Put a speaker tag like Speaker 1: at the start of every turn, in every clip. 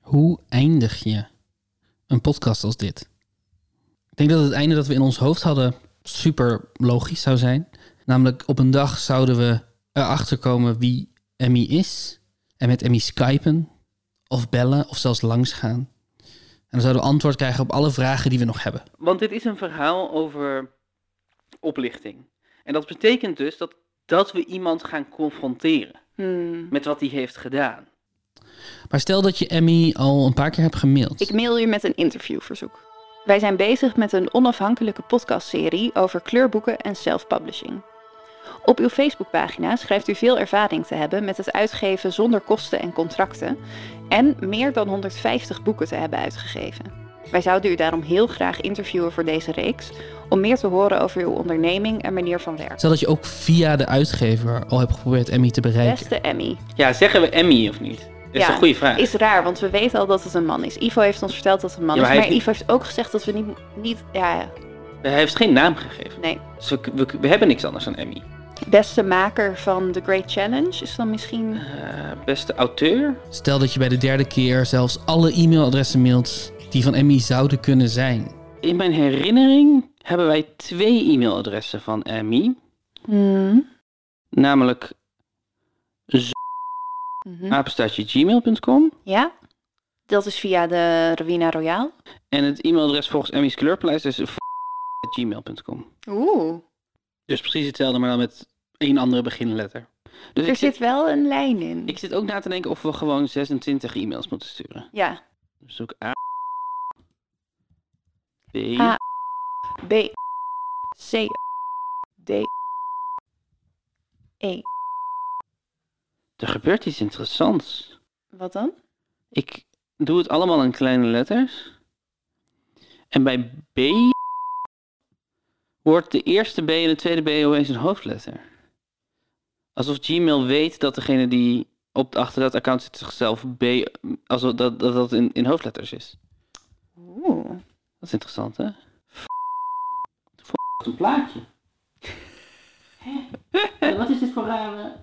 Speaker 1: Hoe eindig je een podcast als dit? Ik denk dat het einde dat we in ons hoofd hadden super logisch zou zijn. Namelijk op een dag zouden we erachter komen wie Emmy is. En met Emmy skypen of bellen of zelfs langsgaan. En dan zouden we antwoord krijgen op alle vragen die we nog hebben.
Speaker 2: Want dit is een verhaal over oplichting. En dat betekent dus dat, dat we iemand gaan confronteren
Speaker 3: Hmm.
Speaker 2: met wat hij heeft gedaan.
Speaker 1: Maar stel dat je Emmy al een paar keer hebt gemaild.
Speaker 3: Ik mail u met een interviewverzoek. Wij zijn bezig met een onafhankelijke podcastserie over kleurboeken en self-publishing. Op uw Facebookpagina schrijft u veel ervaring te hebben met het uitgeven zonder kosten en contracten en meer dan 150 boeken te hebben uitgegeven. Wij zouden u daarom heel graag interviewen voor deze reeks om meer te horen over uw onderneming en manier van werken.
Speaker 1: Stel dat je ook via de uitgever al hebt geprobeerd Emmy te bereiken.
Speaker 3: Beste Emmy,
Speaker 2: Ja, zeggen we Emmy of niet? Dat is
Speaker 3: Ja,
Speaker 2: een goede vraag.
Speaker 3: is raar, want we weten al dat het een man is. Ivo heeft ons verteld dat het een man
Speaker 2: Ja, maar
Speaker 3: is,
Speaker 2: hij
Speaker 3: maar
Speaker 2: heeft
Speaker 3: Ivo heeft ook gezegd dat we niet, niet ja,
Speaker 2: Hij heeft geen naam gegeven.
Speaker 3: nee.
Speaker 2: Dus we, we, we hebben niks anders dan Emmy.
Speaker 3: Beste maker van The Great Challenge is dan misschien.
Speaker 2: Eh, beste auteur?
Speaker 1: Stel dat je bij de derde keer zelfs alle e-mailadressen mailt die van Emmy zouden kunnen zijn.
Speaker 2: In mijn herinnering hebben wij twee e-mailadressen van Emmy.
Speaker 3: Mm-hmm.
Speaker 2: Namelijk
Speaker 3: Mhm.
Speaker 2: apenstaartje gmail.com.
Speaker 3: Ja? Dat is via de Ruina Royale.
Speaker 2: En het e-mailadres volgens Emmy's kleurpleis is f- gmail.com.
Speaker 3: Oeh.
Speaker 2: Dus precies hetzelfde, maar dan met één andere beginletter. Dus
Speaker 3: Er
Speaker 2: ik
Speaker 3: zit
Speaker 2: zit,
Speaker 3: wel een lijn in.
Speaker 2: ik zit ook na te denken of we gewoon 26 e-mails moeten sturen.
Speaker 3: Ja.
Speaker 2: Dus zoek A. B.
Speaker 3: A. B. C. D. E.
Speaker 2: Er gebeurt iets interessants.
Speaker 3: Wat dan?
Speaker 2: Ik doe het allemaal in kleine letters. En bij B wordt de eerste B en de tweede B opeens een hoofdletter. Alsof Gmail weet dat degene die op achter dat account zit zichzelf B, alsof dat dat, dat in, in hoofdletters is.
Speaker 3: Oeh.
Speaker 2: Dat is interessant, hè? F- F- een plaatje. Hè? Wat is dit voor rare...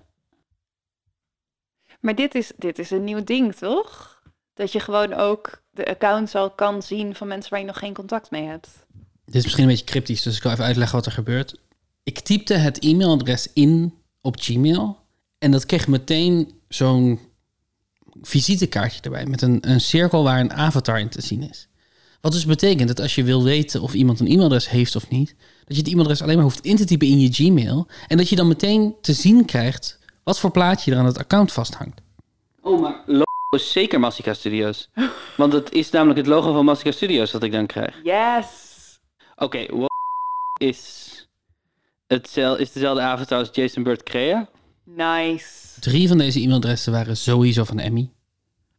Speaker 3: Maar dit is, dit is een nieuw ding, toch? Dat je gewoon ook de accounts al kan zien van mensen waar je nog geen contact mee hebt.
Speaker 1: Dit is misschien een beetje cryptisch, dus ik kan even uitleggen wat er gebeurt. Ik typte het e-mailadres in op Gmail en dat kreeg meteen zo'n visitekaartje erbij met een, een cirkel waar een avatar in te zien is. Wat dus betekent dat als je wil weten of iemand een e-mailadres heeft of niet, dat je het e-mailadres alleen maar hoeft in te typen in je Gmail en dat je dan meteen te zien krijgt wat voor plaatje er aan het account vasthangt.
Speaker 2: Oh, maar logo is zeker Massica Studios. Want het is namelijk het logo van Massica Studios dat ik dan krijg.
Speaker 3: Yes!
Speaker 2: Oké, wo- is, hetzel, is dezelfde avatar als Jason Bird Crea.
Speaker 3: Nice.
Speaker 1: Drie van deze e-mailadressen waren sowieso van Emmy.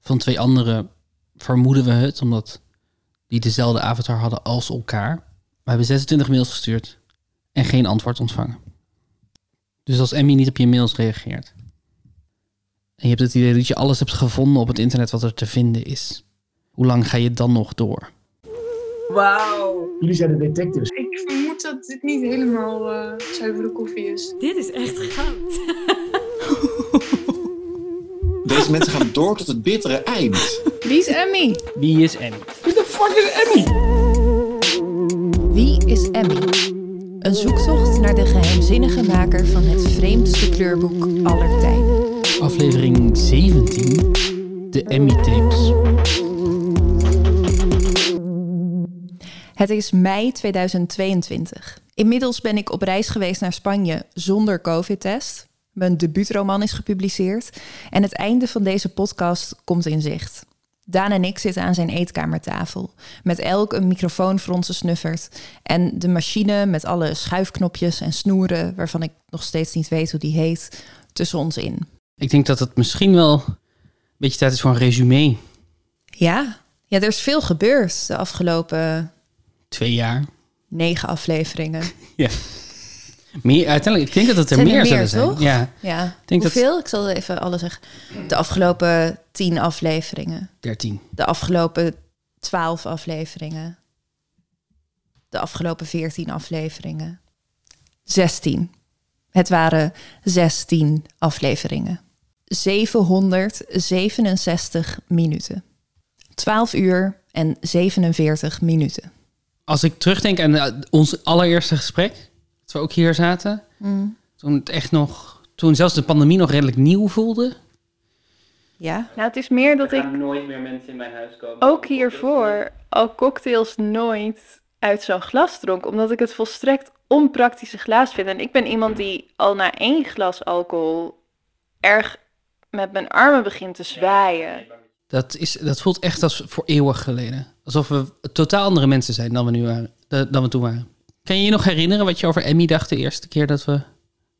Speaker 1: Van twee andere vermoeden we het, omdat die dezelfde avatar hadden als elkaar. We hebben 26 mails gestuurd en geen antwoord ontvangen. Dus als Emmy niet op je mails reageert. En je hebt het idee dat je alles hebt gevonden op het internet wat er te vinden is. Hoe lang ga je dan nog door?
Speaker 4: Wauw.
Speaker 5: Jullie zijn de detectives.
Speaker 6: Ik vermoed dat dit niet helemaal eh, zuivere koffie is.
Speaker 7: Dit is echt goud.
Speaker 8: Deze mensen gaan door tot het bittere eind.
Speaker 6: Wie is Emmy?
Speaker 1: Wie is Emmy?
Speaker 9: Wie is Emmy? Een zoektocht naar de geheimzinnige maker van het vreemdste kleurboek aller tijden.
Speaker 1: Aflevering 17. De Emmy-tapes.
Speaker 9: Het is mei 2022. Inmiddels ben ik op reis geweest naar Spanje zonder COVID-test. Mijn debuutroman is gepubliceerd en het einde van deze podcast komt in zicht. Daan en ik zitten aan zijn eetkamertafel, met elk een microfoon voor onze snuffert en de machine met alle schuifknopjes en snoeren, waarvan ik nog steeds niet weet hoe die heet, tussen ons in.
Speaker 1: Ik denk dat het misschien wel een beetje tijd is voor een resume.
Speaker 9: Ja, ja er is veel gebeurd de afgelopen
Speaker 1: Twee jaar.
Speaker 9: negen afleveringen.
Speaker 1: Meer, uiteindelijk, ik denk dat het er
Speaker 9: Zijn er
Speaker 1: meer
Speaker 9: meer,
Speaker 1: zullen zijn.
Speaker 9: toch?
Speaker 1: Ja,
Speaker 9: Ja,
Speaker 1: denk dat-
Speaker 9: hoeveel? Ik zal even alle zeggen. De afgelopen tien afleveringen.
Speaker 1: 13.
Speaker 9: De afgelopen twaalf afleveringen. De afgelopen veertien afleveringen. Zestien. Het waren zestien afleveringen. 767 minuten. 12 uur en 47 minuten.
Speaker 1: Als ik terugdenk aan eh, ons allereerste gesprek, dat we ook hier zaten,
Speaker 9: Mm.
Speaker 1: toen het echt nog, toen zelfs de pandemie nog redelijk nieuw voelde.
Speaker 9: Ja,
Speaker 3: Nou, het is meer dat ik
Speaker 2: nooit meer mensen in mijn huis komen.
Speaker 3: ook hiervoor al cocktails nooit uit zo'n glas dronk, omdat ik het volstrekt onpraktische glaas vind. En ik ben iemand die al na één glas alcohol erg met mijn armen begint te zwaaien.
Speaker 1: Dat, is, dat voelt echt als voor eeuwig geleden. Alsof we totaal andere mensen zijn dan we, nu waren, eh, dan we toen waren. Kan je je nog herinneren wat je over Emmy dacht de eerste keer dat we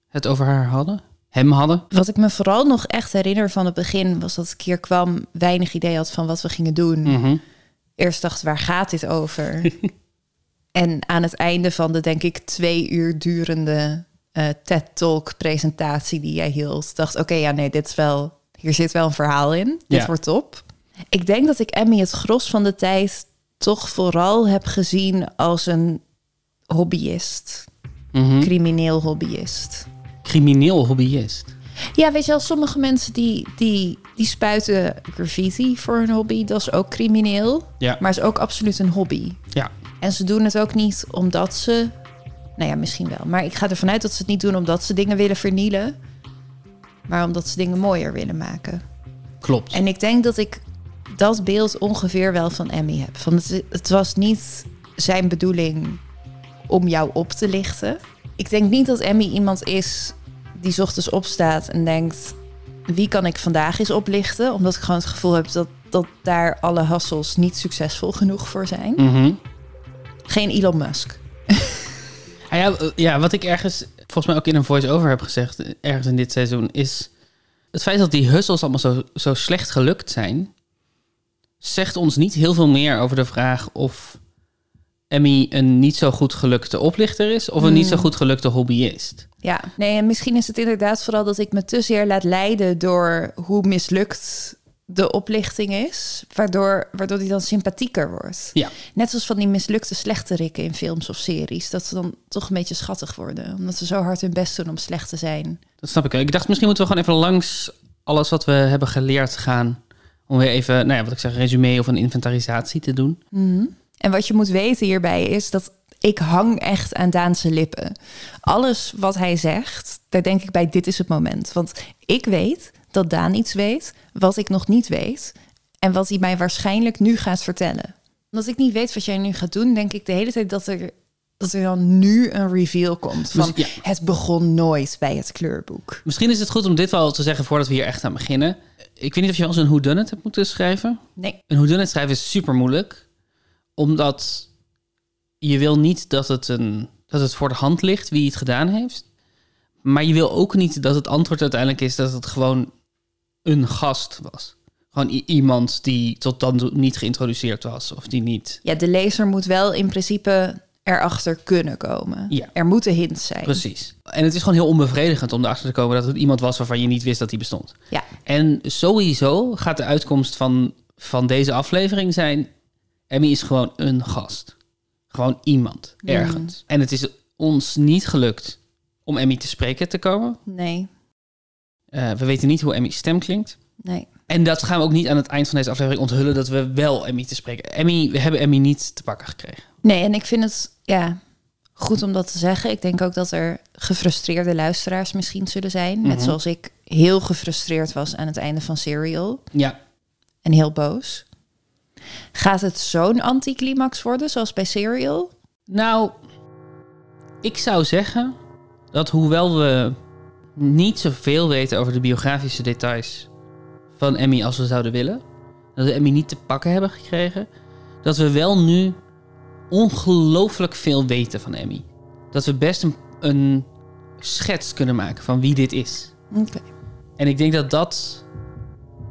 Speaker 1: het over haar hadden? Hem hadden?
Speaker 9: Wat ik me vooral nog echt herinner van het begin was dat ik hier kwam, weinig idee had van wat we gingen doen.
Speaker 1: Mhm.
Speaker 9: Eerst dacht, waar gaat dit over? en aan het einde van de, denk ik, twee uur durende eh, TED-talk-presentatie die jij hield, dacht, oké, ja, nee, dit is wel, hier zit wel een verhaal in.
Speaker 1: Ja.
Speaker 9: Dit wordt top. Ik denk dat ik Emmy het gros van de tijd toch vooral heb gezien als een hobbyist,
Speaker 1: Mhm.
Speaker 9: crimineel hobbyist.
Speaker 1: Crimineel hobbyist.
Speaker 9: Ja, weet je wel, sommige mensen die, die, die spuiten graffiti voor hun hobby. Dat is ook crimineel.
Speaker 1: Ja.
Speaker 9: Maar is ook absoluut een hobby.
Speaker 1: Ja.
Speaker 9: En ze doen het ook niet omdat ze... Nou ja, misschien wel. Maar ik ga ervan uit dat ze het niet doen omdat ze dingen willen vernielen. Maar omdat ze dingen mooier willen maken.
Speaker 1: Klopt.
Speaker 9: En ik denk dat ik dat beeld ongeveer wel van Emmy heb. Van het, het was niet zijn bedoeling om jou op te lichten. Ik denk niet dat Emmy iemand is die 's ochtends opstaat en denkt... wie kan ik vandaag eens oplichten? Omdat ik gewoon het gevoel heb dat, dat daar alle hassels niet succesvol genoeg voor zijn.
Speaker 1: Mhm.
Speaker 9: Geen Elon Musk.
Speaker 1: Ah ja, eh, ja, wat ik ergens, volgens mij ook in een voice-over heb gezegd, eh, ergens in dit seizoen, is het feit dat die hustles allemaal zo, zo slecht gelukt zijn, zegt ons niet heel veel meer over de vraag of Emmy een niet zo goed gelukte oplichter is of een niet zo goed gelukte hobbyist.
Speaker 9: Ja, nee, en misschien is het inderdaad vooral dat ik me te zeer laat leiden door hoe mislukt de oplichting is, waardoor, waardoor die dan sympathieker wordt.
Speaker 1: Ja.
Speaker 9: Net zoals van die mislukte slechterikken in films of series, dat ze dan toch een beetje schattig worden, omdat ze zo hard hun best doen om slecht te zijn.
Speaker 1: Dat snap ik wel. Ik dacht, misschien moeten we gewoon even langs alles wat we hebben geleerd gaan. Om weer even, nou ja, wat ik zeg, een resume of een inventarisatie te doen.
Speaker 9: En wat je moet weten hierbij is dat ik hang echt aan Daanse lippen. Alles wat hij zegt, daar denk ik bij dit is het moment. Want ik weet dat Daan iets weet wat ik nog niet weet en wat hij mij waarschijnlijk nu gaat vertellen. Omdat ik niet weet wat jij nu gaat doen, denk ik de hele tijd dat er dat er dan nu een reveal komt van
Speaker 1: Dus-
Speaker 9: het begon nooit bij het kleurboek.
Speaker 1: Misschien is het goed om dit wel te zeggen voordat we hier echt aan beginnen. Ik weet niet of je wel eens een whodunit hebt moeten schrijven.
Speaker 9: Nee.
Speaker 1: Een whodunit schrijven is super moeilijk. Omdat je wil niet dat het, een, dat het voor de hand ligt wie het gedaan heeft. Maar je wil ook niet dat het antwoord uiteindelijk is dat het gewoon een gast was. Gewoon i- iemand die tot dan toe niet geïntroduceerd was of die niet.
Speaker 9: Ja, de lezer moet wel in principe erachter kunnen komen.
Speaker 1: Ja.
Speaker 9: Er moeten hints zijn.
Speaker 1: Precies. En het is gewoon heel onbevredigend om erachter te komen dat het iemand was waarvan je niet wist dat hij bestond.
Speaker 9: Ja.
Speaker 1: En sowieso gaat de uitkomst van, van deze aflevering zijn... Emmy is gewoon een gast. Gewoon iemand, ergens. En het is ons niet gelukt om Emmy te spreken te komen.
Speaker 9: Nee,
Speaker 1: Eh, we weten niet hoe Emmy's stem klinkt.
Speaker 9: nee.
Speaker 1: En dat gaan we ook niet aan het eind van deze aflevering onthullen... dat we wel Emmy te spreken... Emmy, we hebben Emmy niet te pakken gekregen.
Speaker 9: Nee, en ik vind het ja, goed om dat te zeggen. Ik denk ook dat er gefrustreerde luisteraars misschien zullen zijn.
Speaker 1: Mhm.
Speaker 9: Net zoals ik heel gefrustreerd was aan het einde van Serial.
Speaker 1: Ja,
Speaker 9: En heel boos. Gaat het zo'n anticlimax worden zoals bij Serial?
Speaker 1: Nou, ik zou zeggen dat hoewel we niet zoveel weten over de biografische details van Emmy als we zouden willen, dat we Emmy niet te pakken hebben gekregen, dat we wel nu ongelooflijk veel weten van Emmy. Dat we best een, een schets kunnen maken van wie dit is.
Speaker 9: Oké.
Speaker 1: En ik denk dat dat.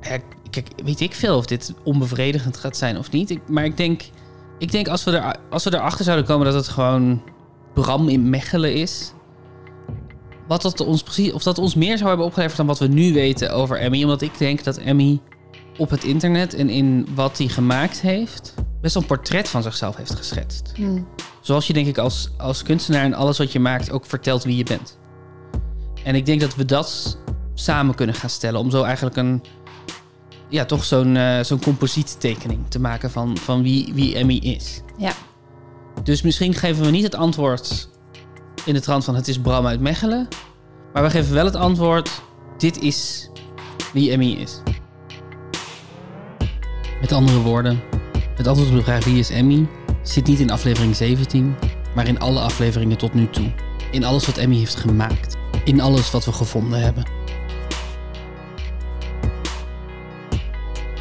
Speaker 1: Ja, kijk, weet ik veel of dit onbevredigend gaat zijn of niet. Ik, maar ik denk, ik denk als, we er, als we erachter zouden komen dat het gewoon Bram in Mechelen is. Wat dat ons precies, of dat ons meer zou hebben opgeleverd dan wat we nu weten over Emmy. Omdat ik denk dat Emmy op het internet en in wat hij gemaakt heeft. best wel een portret van zichzelf heeft geschetst. Zoals je, denk ik, als, als kunstenaar en alles wat je maakt ook vertelt wie je bent. En ik denk dat we dat samen kunnen gaan stellen. Om zo eigenlijk een, ja, toch zo'n eh zo'n composiettekening te maken van, van wie, wie Emmy is.
Speaker 9: Ja.
Speaker 1: Dus misschien geven we niet het antwoord in de trant van het is Bram uit Mechelen. Maar we geven wel het antwoord, dit is wie Emmy is. Met andere woorden, het antwoord op de vraag wie is Emmy zit niet in aflevering 17, maar in alle afleveringen tot nu toe. In alles wat Emmy heeft gemaakt. In alles wat we gevonden hebben.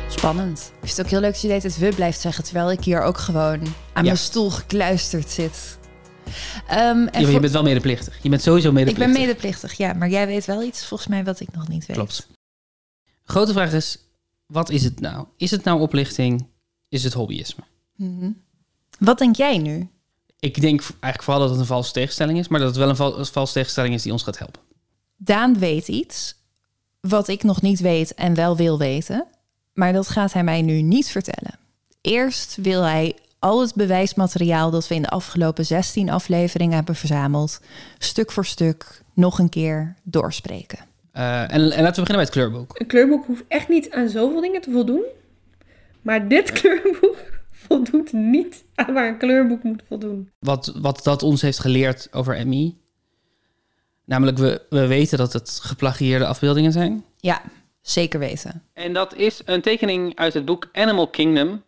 Speaker 9: Spannend. Ik vind het ook heel leuk dat je deed het we blijft zeggen, terwijl ik hier ook gewoon aan mijn stoel gekluisterd zit. Ehm, en
Speaker 1: Ja, maar
Speaker 9: voor-
Speaker 1: je bent wel medeplichtig. Je bent sowieso
Speaker 9: ik
Speaker 1: medeplichtig.
Speaker 9: ben medeplichtig, ja, maar jij weet wel iets volgens mij wat ik nog niet weet.
Speaker 1: Klopt. Grote vraag is, wat is het nou? Is het nou oplichting? Is het hobbyisme?
Speaker 9: Mhm. Wat denk jij nu?
Speaker 1: Ik denk eigenlijk vooral dat het een valse tegenstelling is, maar dat het wel een, val- een valse tegenstelling is die ons gaat helpen.
Speaker 9: Daan weet iets wat ik nog niet weet en wel wil weten, maar dat gaat hij mij nu niet vertellen. Eerst wil hij al het bewijsmateriaal dat we in de afgelopen 16 afleveringen hebben verzameld, stuk voor stuk nog een keer doorspreken.
Speaker 1: Eh, en, en laten we beginnen bij het kleurboek.
Speaker 5: Een kleurboek hoeft echt niet aan zoveel dingen te voldoen. Maar dit kleurboek voldoet niet aan waar een kleurboek moet voldoen.
Speaker 1: Wat, wat dat ons heeft geleerd over Emmy. Namelijk, we, we weten dat het geplagieerde afbeeldingen zijn.
Speaker 9: Ja, zeker weten.
Speaker 2: En dat is een tekening uit het boek Animal Kingdom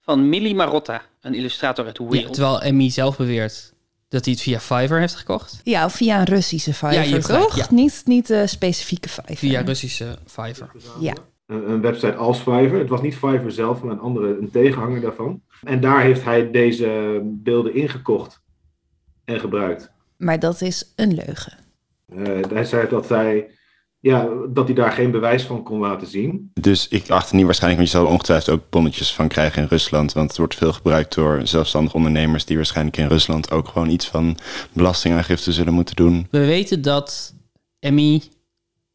Speaker 2: van Millie Marotta, een illustrator uit Wales.
Speaker 1: Ja, terwijl Emmy zelf beweert dat hij het via Fiverr heeft gekocht.
Speaker 9: Ja, of via een Russische
Speaker 1: Ja,
Speaker 9: Fiverr,
Speaker 1: je hebt gelijk,
Speaker 9: toch?
Speaker 1: ja.
Speaker 9: Niet, niet de specifieke Fiverr.
Speaker 1: Via Russische Fiverr.
Speaker 9: Ja.
Speaker 7: een, een website als Fiverr. Het was niet Fiverr zelf, maar een andere, een tegenhanger daarvan. En daar heeft hij deze beelden ingekocht en gebruikt.
Speaker 9: Maar dat is een leugen.
Speaker 7: Eh, hij zei dat hij, ja, dat hij daar geen bewijs van kon laten zien.
Speaker 10: Dus ik acht het niet waarschijnlijk, want je zal er ongetwijfeld ook bonnetjes van krijgen in Rusland. Want het wordt veel gebruikt door zelfstandige ondernemers die waarschijnlijk in Rusland ook gewoon iets van belastingaangifte zullen moeten doen.
Speaker 1: We weten dat Emmy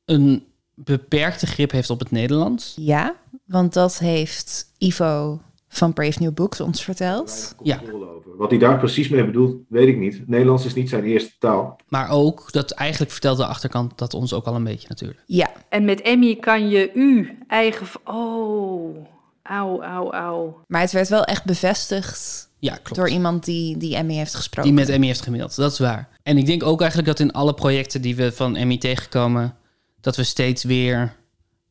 Speaker 1: een beperkte grip heeft op het Nederlands.
Speaker 9: Ja, want dat heeft Ivo van Brave New Books ons verteld.
Speaker 1: Ja.
Speaker 7: Controle over. Wat hij daar precies mee bedoelt, weet ik niet. Nederlands is niet zijn eerste taal.
Speaker 1: Maar ook, dat eigenlijk vertelt de achterkant dat ons ook al een beetje natuurlijk.
Speaker 9: Ja,
Speaker 5: En met Emmy kan je u eigen... v- Oh, auw, auw, auw.
Speaker 9: maar het werd wel echt bevestigd
Speaker 1: Ja, klopt.
Speaker 9: door iemand die, die Emmy heeft gesproken.
Speaker 1: die met Emmy heeft gemaild, dat is waar. En ik denk ook eigenlijk dat in alle projecten die we van Emmy tegenkomen, dat we steeds weer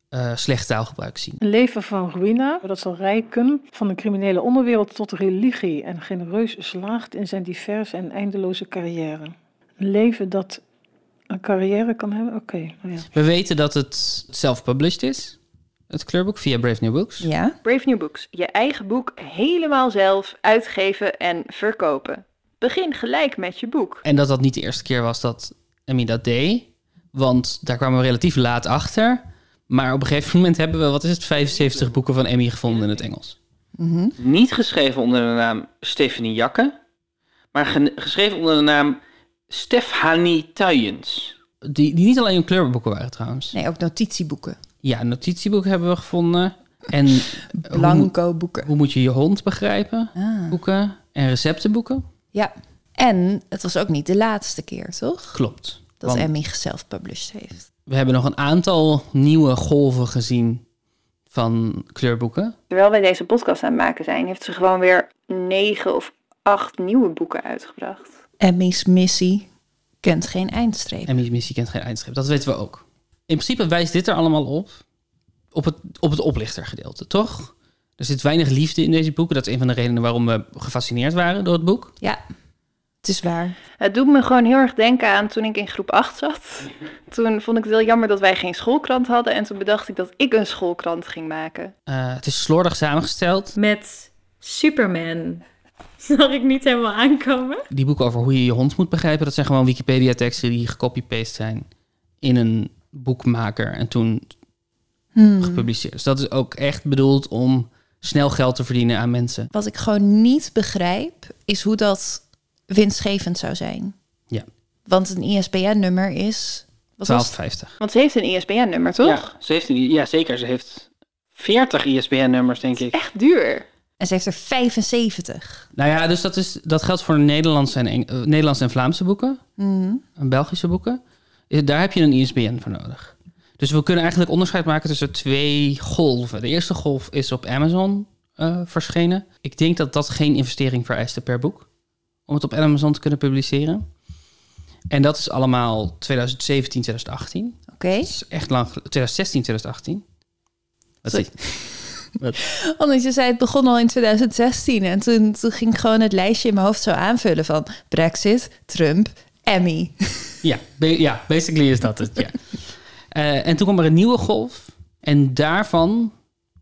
Speaker 1: eh, slecht taalgebruik zien.
Speaker 11: Een leven van ruïna, dat zal rijken van de criminele onderwereld tot religie en genereus slaagt in zijn diverse en eindeloze carrière. Een leven dat een carrière kan hebben? Oké, nou ja.
Speaker 1: We weten dat het self-published is, het kleurboek, via Brave New Books.
Speaker 9: Ja,
Speaker 3: Brave New Books. Je eigen boek helemaal zelf uitgeven en verkopen. Begin gelijk met je boek.
Speaker 1: En dat dat niet de eerste keer was dat Emmy dat deed, want daar kwamen we relatief laat achter. Maar op een gegeven moment hebben we, wat is het, 75 boeken van Emmy gevonden in het Engels.
Speaker 2: Niet geschreven onder de naam Stephanie Jakke, maar gen- geschreven onder de naam Stefanie Tuyens.
Speaker 1: Die, die niet alleen in kleurboeken waren trouwens.
Speaker 9: nee, ook notitieboeken.
Speaker 1: Ja, notitieboeken hebben we gevonden. En eh, hoe,
Speaker 9: Blanco boeken.
Speaker 1: hoe moet je je hond begrijpen?
Speaker 9: Ah,
Speaker 1: boeken en receptenboeken.
Speaker 9: ja, en het was ook niet de laatste keer, toch?
Speaker 1: Klopt.
Speaker 9: Dat
Speaker 1: Want
Speaker 9: Emmy zelf published heeft.
Speaker 1: we hebben nog een aantal nieuwe golven gezien van kleurboeken.
Speaker 3: Terwijl wij deze podcast aan het maken zijn, heeft ze gewoon weer negen of acht nieuwe boeken uitgebracht.
Speaker 9: Emmy's missie kent geen eindstreep.
Speaker 1: En Miss Missie kent geen eindschrift. Dat weten we ook. In principe wijst dit er allemaal op. Op het, op het oplichtergedeelte, toch? Er zit weinig liefde in deze boeken. Dat is een van de redenen waarom we gefascineerd waren door het boek.
Speaker 9: Ja, het is waar.
Speaker 3: Het doet me gewoon heel erg denken aan toen ik in groep 8 zat. Toen vond ik het heel jammer dat wij geen schoolkrant hadden. En toen bedacht ik dat ik een schoolkrant ging maken.
Speaker 1: Eh, het is slordig samengesteld.
Speaker 5: Met Superman. Zag ik niet helemaal aankomen.
Speaker 1: Die boeken over hoe je je hond moet begrijpen, dat zijn gewoon Wikipedia-teksten die gecopy-paste zijn in een boekmaker. En toen
Speaker 9: Hmm.
Speaker 1: gepubliceerd. Dus dat is ook echt bedoeld om snel geld te verdienen aan mensen.
Speaker 9: Wat ik gewoon niet begrijp, is hoe dat winstgevend zou zijn.
Speaker 1: Ja.
Speaker 9: Want een ISBN-nummer is... Wat was het?
Speaker 1: 12,50.
Speaker 3: Want ze heeft een E ISBN-nummer, toch?
Speaker 2: Ja, ze heeft, een- ja, zeker. Ze heeft 40 ISBN-nummers, denk ik.
Speaker 3: Echt duur.
Speaker 9: En ze heeft er 75.
Speaker 1: Nou ja, dus dat, is, dat geldt voor Nederlandse en, Eng- eh, Nederlandse en Vlaamse boeken
Speaker 9: Mhm.
Speaker 1: E en Belgische boeken. Eh, Daar heb je een ISBN voor nodig. Dus we kunnen eigenlijk onderscheid maken tussen twee golven. De eerste golf is op Amazon eh, verschenen. Ik denk dat dat geen investering vereiste per boek. Om het op Amazon te kunnen publiceren. En dat is allemaal 2017, 2018.
Speaker 9: Oké.
Speaker 1: Dat is echt lang. gel- 2016, 2018. Dat is Wat?
Speaker 9: Want je zei, het begon al in 2016. En toen, toen ging ik gewoon het lijstje in mijn hoofd zo aanvullen van... Brexit, Trump, Emmy.
Speaker 1: Ja, ba- ja, basically is dat het. Ja. Eh, en toen kwam er een nieuwe golf. En daarvan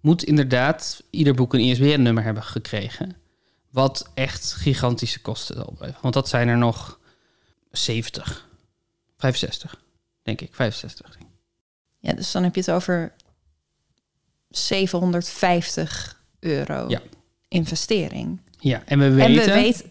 Speaker 1: moet inderdaad ieder boek een ISBN-nummer hebben gekregen. Wat echt gigantische kosten zal blijven. Want dat zijn er nog 70, 65, denk ik. 65. denk ik.
Speaker 9: Ja, dus dan heb je het over 750 euro
Speaker 1: Ja.
Speaker 9: investering.
Speaker 1: Ja, en we weten.
Speaker 9: En we weten...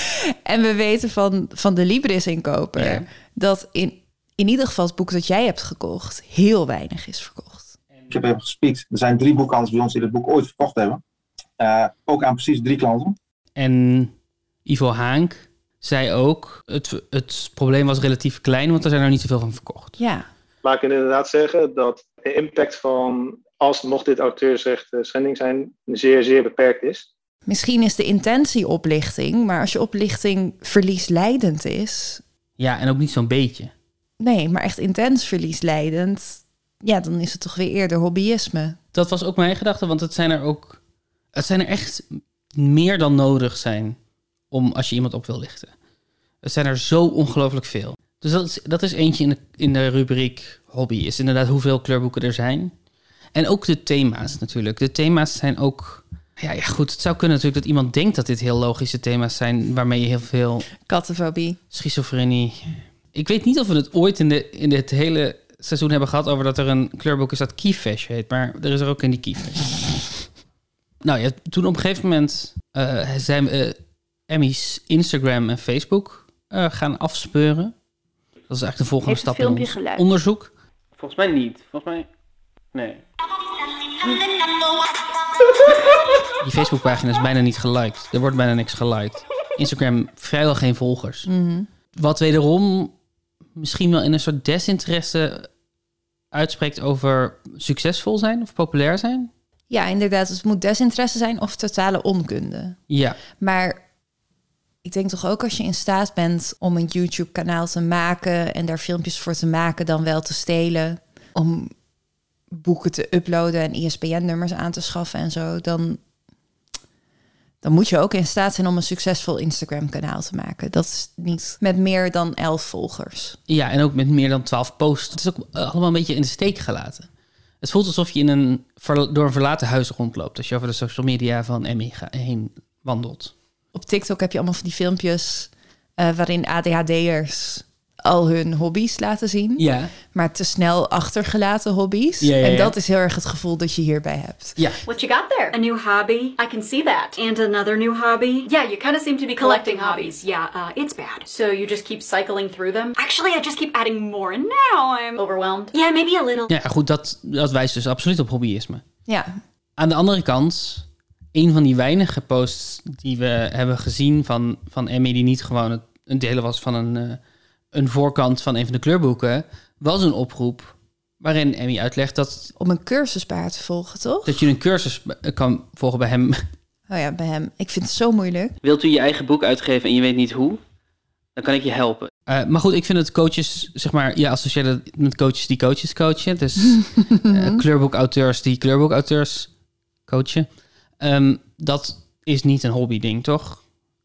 Speaker 9: en we weten van, van de Libris-inkoper...
Speaker 1: Ja.
Speaker 9: dat in, in ieder geval het boek dat jij hebt gekocht... heel weinig is verkocht.
Speaker 12: Ik heb even gespiekt. Er zijn drie boekhandels bij ons die dit boek ooit verkocht hebben. Eh, ook aan precies drie klanten.
Speaker 1: En Ivo Haank zei ook: het, het probleem was relatief klein, want er zijn er niet zoveel van verkocht.
Speaker 9: Ja.
Speaker 13: Maar ik kan inderdaad zeggen dat de impact van, als mocht dit auteursrecht eh, schending zijn, zeer, zeer beperkt is.
Speaker 9: Misschien is de intentie oplichting, maar als je oplichting verliesleidend is,
Speaker 1: Ja, en ook niet zo'n beetje.
Speaker 9: nee, maar echt intens verliesleidend, ja, dan is het toch weer eerder hobbyisme.
Speaker 1: Dat was ook mijn gedachte, want het zijn er ook. Het zijn er echt meer dan nodig zijn om als je iemand op wil lichten. Het zijn er zo ongelooflijk veel. Dus dat is, dat is eentje in de, in de rubriek hobby. Is inderdaad hoeveel kleurboeken er zijn. En ook de thema's natuurlijk. De thema's zijn ook. Ja, ja, goed. Het zou kunnen natuurlijk dat iemand denkt dat dit heel logische thema's zijn. waarmee je heel veel.
Speaker 9: Kattenfobie.
Speaker 1: Schizofrenie. Ik weet niet of we het ooit in, de, in dit hele seizoen hebben gehad over dat er een kleurboek is dat Keyfish heet. Maar er is er ook in die Keyfish. nou ja, toen op een gegeven moment eh, zijn we eh, Emmy's Instagram en Facebook eh, gaan afspeuren. Dat is eigenlijk de volgende
Speaker 2: Heeft het
Speaker 1: stap in
Speaker 2: filmpje
Speaker 1: ons
Speaker 2: geluid?
Speaker 1: onderzoek.
Speaker 2: Volgens mij niet. Volgens mij. Nee.
Speaker 1: Die Facebookpagina is bijna niet geliked. Er wordt bijna niks geliked. Instagram vrijwel geen volgers.
Speaker 9: Mhm.
Speaker 1: Wat wederom misschien wel in een soort desinteresse uitspreekt over succesvol zijn of populair zijn.
Speaker 9: Ja, inderdaad, het moet desinteresse zijn of totale onkunde.
Speaker 1: Ja,
Speaker 9: Maar ik denk toch ook als je in staat bent om een YouTube-kanaal te maken en daar filmpjes voor te maken, dan wel te stelen, om boeken te uploaden en E ISBN-nummers aan te schaffen en zo, dan, dan moet je ook in staat zijn om een succesvol Instagram-kanaal te maken. Dat is niet met meer dan elf volgers.
Speaker 1: ja, en ook met meer dan twaalf posts. Het is ook eh, allemaal een beetje in de steek gelaten. Het voelt alsof je in een, verla- door een verlaten huis rondloopt. Als je over de social media van Emmy ga- heen wandelt.
Speaker 9: Op TikTok heb je allemaal van die filmpjes eh, waarin ADHD'ers al hun hobby's laten zien.
Speaker 1: Ja.
Speaker 9: Maar te snel achtergelaten hobby's.
Speaker 1: Ja, ja,
Speaker 9: En
Speaker 1: ja.
Speaker 9: dat is heel erg het gevoel dat je hierbij hebt.
Speaker 1: Ja.
Speaker 14: What you got there? A new hobby? I can see that. And another new hobby? Yeah, you kind of seem to be collecting hobbies. Yeah, uh, it's bad. So you just keep cycling through them? Actually, I just keep adding more, and now I'm overwhelmed. Yeah, maybe a little.
Speaker 1: Ja, goed, dat, dat wijst dus absoluut op hobbyisme.
Speaker 9: Ja.
Speaker 1: Aan de andere kant, een van die weinige posts die we hebben gezien van, van Emmy, die niet gewoon het, een deel was van een, eh, een voorkant van een van de kleurboeken, was een oproep waarin Emmy uitlegt dat,
Speaker 9: Om een cursuspaar te volgen, toch?
Speaker 1: dat je een cursus eh, kan volgen bij hem.
Speaker 9: Oh ja, bij hem. Ik vind het zo moeilijk.
Speaker 2: Wilt u je eigen boek uitgeven en je weet niet hoe? Dan kan ik je helpen.
Speaker 1: Eh, maar goed, ik vind dat coaches, zeg maar, ja, associeer dat met coaches die coaches coachen. Dus eh, kleurboekauteurs die kleurboekauteurs coachen. Ehm, dat is niet een hobby-ding, toch?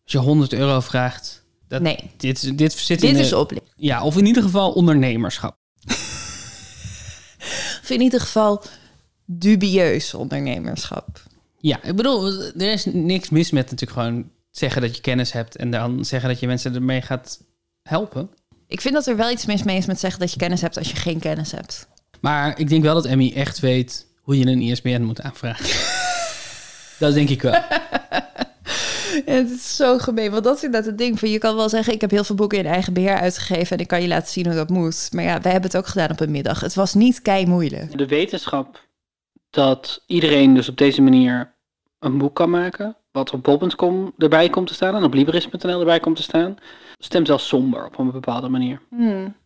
Speaker 1: Als je 100 euro vraagt. Dat,
Speaker 9: nee.
Speaker 1: Dit, dit zit
Speaker 9: Dit
Speaker 1: in de-
Speaker 9: is oplichting.
Speaker 1: Ja, of in ieder geval ondernemerschap.
Speaker 9: Of in ieder geval dubieus ondernemerschap.
Speaker 1: Ja, ik bedoel, er is niks mis met natuurlijk gewoon zeggen dat je kennis hebt en dan zeggen dat je mensen ermee gaat helpen.
Speaker 9: Ik vind dat er wel iets mis mee is met zeggen dat je kennis hebt als je geen kennis hebt.
Speaker 1: Maar ik denk wel dat Emmy echt weet hoe je een E ISBN moet aanvragen. dat denk ik wel.
Speaker 9: Ja, het is zo gemeen, want dat is inderdaad het ding. Van, je kan wel zeggen, ik heb heel veel boeken in eigen beheer uitgegeven... en ik kan je laten zien hoe dat moet. Maar ja, wij hebben het ook gedaan op een middag. Het was niet kei moeilijk.
Speaker 2: De wetenschap dat iedereen dus op deze manier een boek kan maken, wat op bob.com erbij komt te staan en op libris.nl erbij komt te staan, stemt wel somber op een bepaalde manier.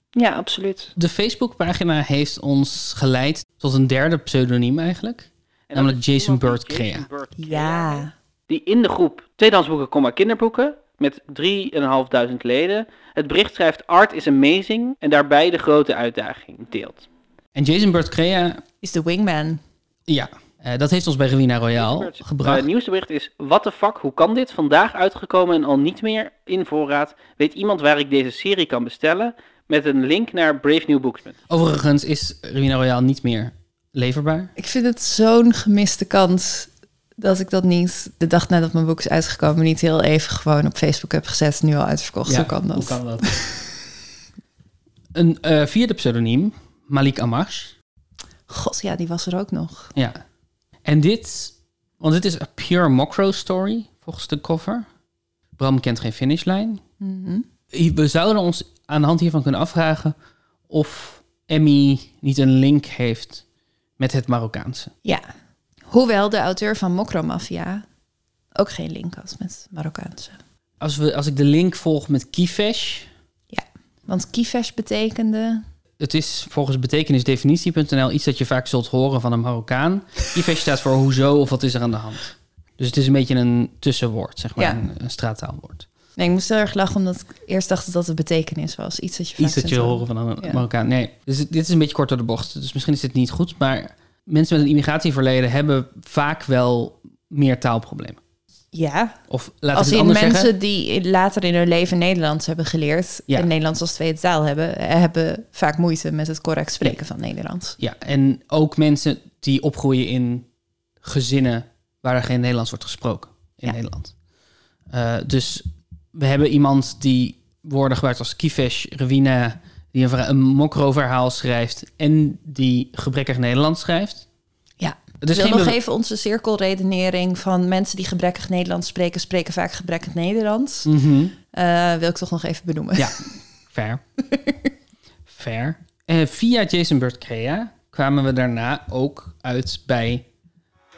Speaker 3: Ja, absoluut.
Speaker 1: De Facebookpagina heeft ons geleid tot een derde pseudoniem eigenlijk. namelijk Jason Bird Crea.
Speaker 9: Ja.
Speaker 2: Die in de groep tweedehandsboeken, comma, kinderboeken met 3.500 leden het bericht schrijft Art is amazing en daarbij de grote uitdaging deelt.
Speaker 1: En Jason Bird Crea,
Speaker 9: Is de wingman.
Speaker 1: ja, eh, dat heeft ons bij Rowena Royale
Speaker 2: Bird- Eh,
Speaker 1: gebracht.
Speaker 2: het nieuwste bericht is, what the fuck, hoe kan dit? Vandaag uitgekomen en al niet meer in voorraad. Weet iemand waar ik deze serie kan bestellen? Met een link naar Brave New Booksman.
Speaker 1: Overigens is Rowena Royale niet meer leverbaar.
Speaker 9: Ik vind het zo'n gemiste kans dat ik dat niet de dag nadat mijn boek is uitgekomen niet heel even gewoon op Facebook heb gezet. Nu al uitverkocht.
Speaker 1: Ja,
Speaker 9: Hoe kan dat?
Speaker 1: Hoe kan dat? een eh, vierde pseudoniem, Malik Amash.
Speaker 9: God, ja, die was er ook nog.
Speaker 1: Ja. En dit, want dit is een pure mocro story volgens de cover. Bram kent geen finishlijn.
Speaker 9: Mhm.
Speaker 1: We zouden ons aan de hand hiervan kunnen afvragen of Emmy niet een link heeft met het Marokkaanse.
Speaker 9: Ja. Hoewel de auteur van Mokromafia ook geen link had met Marokkaanse.
Speaker 1: Als, we, als ik de link volg met Kifesh,
Speaker 9: Want kifesh betekende...
Speaker 1: het is volgens betekenisdefinitie.nl iets dat je vaak zult horen van een Marokkaan. Kifesh staat voor hoezo of wat is er aan de hand. Dus het is een beetje een tussenwoord, zeg maar,
Speaker 9: Ja.
Speaker 1: een, een straattaalwoord.
Speaker 9: Nee, ik moest heel erg lachen omdat ik eerst dacht dat dat de betekenis was. Iets dat je vaak
Speaker 1: Iets dat je
Speaker 9: zult
Speaker 1: horen van een
Speaker 9: Ja.
Speaker 1: Marokkaan. Nee, dus dit is een beetje kort door de bocht. Dus misschien is dit niet goed. Maar mensen met een immigratieverleden hebben vaak wel meer taalproblemen.
Speaker 9: Ja.
Speaker 1: Of laat
Speaker 9: als
Speaker 1: ik het
Speaker 9: in
Speaker 1: anders
Speaker 9: mensen
Speaker 1: zeggen.
Speaker 9: die later in hun leven Nederlands hebben geleerd...
Speaker 1: Ja.
Speaker 9: en Nederlands als tweede taal hebben... eh, hebben vaak moeite met het correct spreken van Nederlands.
Speaker 1: Ja, en ook mensen die opgroeien in gezinnen waar er geen Nederlands wordt gesproken in Nederland. Eh, dus we hebben iemand die woorden gebruikt als Kifesh, Rewina, die een, verha- een mokro-verhaal schrijft en die gebrekkig Nederlands schrijft.
Speaker 9: Ja.
Speaker 1: Het is Dus
Speaker 9: ik
Speaker 1: geen
Speaker 9: wil nog
Speaker 1: bewe-
Speaker 9: even onze cirkelredenering van mensen die gebrekkig Nederlands spreken... spreken vaak gebrekkig Nederlands.
Speaker 1: Mhm.
Speaker 9: Eh, wil ik toch nog even benoemen.
Speaker 1: Ja, fair. fair. Eh, via Jason Bird Crea kwamen we daarna ook uit bij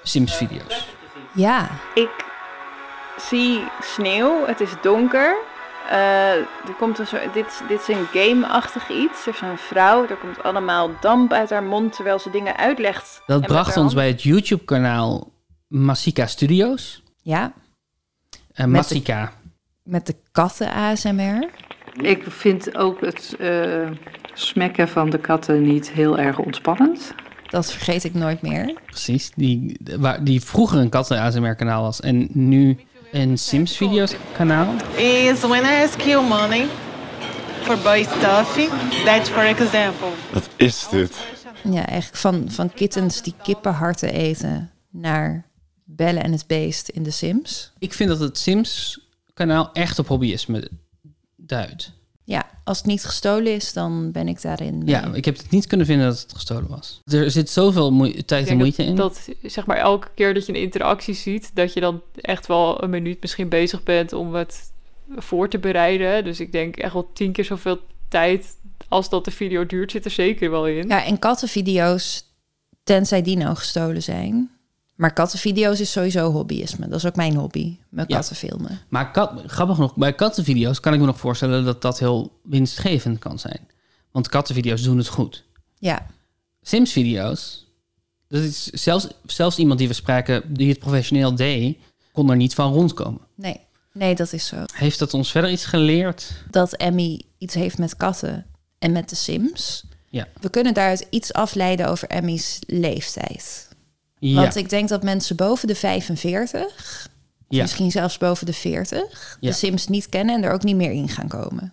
Speaker 1: Sims video's.
Speaker 9: ja.
Speaker 3: Ik zie sneeuw, het is donker. Eh, er komt een soort, dit, dit is een game-achtig iets. Er is een vrouw, er komt allemaal damp uit haar mond terwijl ze dingen uitlegt. En
Speaker 1: Dat
Speaker 3: met
Speaker 1: bracht
Speaker 3: haar
Speaker 1: ons
Speaker 3: hand-
Speaker 1: bij het YouTube-kanaal Masika Studios.
Speaker 9: Ja,
Speaker 1: en
Speaker 9: Met de-
Speaker 1: Masika.
Speaker 9: met de katten ASMR.
Speaker 15: Ik vind ook het eh, smekken van de katten niet heel erg ontspannend.
Speaker 9: Dat vergeet ik nooit meer.
Speaker 1: Precies, die, waar, die vroeger een katten-ASMR-kanaal was en nu een Sims video's-kanaal.
Speaker 16: is when I ask you money for buy stuff, that's for example.
Speaker 10: Wat is dit?
Speaker 9: Ja, eigenlijk van, van kittens die kippenharten eten naar Bellen en het Beest in de Sims.
Speaker 1: Ik vind dat het Sims-kanaal echt op hobbyisme duidt.
Speaker 9: Ja, als het niet gestolen is, dan ben ik daarin. eh, mee.
Speaker 1: Ja, ik heb het niet kunnen vinden dat het gestolen was. Er zit zoveel moe- tijd en
Speaker 17: Ik denk
Speaker 1: moeite
Speaker 17: dat,
Speaker 1: in.
Speaker 17: dat zeg maar elke keer dat je een interactie ziet, dat je dan echt wel een minuut misschien bezig bent om het voor te bereiden. Dus ik denk echt wel tien keer zoveel tijd als dat de video duurt, zit er zeker wel in.
Speaker 9: ja, en kattenvideo's, tenzij die nou gestolen zijn. Maar kattenvideo's is sowieso hobbyisme. Dat is ook mijn hobby, mijn
Speaker 1: Ja.
Speaker 9: katten filmen.
Speaker 1: Maar kat, grappig genoeg, bij kattenvideo's kan ik me nog voorstellen dat dat heel winstgevend kan zijn. Want kattenvideo's doen het goed.
Speaker 9: Ja,
Speaker 1: Sims-video's, dat is zelfs, zelfs iemand die we spraken, die het professioneel deed, kon er niet van rondkomen.
Speaker 9: nee. Nee, dat is zo.
Speaker 1: Heeft dat ons verder iets geleerd?
Speaker 9: dat Emmy iets heeft met katten en met de Sims.
Speaker 1: Ja.
Speaker 9: We kunnen daaruit iets afleiden over Emmy's leeftijd.
Speaker 1: Ja.
Speaker 9: Want ik denk dat mensen boven de 45,
Speaker 1: Ja.
Speaker 9: misschien zelfs boven de 40,
Speaker 1: Ja.
Speaker 9: de Sims niet kennen en er ook niet meer in gaan komen.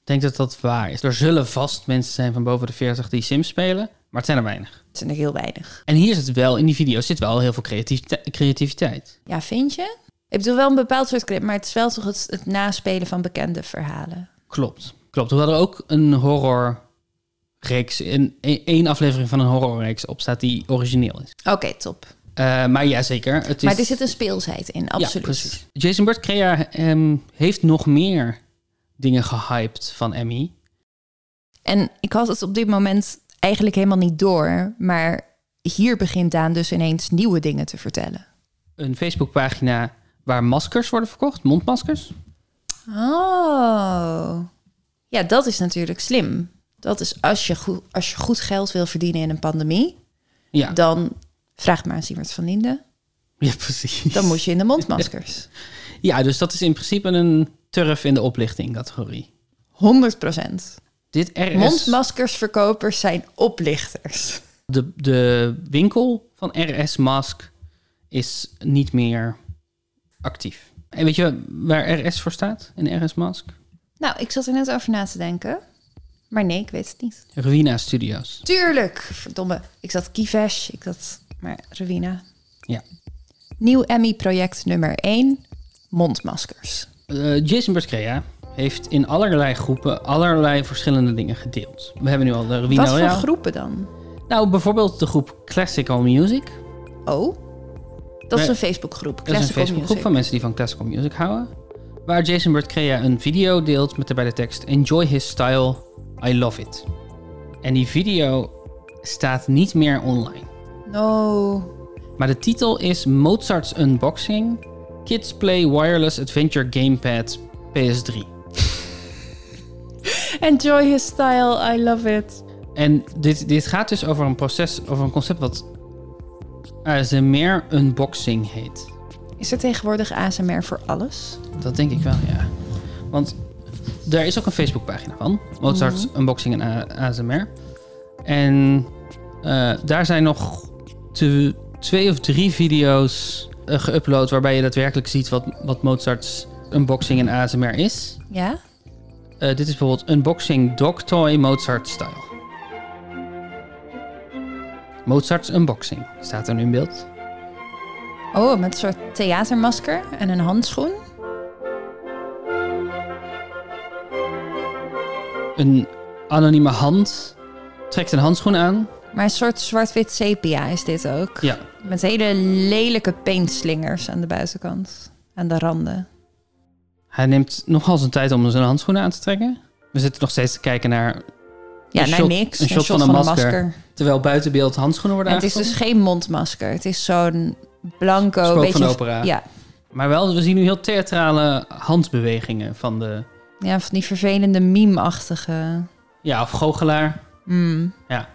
Speaker 1: Ik denk dat dat waar is. Er zullen vast mensen zijn van boven de 40 die Sims spelen, maar het zijn er weinig.
Speaker 9: Het zijn er heel weinig.
Speaker 1: En hier zit wel, in die video's zit wel heel veel creativite- creativiteit.
Speaker 9: Ja, vind je? Ik bedoel wel een bepaald soort clip, maar het is wel toch het, het naspelen van bekende verhalen.
Speaker 1: Klopt. Klopt. Hoewel er ook een horrorreeks, een, e-, één aflevering van een horrorreeks op staat die origineel is.
Speaker 9: Oké, top.
Speaker 1: Eh, maar ja, zeker. Het is...
Speaker 9: Maar er zit een speelsheid in, absoluut.
Speaker 1: Ja, precies. Jason Bird Crea ehm, heeft nog meer dingen gehyped van Emmy.
Speaker 9: En ik had het op dit moment eigenlijk helemaal niet door, maar hier begint Daan dus ineens nieuwe dingen te vertellen.
Speaker 1: Een Facebookpagina waar maskers worden verkocht, mondmaskers.
Speaker 9: Oh. Ja, dat is natuurlijk slim. Dat is als je goed, als je goed geld wil verdienen in een pandemie,
Speaker 1: Ja.
Speaker 9: dan vraag maar aan Siemert van Linden.
Speaker 1: Ja, precies.
Speaker 9: Dan moet je in de mondmaskers.
Speaker 1: Ja, dus dat is in principe een turf in de oplichting categorie.
Speaker 9: 100 procent.
Speaker 1: Dit RS,
Speaker 9: Mondmaskersverkopers zijn oplichters.
Speaker 1: de, de winkel van RS Mask is niet meer actief. En weet je waar RS voor staat in RS Mask?
Speaker 9: Nou, ik zat er net over na te denken. Maar nee, ik weet het niet.
Speaker 1: Ruina Studios.
Speaker 9: Tuurlijk, verdomme. Ik zat Kivesh, ik zat... Maar Ruina.
Speaker 1: Ja.
Speaker 9: Nieuw Emmy-project nummer 1, mondmaskers.
Speaker 1: Eh, Jason Bertrea heeft in allerlei groepen allerlei verschillende dingen gedeeld. We hebben nu al de Ruina
Speaker 9: Wat voor
Speaker 1: Royale.
Speaker 9: groepen dan?
Speaker 1: Nou, bijvoorbeeld de groep Classical Music.
Speaker 9: Oh, dat is
Speaker 1: Nee,
Speaker 9: een Facebookgroep.
Speaker 1: Dat is een
Speaker 9: Classical
Speaker 1: Facebookgroep
Speaker 9: Music.
Speaker 1: van mensen die van classical music houden. Waar Jason Bertrea een video deelt met daarbij de tekst Enjoy his style, I love it. En die video staat niet meer online.
Speaker 9: No.
Speaker 1: Maar de titel is Mozart's Unboxing. Kids Play Wireless Adventure Gamepad PS3.
Speaker 9: Enjoy his style, I love it.
Speaker 1: En dit, dit gaat dus over een proces, over een concept wat ASMR Unboxing heet.
Speaker 9: Is er tegenwoordig ASMR voor alles?
Speaker 1: Dat denk ik wel, ja. Want daar is ook een Facebookpagina van. Mozart's
Speaker 9: Mhm.
Speaker 1: Unboxing en A- ASMR. En eh, daar zijn nog te- twee of drie video's eh, geüpload... waarbij je daadwerkelijk ziet wat, wat Mozart's Unboxing en ASMR is.
Speaker 9: Ja?
Speaker 1: Eh, dit is bijvoorbeeld Unboxing Dog Toy Mozart Style. Mozart's Unboxing staat er nu in beeld.
Speaker 9: Oh, met een soort theatermasker en een handschoen.
Speaker 1: Een anonieme hand trekt een handschoen aan.
Speaker 9: Maar een soort zwart-wit sepia is dit ook.
Speaker 1: Ja,
Speaker 9: Met hele lelijke paintslingers aan de buitenkant. Aan de randen.
Speaker 1: Hij neemt nogal zijn tijd om zijn handschoenen aan te trekken. We zitten nog steeds te kijken naar.
Speaker 9: Ja,
Speaker 1: een
Speaker 9: naar
Speaker 1: shot-
Speaker 9: niks.
Speaker 1: Een shot, van, een masker. Terwijl buiten beeld handschoenen
Speaker 9: En
Speaker 1: worden
Speaker 9: het is dus
Speaker 1: aangetrokken.
Speaker 9: geen mondmasker. Het is zo'n blanco...
Speaker 1: Spook
Speaker 9: beetje
Speaker 1: van de opera.
Speaker 9: Ja. dus-
Speaker 1: Maar wel, we zien nu heel theatrale handbewegingen van de.
Speaker 9: ja, van die vervelende meme-achtige...
Speaker 1: Ja, of goochelaar.
Speaker 9: Mm.
Speaker 1: Ja.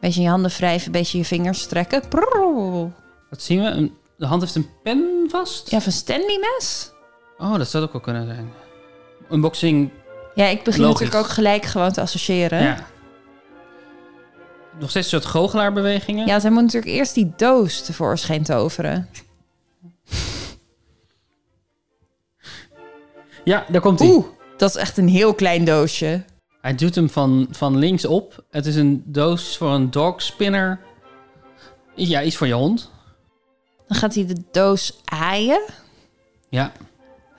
Speaker 9: Beetje je handen wrijven, een beetje je vingers strekken. Prrrr.
Speaker 1: Wat zien we? Een- de hand heeft een pen vast.
Speaker 9: Ja, van Stanley-mes.
Speaker 1: Oh, dat zou ook wel kunnen zijn. Unboxing.
Speaker 9: Ja, ik begin
Speaker 1: Logisch.
Speaker 9: natuurlijk ook gelijk gewoon te associëren.
Speaker 1: Ja. Nog steeds een soort goochelaarbewegingen.
Speaker 9: Ja, want hij moet natuurlijk eerst die doos tevoorschijn toveren.
Speaker 1: Ja, daar komt hij.
Speaker 9: Dat is echt een heel klein doosje.
Speaker 1: Hij doet hem van, van links op. Het is een doos voor een dog spinner. Ja, iets voor je hond.
Speaker 9: Dan gaat hij de doos aaien.
Speaker 1: Ja.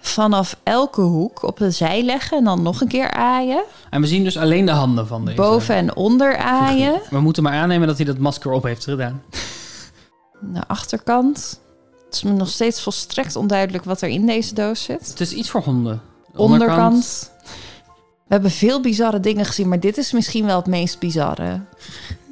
Speaker 9: Vanaf elke hoek op de zij leggen en dan nog een keer aaien.
Speaker 1: En we zien dus alleen de handen van deze.
Speaker 9: Boven en onder aaien.
Speaker 1: We moeten maar aannemen dat hij dat masker op heeft gedaan.
Speaker 9: De achterkant. Het is me nog steeds volstrekt onduidelijk wat er in deze doos zit.
Speaker 1: Het is iets voor honden.
Speaker 9: Onderkant. We hebben veel bizarre dingen gezien, maar dit is misschien wel het meest bizarre.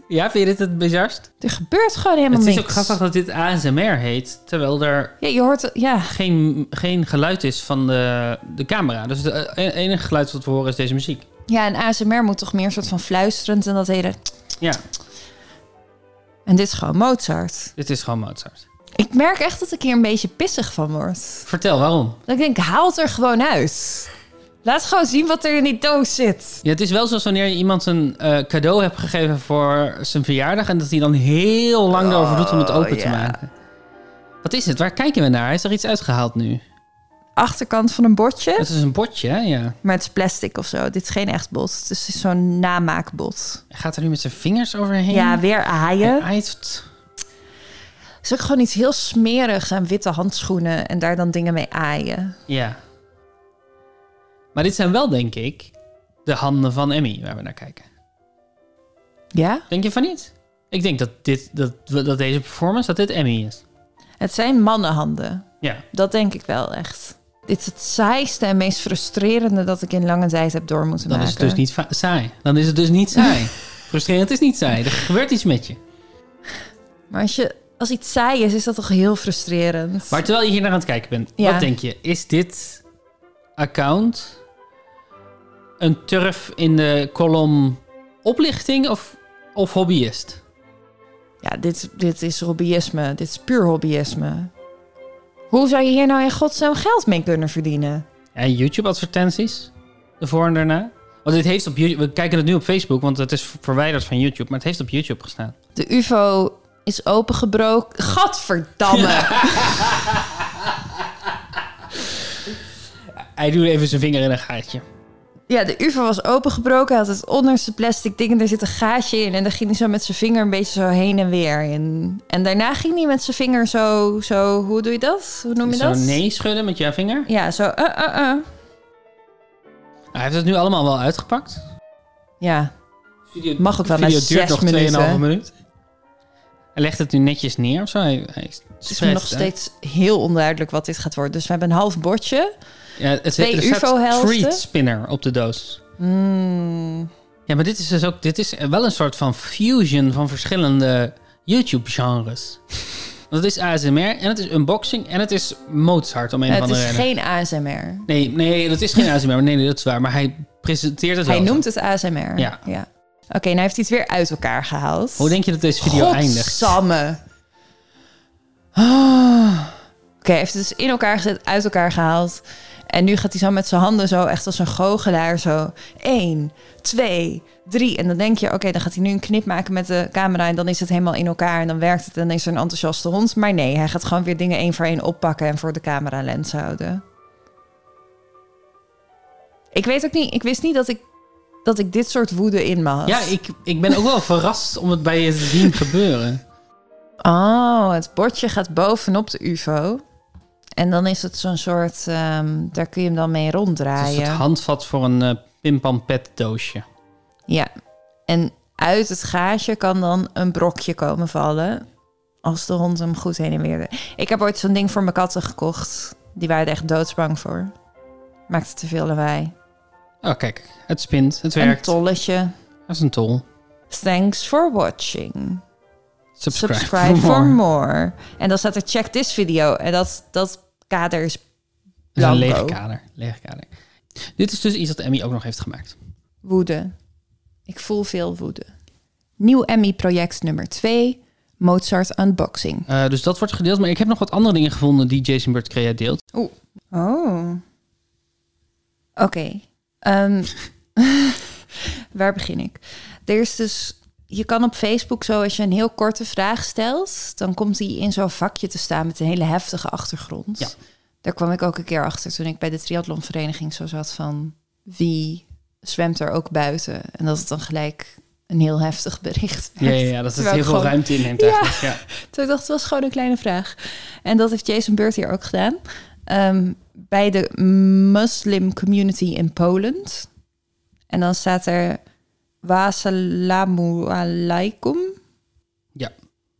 Speaker 1: Ja, vind je dit het bizarst?
Speaker 9: Er gebeurt gewoon helemaal
Speaker 1: Het is
Speaker 9: niks.
Speaker 1: ook grappig dat dit ASMR heet, terwijl er
Speaker 9: Ja, je hoort... Ja.
Speaker 1: geen, geen geluid is van de, de camera. Dus het e- enige geluid wat we horen is deze muziek.
Speaker 9: ja, en ASMR moet toch meer een soort van fluisterend en dat hele...
Speaker 1: Ja,
Speaker 9: En dit is gewoon Mozart.
Speaker 1: dit is gewoon Mozart.
Speaker 9: Ik merk echt dat ik hier een beetje pissig van word.
Speaker 1: Vertel, waarom?
Speaker 9: Dat ik denk, haal het er gewoon uit. Laat gewoon zien wat er in die doos zit.
Speaker 1: Ja, het is wel zoals wanneer je iemand een eh, cadeau hebt gegeven voor zijn verjaardag... en dat hij dan heel lang erover doet om het open te
Speaker 9: ja.
Speaker 1: maken. Wat is het? Waar kijken we naar? Is er iets uitgehaald nu?
Speaker 9: Achterkant van een bordje.
Speaker 1: Het is een bordje, hè? Ja.
Speaker 9: Maar het is plastic of zo. Dit is geen echt bot. Dus het is zo'n namaakbot.
Speaker 1: Hij gaat er nu met zijn vingers overheen.
Speaker 9: Ja, weer aaien.
Speaker 1: Hij aait.
Speaker 9: Het is ook gewoon iets heel smerigs aan witte handschoenen en daar dan dingen mee aaien.
Speaker 1: Ja. Maar dit zijn wel, denk ik, de handen van Emmy waar we naar kijken.
Speaker 9: Ja?
Speaker 1: Denk je van niet? Ik denk dat, dit, dat, we- dat deze performance, dat dit Emmy is.
Speaker 9: Het zijn mannenhanden.
Speaker 1: Ja.
Speaker 9: Dat denk ik wel echt. Dit is het saaiste en meest frustrerende dat ik in lange tijd heb door moeten
Speaker 1: Dan
Speaker 9: maken.
Speaker 1: is het dus niet fa- saai. Dan is het dus niet saai. Frustrerend is niet saai. Er gebeurt iets met je.
Speaker 9: Maar als, je, als iets saai is, is dat toch heel frustrerend.
Speaker 1: Maar terwijl je hier naar aan het kijken bent,
Speaker 9: Ja.
Speaker 1: wat denk je? Is dit account een turf in de kolom oplichting of, of hobbyist?
Speaker 9: Ja, dit, dit is hobbyisme. Dit is puur hobbyisme. Hoe zou je hier nou in godsnaam geld mee kunnen verdienen?
Speaker 1: En YouTube-advertenties? Ervoor en daarna? Want dit heeft op YouTube... We kijken het nu op Facebook, want het is verwijderd van YouTube. Maar het heeft op YouTube gestaan.
Speaker 9: De UFO is opengebroken. Gadverdamme!
Speaker 1: Hij doet even zijn vinger in een gaatje.
Speaker 9: Ja, de UFO was opengebroken. Hij had het onderste plastic ding en daar zit een gaatje in. En daar ging hij zo met zijn vinger een beetje zo heen en weer. En, en daarna ging hij met zijn vinger zo, zo... Hoe doe je dat? Hoe noem je
Speaker 1: Zo
Speaker 9: dat?
Speaker 1: nee schudden met jouw vinger?
Speaker 9: Ja, zo... eh, eh, eh.
Speaker 1: Nou, Hij heeft het nu allemaal wel uitgepakt.
Speaker 9: Ja. Mag ook wel
Speaker 1: De
Speaker 9: na
Speaker 1: video
Speaker 9: zes
Speaker 1: duurt nog
Speaker 9: minuten.
Speaker 1: 2,5 minuut. Hij legt het nu netjes neer of zo. Hij, hij
Speaker 9: Het is me nog steeds heel onduidelijk wat dit gaat worden. Dus we hebben een half bordje.
Speaker 1: Ja, het
Speaker 9: twee
Speaker 1: er staat
Speaker 9: UFO-helften.
Speaker 1: Treat Spinner op de doos.
Speaker 9: Hmm.
Speaker 1: Ja, maar dit is dus ook... Dit is wel een soort van fusion van verschillende YouTube-genres. Want het is ASMR en het is unboxing en het is Mozart om een of
Speaker 9: Het
Speaker 1: andere
Speaker 9: is
Speaker 1: reden.
Speaker 9: geen ASMR.
Speaker 1: Nee, nee, dat is geen ASMR. maar Nee, nee, dat is waar. Maar hij presenteert het
Speaker 9: Hij
Speaker 1: wel. zo.
Speaker 9: noemt het ASMR.
Speaker 1: Ja.
Speaker 9: Oké, nou heeft hij het weer uit elkaar gehaald.
Speaker 1: Hoe denk je dat deze video eindigt?
Speaker 9: Godsamme. Ah. Oké, hij heeft het dus in elkaar gezet, uit elkaar gehaald. En nu gaat hij zo met zijn handen zo, echt als een goochelaar, zo... één, twee, drie. En dan denk je, oké, dan gaat hij nu een knip maken met de camera... en dan is het helemaal in elkaar en dan werkt het en dan is er een enthousiaste hond. Maar nee, hij gaat gewoon weer dingen één voor één oppakken... en voor de camera lens houden. Ik weet ook niet, ik wist niet dat ik, dat ik dit soort woede in me had.
Speaker 1: Ja, ik, ik ben ook wel verrast om het bij je te zien gebeuren.
Speaker 9: Oh, het bordje gaat bovenop de UFO. En dan is het zo'n soort, ehm, daar kun je hem dan mee
Speaker 1: Het is
Speaker 9: ronddraaien.
Speaker 1: het handvat voor een eh pimpampet doosje.
Speaker 9: Ja. En uit het gaasje kan dan een brokje komen vallen. Als de hond hem goed heen en weer. Ik heb ooit zo'n ding voor mijn katten gekocht. Die waren er echt doodsbang voor. Maakte te veel lawaai.
Speaker 1: Oh, kijk. Het spint. Het
Speaker 9: Een
Speaker 1: werkt.
Speaker 9: tolletje.
Speaker 1: Dat is een tol.
Speaker 9: Thanks for watching.
Speaker 1: Subscribe,
Speaker 9: Subscribe
Speaker 1: for
Speaker 9: for
Speaker 1: more.
Speaker 9: more. En dan staat er check this video. En dat, dat kader is
Speaker 1: Het is een leeg
Speaker 9: blanco.
Speaker 1: kader. leeg kader. Dit is dus iets dat Emmy ook nog heeft gemaakt.
Speaker 9: Woede. Ik voel veel woede. Nieuw Emmy-project nummer 2. Mozart Unboxing.
Speaker 1: Eh, dus dat wordt gedeeld. Maar ik heb nog wat andere dingen gevonden die Jason Bird Crea deelt.
Speaker 9: Oeh. Oh. Oké. Ehm, waar begin ik? Er is dus... Je kan op Facebook zo, als je een heel korte vraag stelt... dan komt die in zo'n vakje te staan met een hele heftige achtergrond.
Speaker 1: Ja.
Speaker 9: Daar kwam ik ook een keer achter toen ik bij de triathlonvereniging zo zat van... wie zwemt er ook buiten? En dat het dan gelijk een heel heftig bericht
Speaker 1: Ja,
Speaker 9: werd.
Speaker 1: ja, ja, dat het
Speaker 9: Terwijl
Speaker 1: heel
Speaker 9: ik
Speaker 1: veel
Speaker 9: gewoon-
Speaker 1: ruimte inneemt
Speaker 9: Ja.
Speaker 1: eigenlijk. Ja.
Speaker 9: Toen ik dacht, het was gewoon een kleine vraag. En dat heeft Jason Bird hier ook gedaan. Ehm, bij de Muslim community in Poland. En dan staat er... Wasalamu alaikum.
Speaker 1: Ja.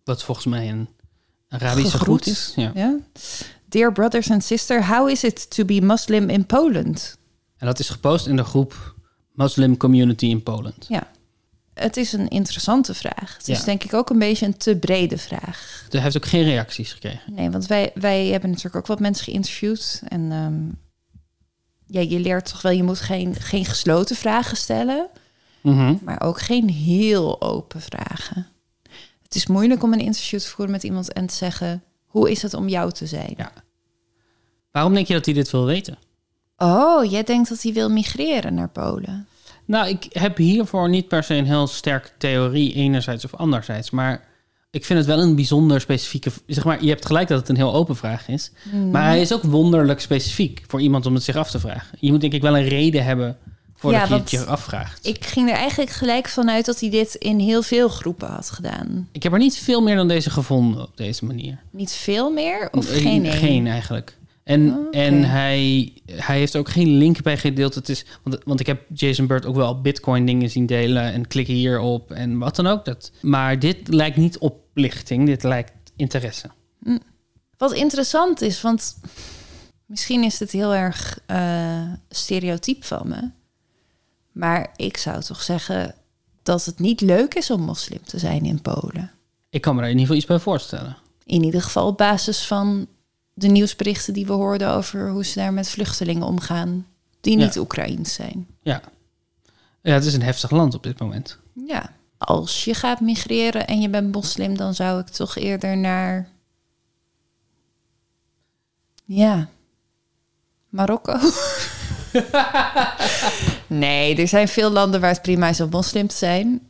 Speaker 1: Wat volgens mij een Arabische
Speaker 9: Gegroet.
Speaker 1: groet is. Ja.
Speaker 9: Ja. Dear brothers and sister, how is it to be Muslim in Poland?
Speaker 1: En dat is gepost in de groep Muslim Community in Poland.
Speaker 9: Ja. Het is een interessante vraag. Het is
Speaker 1: Ja.
Speaker 9: denk ik ook een beetje een te brede vraag.
Speaker 1: Hij heeft ook geen reacties gekregen.
Speaker 9: Nee, want wij, wij hebben natuurlijk ook wat mensen geïnterviewd. En ehm, ja, je leert toch wel, je moet geen, geen gesloten vragen stellen,
Speaker 1: Mhm.
Speaker 9: maar ook geen heel open vragen. Het is moeilijk om een interview te voeren met iemand en te zeggen: hoe is het om jou te zijn?
Speaker 1: Waarom denk je dat hij dit wil weten?
Speaker 9: Oh, jij denkt dat hij wil migreren naar Polen.
Speaker 1: Nou, ik heb hiervoor niet per se een heel sterk theorie, enerzijds of anderzijds. Maar ik vind het wel een bijzonder specifieke. Zeg maar, je hebt gelijk dat het een heel open vraag is.
Speaker 9: Mm.
Speaker 1: Maar hij is ook wonderlijk specifiek voor iemand om het zich af te vragen. Je moet denk ik wel een reden hebben voordat
Speaker 9: Ja,
Speaker 1: je het
Speaker 9: want-
Speaker 1: je afvraagt.
Speaker 9: Ik ging er eigenlijk gelijk vanuit dat hij dit in heel veel groepen had gedaan.
Speaker 1: Ik heb er niet veel meer dan deze gevonden op deze manier.
Speaker 9: Niet veel meer of
Speaker 1: Eh,
Speaker 9: geen? één? Oh,
Speaker 1: Geen eigenlijk. En, en hij, hij heeft er ook geen link bij gedeeld. Het is, want, want ik heb Jason Bird ook wel bitcoin dingen zien delen en klikken hierop en wat dan ook. Dat. Maar dit lijkt niet oplichting, dit lijkt interesse.
Speaker 9: Wat interessant is, want misschien is het heel erg eh, stereotyp van me. Maar ik zou toch zeggen dat het niet leuk is om moslim te zijn in Polen.
Speaker 1: Ik kan me daar in ieder geval iets bij voorstellen.
Speaker 9: In ieder geval op basis van de nieuwsberichten die we hoorden over hoe ze daar met vluchtelingen omgaan. Die
Speaker 1: Ja.
Speaker 9: niet Oekraïens zijn.
Speaker 1: Ja. Ja, het is een heftig land op dit moment.
Speaker 9: Ja. Als je gaat migreren en je bent moslim, dan zou ik toch eerder naar. Ja. Marokko. nee, er zijn veel landen waar het prima is om moslim te zijn.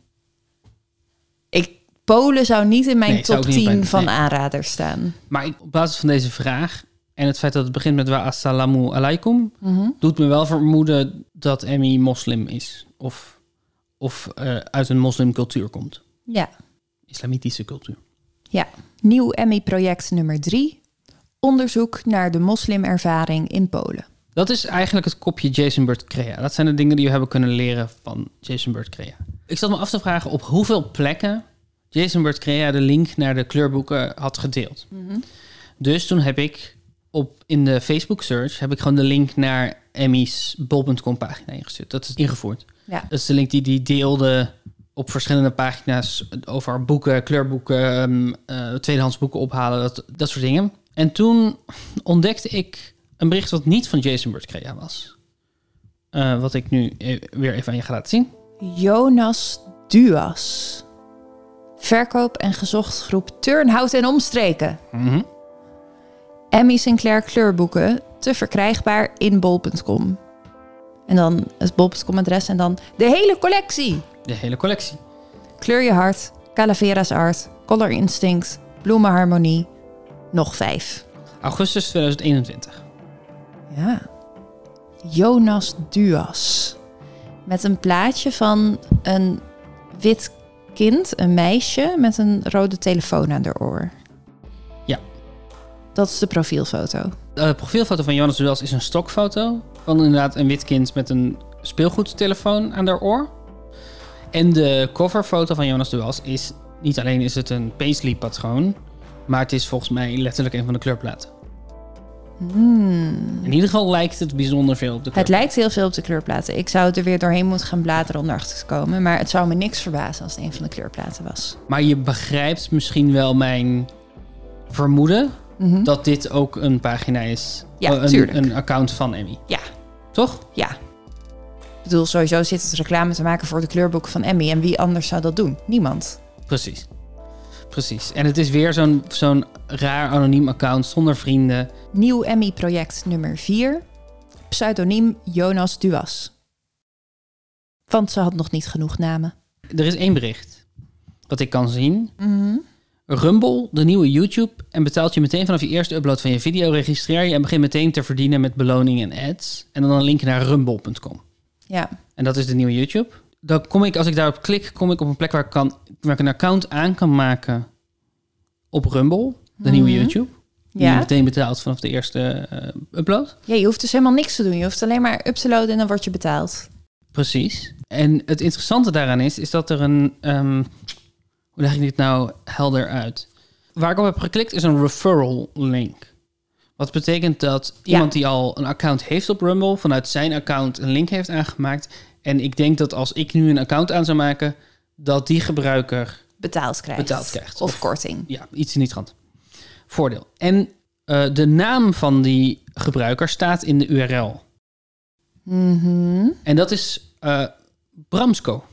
Speaker 9: Ik, Polen zou niet in mijn
Speaker 1: Nee, zou
Speaker 9: top
Speaker 1: ook niet
Speaker 9: 10
Speaker 1: bij-
Speaker 9: van
Speaker 1: nee.
Speaker 9: aanraders staan.
Speaker 1: Maar ik, op basis van deze vraag en het feit dat het begint met wa assalamu alaikum,
Speaker 9: Mhm.
Speaker 1: doet me wel vermoeden dat Emmy moslim is. Of, of eh, uit een moslimcultuur komt.
Speaker 9: Ja.
Speaker 1: Islamitische cultuur.
Speaker 9: Ja, nieuw Emmy-project nummer 3. Onderzoek naar de moslimervaring in Polen.
Speaker 1: Dat is eigenlijk het kopje Jason Bird Crea. Dat zijn de dingen die we hebben kunnen leren van Jason Bird Crea. Ik zat me af te vragen op hoeveel plekken Jason Bird Crea de link naar de kleurboeken had gedeeld. Dus toen heb ik op, in de Facebook search heb ik gewoon de link naar Emmy's bol.com pagina ingestuurd. Dat is ingevoerd.
Speaker 9: Ja.
Speaker 1: Dat is de link die die deelde op verschillende pagina's over boeken, kleurboeken, ehm, eh, tweedehands boeken ophalen, dat, dat soort dingen. En toen ontdekte ik een bericht wat niet van Jason Bird Crea was. Eh, wat ik nu e- weer even aan je ga laten zien.
Speaker 9: Jonas Duas. Verkoop en gezocht groep Turnhout en Omstreken.
Speaker 1: Mhm.
Speaker 9: Emmy Sinclair kleurboeken te verkrijgbaar in bol.com. En dan het bol.com adres en dan de hele collectie.
Speaker 1: De hele collectie.
Speaker 9: Kleur je hart, Calavera's art, Color Instinct, Bloemenharmonie. Nog vijf.
Speaker 1: Augustus 2021.
Speaker 9: Ja. Jonas Duas. Met een plaatje van een wit kind, een meisje, met een rode telefoon aan haar oor.
Speaker 1: Ja.
Speaker 9: Dat is de profielfoto.
Speaker 1: De profielfoto van Jonas Duels is een stokfoto van inderdaad een wit kind met een speelgoedtelefoon aan haar oor. En de coverfoto van Jonas Duels is niet alleen is het een paisley patroon, maar het is volgens mij letterlijk een van de kleurplaten.
Speaker 9: Hmm.
Speaker 1: In ieder geval lijkt het bijzonder veel op de kleur.
Speaker 9: Het lijkt heel veel op de kleurplaten. Ik zou er weer doorheen moeten gaan bladeren om erachter te komen. Maar het zou me niks verbazen als het een van de kleurplaten was.
Speaker 1: Maar je begrijpt misschien wel mijn vermoeden
Speaker 9: Mhm.
Speaker 1: dat dit ook een pagina is.
Speaker 9: Ja,
Speaker 1: Eh,
Speaker 9: tuurlijk.
Speaker 1: een, een account van Emmy.
Speaker 9: Ja.
Speaker 1: Toch?
Speaker 9: Ja. Ik bedoel, sowieso zit het reclame te maken voor de kleurboeken van Emmy. En wie anders zou dat doen? Niemand.
Speaker 1: Precies. Precies. En het is weer zo'n zo'n raar anoniem account zonder vrienden.
Speaker 9: Nieuw Emmy-project nummer 4. Pseudoniem Jonas Duas. Want ze had nog niet genoeg namen.
Speaker 1: Er is één bericht wat ik kan zien.
Speaker 9: Mhm.
Speaker 1: Rumble, de nieuwe YouTube, en betaalt je meteen vanaf je eerste upload van je video, registreer je en begin meteen te verdienen met beloningen en ads. En dan een link naar rumble.com.
Speaker 9: Ja.
Speaker 1: En dat is de nieuwe YouTube. Dan kom ik, als ik daarop klik, kom ik op een plek waar ik, kan, waar ik een account aan kan maken op Rumble, de nieuwe
Speaker 9: Mhm.
Speaker 1: YouTube. Die
Speaker 9: Ja.
Speaker 1: je meteen betaalt vanaf de eerste eh, upload.
Speaker 9: Ja, je hoeft dus helemaal niks te doen. Je hoeft alleen maar up te loaden en dan word je betaald.
Speaker 1: Precies. En het interessante daaraan is, is dat er een. ehm, hoe leg ik dit nou helder uit? Waar ik op heb geklikt is een referral link. Wat betekent dat iemand die al een account heeft op Rumble, vanuit zijn account een link heeft aangemaakt. En ik denk dat als ik nu een account aan zou maken, dat die gebruiker
Speaker 9: Betaald krijgt.
Speaker 1: Betaald krijgt.
Speaker 9: Of, korting.
Speaker 1: ja, iets in die trant. Voordeel. En eh, de naam van die gebruiker staat in de URL.
Speaker 9: Mhm.
Speaker 1: En dat is eh, Bramsco.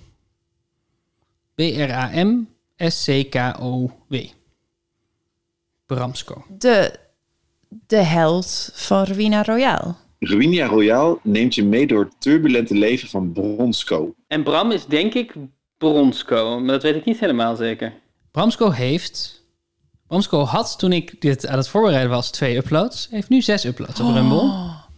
Speaker 1: B-R-A-M-S-C-K-O-W. Bramsco.
Speaker 9: De, de held van Ruina Royale.
Speaker 8: Ruinia Royale neemt je mee door het turbulente leven van Bronsco.
Speaker 2: En Bram is denk ik Bronsco, maar dat weet ik niet helemaal zeker.
Speaker 1: Bramsco heeft... Bramsco had toen ik dit aan het voorbereiden was twee uploads. Heeft nu zes uploads op Rumble.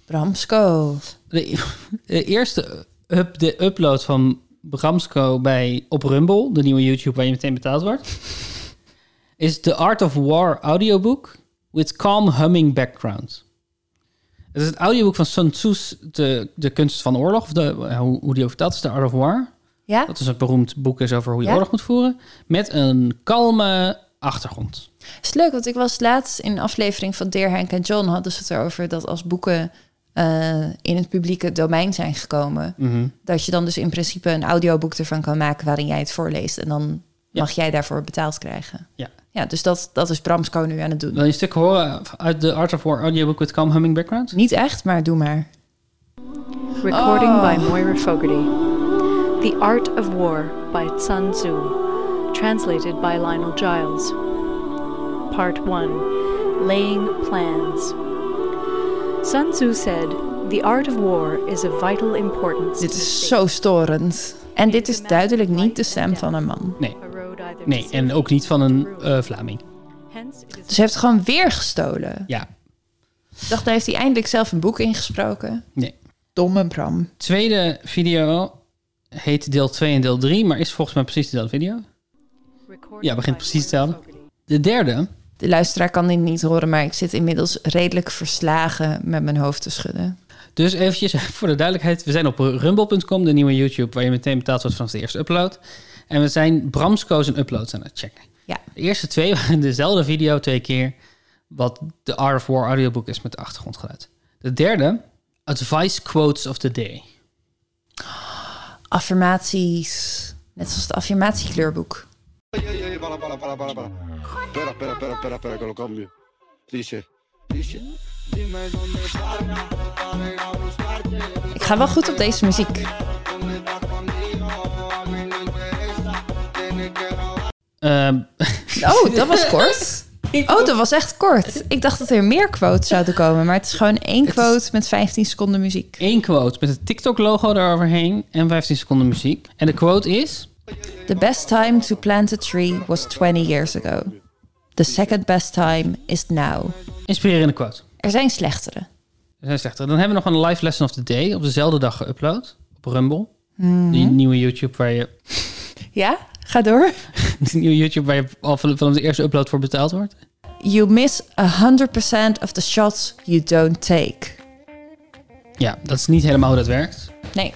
Speaker 9: Bramsco.
Speaker 1: De, e- de eerste up, de upload van Bramsco bij, op Rumble, de nieuwe YouTube waar je meteen betaald wordt, is The Art of War audiobook with calm humming background. Het is het audioboek van Sun Tzu's de, de Kunst van Oorlog, of de, eh, hoe, hoe die over dat is, The Art of War.
Speaker 9: Ja?
Speaker 1: Dat is een beroemd boek is over hoe je
Speaker 9: Ja.
Speaker 1: oorlog moet voeren, met een kalme achtergrond.
Speaker 9: is leuk, want ik was laatst in een aflevering van Dear Henk en John... hadden ze het erover dat als boeken eh, in het publieke domein zijn gekomen...
Speaker 1: Mhm.
Speaker 9: dat je dan dus in principe een audioboek ervan kan maken... waarin jij het voorleest en dan mag jij daarvoor betaald krijgen.
Speaker 1: Ja.
Speaker 9: Ja, dus dat, dat is Bramsco nu aan het doen.
Speaker 1: Wil je een stuk horen uit The Art of War audiobook with calm humming background?
Speaker 9: Niet echt, maar doe maar.
Speaker 15: Recording by
Speaker 9: Oh.
Speaker 15: Moira Fogarty.
Speaker 18: The Art of War by Sun Tzu, translated by Lionel Giles. Part 1 Laying Plans. Sun Tzu said, The art of war is of vital importance.
Speaker 9: Dit is zo storend. En dit is duidelijk niet de stem van een man.
Speaker 1: Nee. Nee, en ook niet van een eh, Vlaming.
Speaker 9: Dus hij heeft gewoon weer gestolen.
Speaker 1: Ja.
Speaker 9: Ik dacht, daar heeft hij eindelijk zelf een boek ingesproken.
Speaker 1: Nee.
Speaker 9: Domme Bram.
Speaker 1: Tweede video heet deel 2 en deel 3, maar is volgens mij precies dezelfde video. Ja, begint precies hetzelfde. De derde.
Speaker 9: De luisteraar kan dit niet horen, maar ik zit inmiddels redelijk verslagen met mijn hoofd te schudden.
Speaker 1: Dus eventjes voor de duidelijkheid. We zijn op rumble.com, de nieuwe YouTube, waar je meteen betaald wordt vanaf de eerste upload. En we zijn Bramsco's en uploads aan het checken.
Speaker 9: Ja.
Speaker 1: De eerste twee waren dezelfde video twee keer. Wat de Art of War audioboek is met de achtergrondgeluid. De derde, Advice Quotes of the Day.
Speaker 9: Affirmaties. Net zoals het affirmatiekleurboek.
Speaker 19: Espera, espera, espera, espera, espera, que lo cambio. Dice, dice. Dime dónde
Speaker 9: Ik ga wel goed op deze muziek.
Speaker 1: Ehm,
Speaker 9: Oh, dat was kort. Oh, dat was echt kort. Ik dacht dat er meer quotes zouden komen, maar het is gewoon één quote met 15 seconden muziek.
Speaker 1: Eén quote met het TikTok-logo daaroverheen en 15 seconden muziek. En de quote is...
Speaker 9: The best time to plant a tree was 20 years ago. The second best time is now.
Speaker 1: Inspirerende quote. Dus
Speaker 9: Er zijn slechtere.
Speaker 1: Dat is slechter. Dan hebben we nog een live lesson of the day op dezelfde dag geüpload. Op Rumble.
Speaker 9: Mhm.
Speaker 1: Die nieuwe YouTube waar je...
Speaker 9: Ja, ga door.
Speaker 1: Die nieuwe YouTube waar je al van- vanaf de eerste upload voor betaald wordt.
Speaker 9: You miss 100% of the shots you don't take.
Speaker 1: Ja, dat is niet helemaal hoe dat werkt.
Speaker 9: Nee.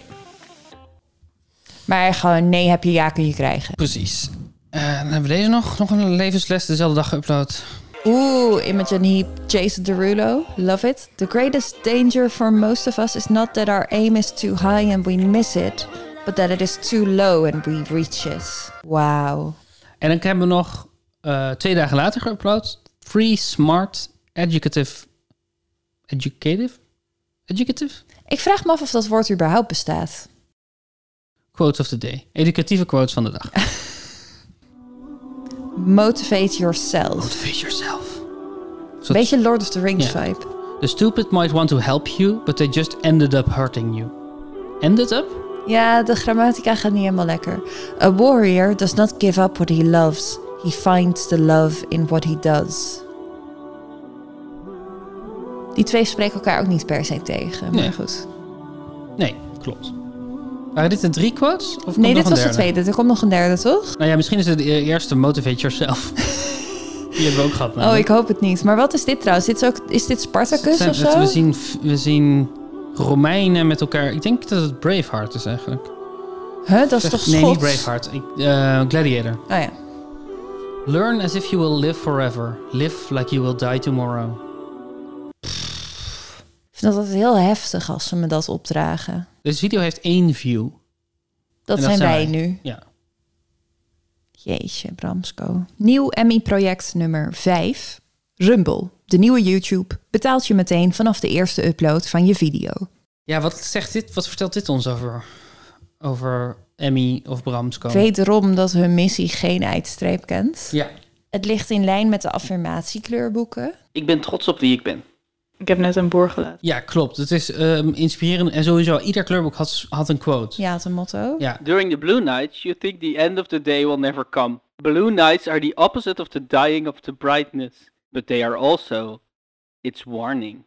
Speaker 9: Maar gewoon nee heb je, ja kun je krijgen.
Speaker 1: Precies. Eh, dan hebben we deze nog. Nog een levensles dezelfde dag geüpload.
Speaker 9: Oeh, Imogen Heap, Jason Derulo, love it. The greatest danger for most of us is not that our aim is too high and we miss it, but that it is too low and we reach it. Wauw.
Speaker 1: En dan hebben we nog eh, twee dagen later geüpload. Free Smart Educative... Educative? Educative?
Speaker 9: Ik vraag me af of dat woord überhaupt bestaat.
Speaker 1: Quotes of the day. Educatieve quotes van de dag.
Speaker 9: Motivate yourself. Motivate
Speaker 1: yourself.
Speaker 9: Beetje Lord of the Rings
Speaker 1: Ja.
Speaker 9: vibe.
Speaker 1: The stupid might want to help you, but they just ended up hurting you. Ended up?
Speaker 9: Ja, de grammatica gaat niet helemaal lekker. A warrior does not give up what he loves. He finds the love in what he does. Die twee spreken elkaar ook niet per se tegen. Maar
Speaker 1: Nee.
Speaker 9: goed.
Speaker 1: Nee, klopt. Waren dit de drie quotes? Of komt
Speaker 9: nee,
Speaker 1: nog
Speaker 9: dit
Speaker 1: een
Speaker 9: was de
Speaker 1: derde?
Speaker 9: tweede. Er komt nog een derde, toch?
Speaker 1: Nou ja, misschien is het de eerste Motivate Yourself. Die hebben we ook gehad.
Speaker 9: Oh,
Speaker 1: namelijk.
Speaker 9: ik hoop het niet. Maar wat is dit trouwens? Dit is, ook, is dit Spartacus
Speaker 1: Zijn-
Speaker 9: of zo?
Speaker 1: We zien, we zien Romeinen met elkaar. Ik denk dat het Braveheart is eigenlijk.
Speaker 9: Huh, dat is toch
Speaker 1: Nee, niet
Speaker 9: Schots?
Speaker 1: Braveheart. Ik, eh, Gladiator.
Speaker 9: Oh ja.
Speaker 1: Learn as if you will live forever. Live like you will die tomorrow.
Speaker 9: Ik vind dat altijd heel heftig als ze me dat opdragen.
Speaker 1: Deze video heeft één view.
Speaker 9: Dat,
Speaker 1: En
Speaker 9: zijn wij nu.
Speaker 1: Ja.
Speaker 9: Jeetje, Bramsco. Nieuw Emmy-project nummer 5. Rumble, de nieuwe YouTube, betaalt je meteen vanaf de eerste upload van je video.
Speaker 1: Ja, wat zegt dit? Wat vertelt dit ons over, over Emmy of Bramsco?
Speaker 9: Wederom dat hun missie geen eindstreep kent.
Speaker 1: Ja.
Speaker 9: Het ligt in lijn met de affirmatiekleurboeken.
Speaker 2: Ik ben trots op wie ik ben.
Speaker 15: Ik heb net een boer gelaten.
Speaker 1: Ja, klopt. Het is ehm, inspirerend. En sowieso, ieder kleurboek had, had een quote.
Speaker 9: Ja, het een motto.
Speaker 1: Ja.
Speaker 2: During the blue nights, you think the end of the day will never come. Blue nights are the opposite of the dying of the brightness, but they are also its warning.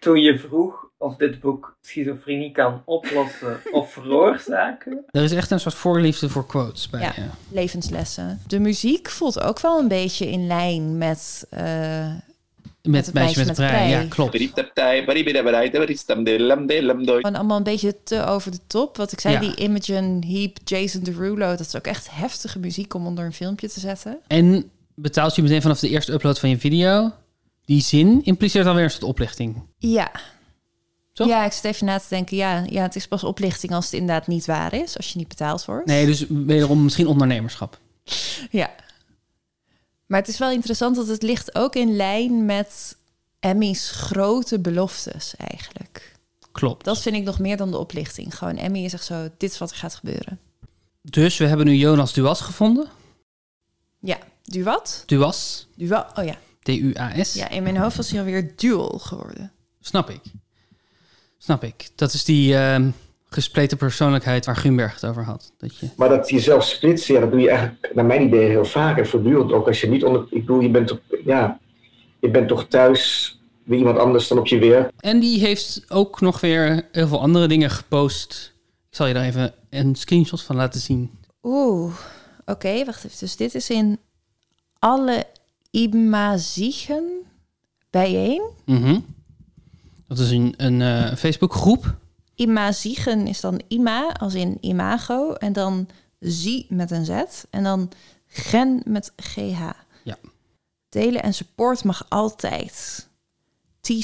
Speaker 20: Toen je vroeg of dit boek schizofrenie kan oplossen of veroorzaken.
Speaker 1: Er is echt een soort voorliefde voor quotes bij.
Speaker 9: Ja,
Speaker 1: eh,
Speaker 9: levenslessen. De muziek voelt ook wel een beetje in lijn met... eh,
Speaker 1: Met,
Speaker 9: het
Speaker 1: meisje met, brei.
Speaker 9: prei.
Speaker 1: Ja, klopt.
Speaker 9: Gewoon allemaal een beetje te over de top. Wat ik zei,
Speaker 1: Ja.
Speaker 9: die Imogen Heap, Jason Derulo... dat is ook echt heftige muziek om onder een filmpje te zetten.
Speaker 1: En betaalt je meteen vanaf de eerste upload van je video. Die zin impliceert alweer een soort oplichting.
Speaker 9: Ja. Ja, ik zit even na te denken. Ja, ja, het is pas oplichting als het inderdaad niet waar is. Als je niet betaald wordt.
Speaker 1: Nee, dus wederom misschien ondernemerschap.
Speaker 9: Ja. Maar het is wel interessant dat het ligt ook in lijn met Emmy's grote beloftes eigenlijk.
Speaker 1: Klopt.
Speaker 9: Dat vind ik nog meer dan de oplichting. Gewoon Emmy is echt zo, dit is wat er gaat gebeuren.
Speaker 1: Dus we hebben nu Jonas Duas gevonden.
Speaker 9: Ja, duat?
Speaker 1: Duas,
Speaker 9: Dual, oh ja.
Speaker 1: D-U-A-S.
Speaker 9: Ja, in mijn hoofd was hij alweer dual geworden.
Speaker 1: Snap ik. Snap ik. Dat is die ehm, gespleten persoonlijkheid waar Gunberg het over had. Dat je...
Speaker 21: Maar dat jezelf splitsen, ja, dat doe je eigenlijk naar mijn idee heel vaak en voortdurend. Ook als je niet onder... Ik bedoel, je bent toch, ja, je bent toch thuis weer iemand anders dan op je weer.
Speaker 1: En die heeft ook nog weer heel veel andere dingen gepost. Ik zal je daar even een screenshot van laten zien.
Speaker 9: Oeh, oké, wacht even. Dus dit is in alle imazigen bijeen.
Speaker 1: Mhm. Dat is een, een eh, Facebookgroep.
Speaker 9: Imazigen is dan ima, als in imago. En dan zie met een z. En dan gen met gh.
Speaker 1: Ja.
Speaker 9: Delen en support mag altijd.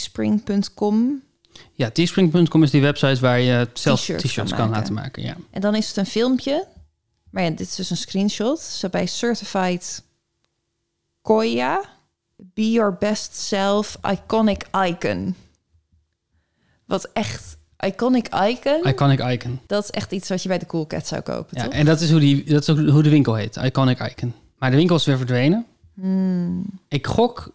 Speaker 9: Teespring.com.
Speaker 1: Ja, teespring.com is die website waar je zelf
Speaker 9: T-shirts
Speaker 1: t-shirts,
Speaker 9: kan
Speaker 1: kan,
Speaker 9: maken.
Speaker 1: laten maken. Ja.
Speaker 9: En dan is het een filmpje. Maar ja, dit is dus een screenshot. Ze bij Certified Koya. Be your best self, iconic icon. Wat echt, iconic icon,
Speaker 1: Iconic Icon.
Speaker 9: dat is echt iets wat je bij de Cool Cat zou kopen,
Speaker 1: Ja, e-
Speaker 9: toch?
Speaker 1: en dat is, hoe die, dat is ook hoe de winkel heet. Iconic Icon. Maar de winkel is weer verdwenen.
Speaker 9: Hmm.
Speaker 1: Ik gok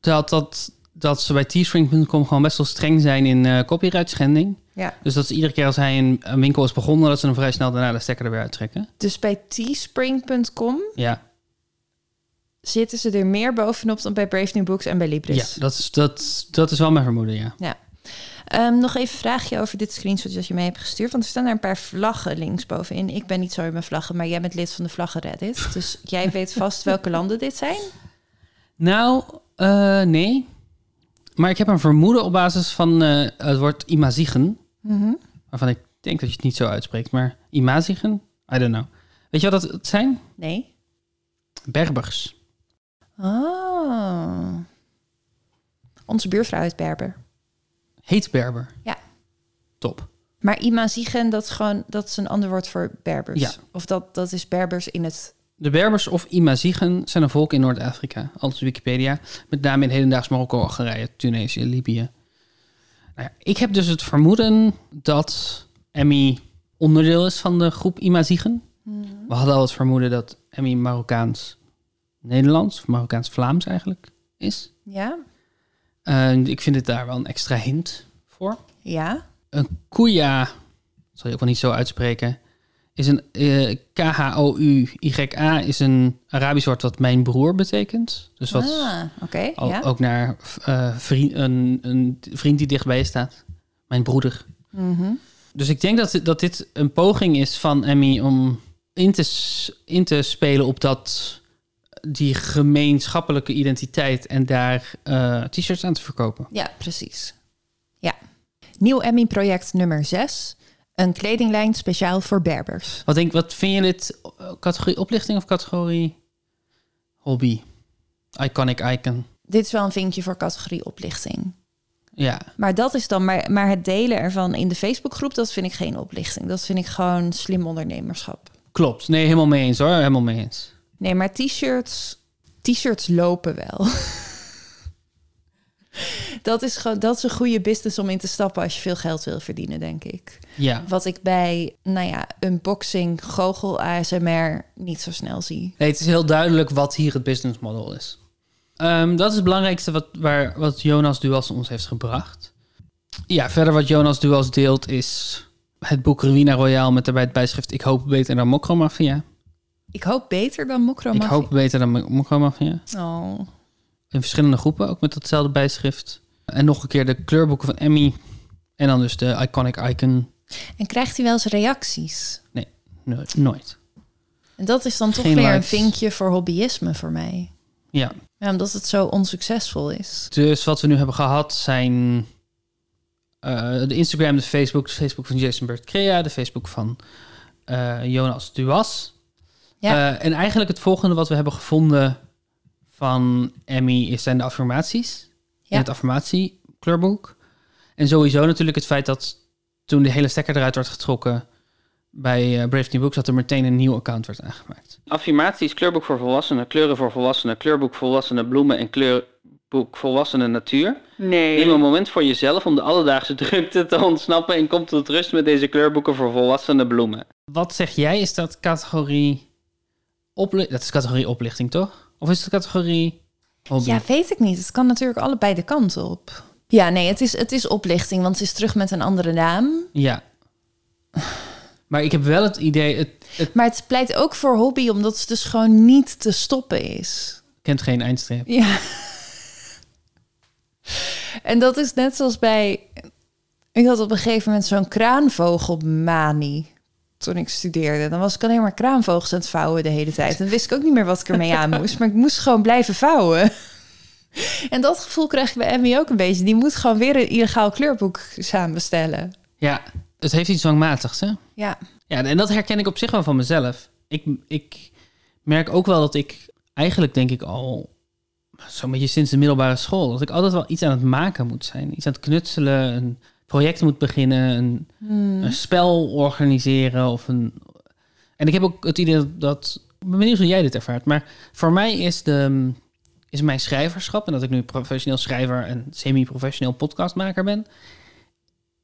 Speaker 1: dat, dat, dat ze bij teespring.com gewoon best wel streng zijn in eh copyright schending.
Speaker 9: Ja.
Speaker 1: Dus dat ze iedere keer als hij een, een winkel is begonnen, dat ze hem vrij snel daarna de stekker er weer uittrekken.
Speaker 9: Dus bij teespring.com
Speaker 1: Ja,
Speaker 9: zitten ze er meer bovenop dan bij Brave New Books en bij
Speaker 1: ja
Speaker 9: Libris.
Speaker 1: dat, is, dat, dat is wel mijn vermoeden, ja.
Speaker 9: Ja. Ehm, nog even een vraagje over dit screenshot dat je mee hebt gestuurd. Want er staan daar een paar vlaggen linksbovenin. Ik ben niet zo in mijn vlaggen, maar jij bent lid van de vlaggen Reddit. Dus jij weet vast welke landen dit zijn.
Speaker 1: Nou, eh, nee. Maar ik heb een vermoeden op basis van eh, het woord imazigen.
Speaker 9: Mhm.
Speaker 1: Waarvan ik denk dat je het niet zo uitspreekt. Maar imazigen? I don't know. Weet je wat dat het zijn?
Speaker 9: Nee.
Speaker 1: Berbers.
Speaker 9: Oh. Onze buurvrouw uit Berber.
Speaker 1: Heet Berber.
Speaker 9: Ja.
Speaker 1: Top.
Speaker 9: Maar imazigen, dat is gewoon dat is een ander woord voor Berbers.
Speaker 1: Ja.
Speaker 9: Of dat, dat is Berbers in het.
Speaker 1: De Berbers of Imazigen zijn een volk in Noord-Afrika, aldus Wikipedia, met name in hedendaags Marokko, Algerije, Tunesië, Libië. Nou ja, ik heb dus het vermoeden dat Emmy onderdeel is van de groep Imazigen. We hadden al het vermoeden dat Emmy Marokkaans-Nederlands, of Marokkaans-Vlaams eigenlijk, is.
Speaker 9: Ja?
Speaker 1: En ik vind het daar wel een extra hint voor.
Speaker 9: Ja?
Speaker 1: Een Kuya, zal je ook wel niet zo uitspreken, is een eh, K-H-O-U-Y-A, is een Arabisch woord wat mijn broer betekent. Dus wat
Speaker 9: Ah, oké.
Speaker 1: al-
Speaker 9: ja.
Speaker 1: ook naar eh, vriend, een, een vriend die dichtbij je staat, mijn broeder.
Speaker 9: Mhm.
Speaker 1: Dus ik denk dat, dit- dat dit een poging is van Emmy om in te, s- in te spelen op dat, die gemeenschappelijke identiteit en daar eh, t-shirts aan te verkopen.
Speaker 9: Ja, precies. Ja. Nieuw Emmy-project nummer 6. Een kledinglijn speciaal voor Berbers.
Speaker 1: Wat, denk, wat vind je dit? eh, Categorie oplichting of categorie hobby? Iconic icon.
Speaker 9: Dit is wel een vinkje voor categorie oplichting.
Speaker 1: Ja,
Speaker 9: Maar dat is dan, maar, maar het delen ervan in de Facebookgroep, dat vind ik geen oplichting. Dat vind ik gewoon slim ondernemerschap.
Speaker 1: klopt. Nee, helemaal mee eens hoor. Helemaal mee eens.
Speaker 9: Nee, maar t-shirts, t-shirts lopen wel. dat, is gewoon, dat is een goede business om in te stappen als je veel geld wil verdienen, denk ik.
Speaker 1: Ja.
Speaker 9: Wat ik bij, nou ja, unboxing, goochel, ASMR niet zo snel zie.
Speaker 1: Nee, het is heel duidelijk wat hier het business model is. Ehm, dat is het belangrijkste wat, waar, wat Jonas Duas ons heeft gebracht. Ja, verder wat Jonas Duas deelt is het boek Ruina Royale met daarbij het bijschrift Ik hoop beter dan Mokromafia.
Speaker 9: Ik hoop beter dan Mokromafia.
Speaker 1: Ik hoop beter dan Mo- Mokromafia.
Speaker 9: Oh.
Speaker 1: in verschillende groepen, ook met datzelfde bijschrift. En nog een keer de kleurboeken van Emmy. En dan dus de Iconic Icon.
Speaker 9: En krijgt hij wel eens reacties?
Speaker 1: Nee, no- nooit.
Speaker 9: En dat is dan toch
Speaker 1: Geen
Speaker 9: weer een
Speaker 1: likes.
Speaker 9: vinkje voor hobbyisme voor mij.
Speaker 1: Ja.
Speaker 9: Ja, omdat het zo onsuccesvol is.
Speaker 1: Dus wat we nu hebben gehad zijn eh, de Instagram, de Facebook, de Facebook van Jason Bert Crea, de Facebook van eh, Jonas Duas.
Speaker 9: Ja.
Speaker 1: Eh, en eigenlijk het volgende wat we hebben gevonden van Emmy is- zijn de affirmaties.
Speaker 9: Ja.
Speaker 1: In het affirmatiekleurboek. En sowieso natuurlijk het feit dat toen de hele stekker eruit werd getrokken bij eh, Brave New Books, dat er meteen een nieuw account werd aangemaakt.
Speaker 2: Affirmaties, kleurboek voor volwassenen, kleuren voor volwassenen, kleurboek volwassenen, bloemen en kleur, boek Volwassene Natuur.
Speaker 15: Nee.
Speaker 2: Neem een moment voor jezelf om de alledaagse drukte te ontsnappen en kom tot rust met deze kleurboeken voor volwassene bloemen.
Speaker 1: Wat zeg jij? Is dat categorie... Opli dat is categorie oplichting, toch? Of is het categorie... hobby?
Speaker 9: Ja, weet ik niet. Het kan natuurlijk allebei de kant op. Ja, nee, het is, het is oplichting, want ze is terug met een andere naam.
Speaker 1: Ja. Maar ik heb wel het idee, het
Speaker 9: Maar het pleit ook voor hobby, omdat het dus gewoon niet te stoppen is.
Speaker 1: kent geen eindstreep.
Speaker 9: Ja. En dat is net zoals bij... Ik had op een gegeven moment zo'n kraanvogelmanie toen ik studeerde. Dan was ik alleen maar kraanvogels aan het vouwen de hele tijd. Dan wist ik ook niet meer wat ik ermee aan moest. Maar ik moest gewoon blijven vouwen. En dat gevoel krijg ik bij Emmy ook een beetje. Die moet gewoon weer een illegaal kleurboek samenstellen.
Speaker 1: Ja, het heeft iets dwangmatigs, hè?
Speaker 9: Ja.
Speaker 1: Ja, en dat herken ik op zich wel van mezelf. Ik, ik merk ook wel dat ik eigenlijk denk ik al zo'n beetje sinds de middelbare school... dat ik altijd wel iets aan het maken moet zijn. Iets aan het knutselen, een project moet beginnen, een,
Speaker 9: Hmm.
Speaker 1: een spel organiseren of een... En ik heb ook het idee dat- dat... Ik ben benieuwd hoe jij dit ervaart, maar voor mij is, de, is mijn schrijverschap... en dat ik nu professioneel schrijver en semi-professioneel podcastmaker ben...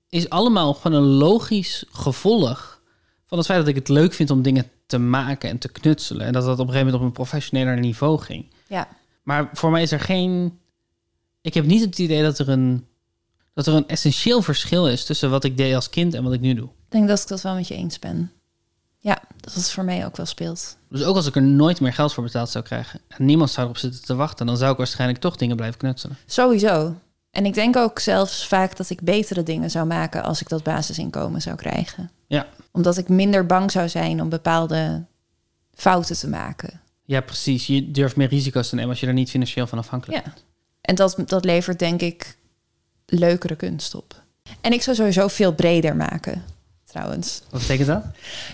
Speaker 1: is allemaal gewoon een logisch gevolg van het feit dat ik het leuk vind om dingen te maken en te knutselen. En dat dat op een gegeven moment op een professioneler niveau ging.
Speaker 9: Ja.
Speaker 1: Maar voor mij is er geen. Ik heb niet het idee dat er een, dat er een essentieel verschil is tussen wat ik deed als kind en wat ik nu doe.
Speaker 9: Ik denk dat ik dat wel met je eens ben. Ja, dat het voor mij ook wel speelt.
Speaker 1: Dus ook als ik er nooit meer geld voor betaald zou krijgen en niemand zou erop zitten te wachten, dan zou ik waarschijnlijk toch dingen blijven knutselen.
Speaker 9: Sowieso. En ik denk ook zelfs vaak dat ik betere dingen zou maken als ik dat basisinkomen zou krijgen.
Speaker 1: Ja,
Speaker 9: Omdat ik minder bang zou zijn om bepaalde fouten te maken.
Speaker 1: ja precies. Je durft meer risico's te nemen als je er niet financieel van afhankelijk
Speaker 9: Ja. En dat, dat levert denk ik leukere kunst op. En ik zou sowieso veel breder maken, trouwens.
Speaker 1: Wat betekent dat?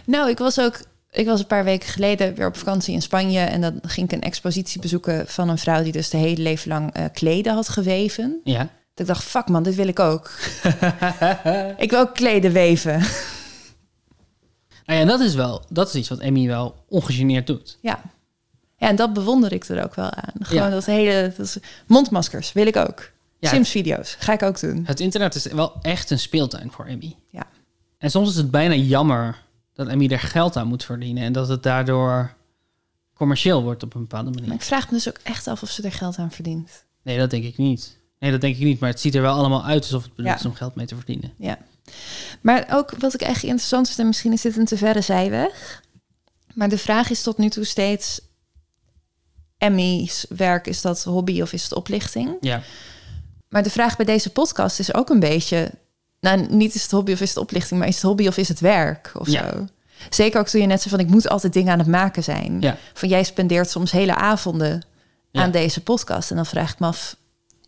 Speaker 9: Nou, ik was ook. Ik was een paar weken geleden weer op vakantie in Spanje. En dan ging ik een expositie bezoeken van een vrouw die dus de hele leven lang eh, kleden had geweven.
Speaker 1: Ja.
Speaker 9: Dat ik dacht, fuck man, dit wil ik ook. ik wil ook kleden weven.
Speaker 1: Nou ja, dat is wel, dat is iets wat Emmy wel ongegeneerd doet.
Speaker 9: ja. ja, en dat bewonder ik er ook wel aan. Gewoon
Speaker 1: Ja.
Speaker 9: dat hele... Dat is, mondmaskers wil ik ook.
Speaker 1: Ja.
Speaker 9: Sims-video's ga ik ook doen.
Speaker 1: Het internet is wel echt een speeltuin voor Emmy.
Speaker 9: Ja.
Speaker 1: En soms is het bijna jammer dat Emmy er geld aan moet verdienen en dat het daardoor commercieel wordt op een bepaalde
Speaker 9: Maar
Speaker 1: manier.
Speaker 9: ik vraag me dus ook echt af of ze er geld aan verdient.
Speaker 1: Nee, dat denk ik niet. Nee, dat denk ik niet, maar het ziet er wel allemaal uit alsof het bedoeld
Speaker 9: Ja.
Speaker 1: is om geld mee te verdienen.
Speaker 9: Ja. Maar ook wat ik echt interessant vind, en misschien is dit een te verre zijweg. Maar de vraag is tot nu toe steeds: Emmy's werk, is dat hobby of is het oplichting?
Speaker 1: Ja.
Speaker 9: Maar de vraag bij deze podcast is ook een beetje: nou, niet is het hobby of is het oplichting, maar is het hobby of is het werk of
Speaker 1: Ja.
Speaker 9: zo? Zeker ook toen je net zei van ik moet altijd dingen aan het maken zijn.
Speaker 1: Ja.
Speaker 9: Van jij spendeert soms hele avonden
Speaker 1: Ja.
Speaker 9: aan deze podcast. En dan vraag ik me af,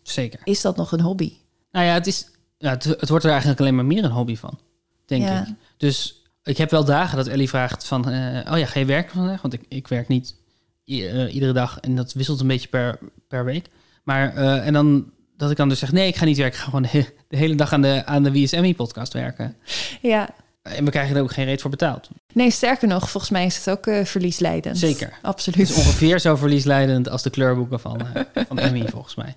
Speaker 1: Zeker.
Speaker 9: is dat nog een hobby?
Speaker 1: Nou ja, het, is, ja, het, het wordt er eigenlijk alleen maar meer een hobby van, denk
Speaker 9: Ja.
Speaker 1: ik. Dus ik heb wel dagen dat Ellie vraagt van... eh, oh ja, ga je werken vandaag? Want ik, ik werk niet i- eh, iedere dag en dat wisselt een beetje per, per week. Maar, eh, en dan dat ik dan dus zeg... nee, ik ga niet werken. Ik ga gewoon de, he- de hele dag aan de, aan de WSMI-podcast werken.
Speaker 9: Ja.
Speaker 1: En we krijgen er ook geen reet voor betaald.
Speaker 9: Nee, sterker nog, volgens mij is het ook eh, verliesleidend.
Speaker 1: Zeker.
Speaker 9: Absoluut.
Speaker 1: Het is ongeveer zo verliesleidend als de kleurboeken van, eh, van Emmy, volgens mij.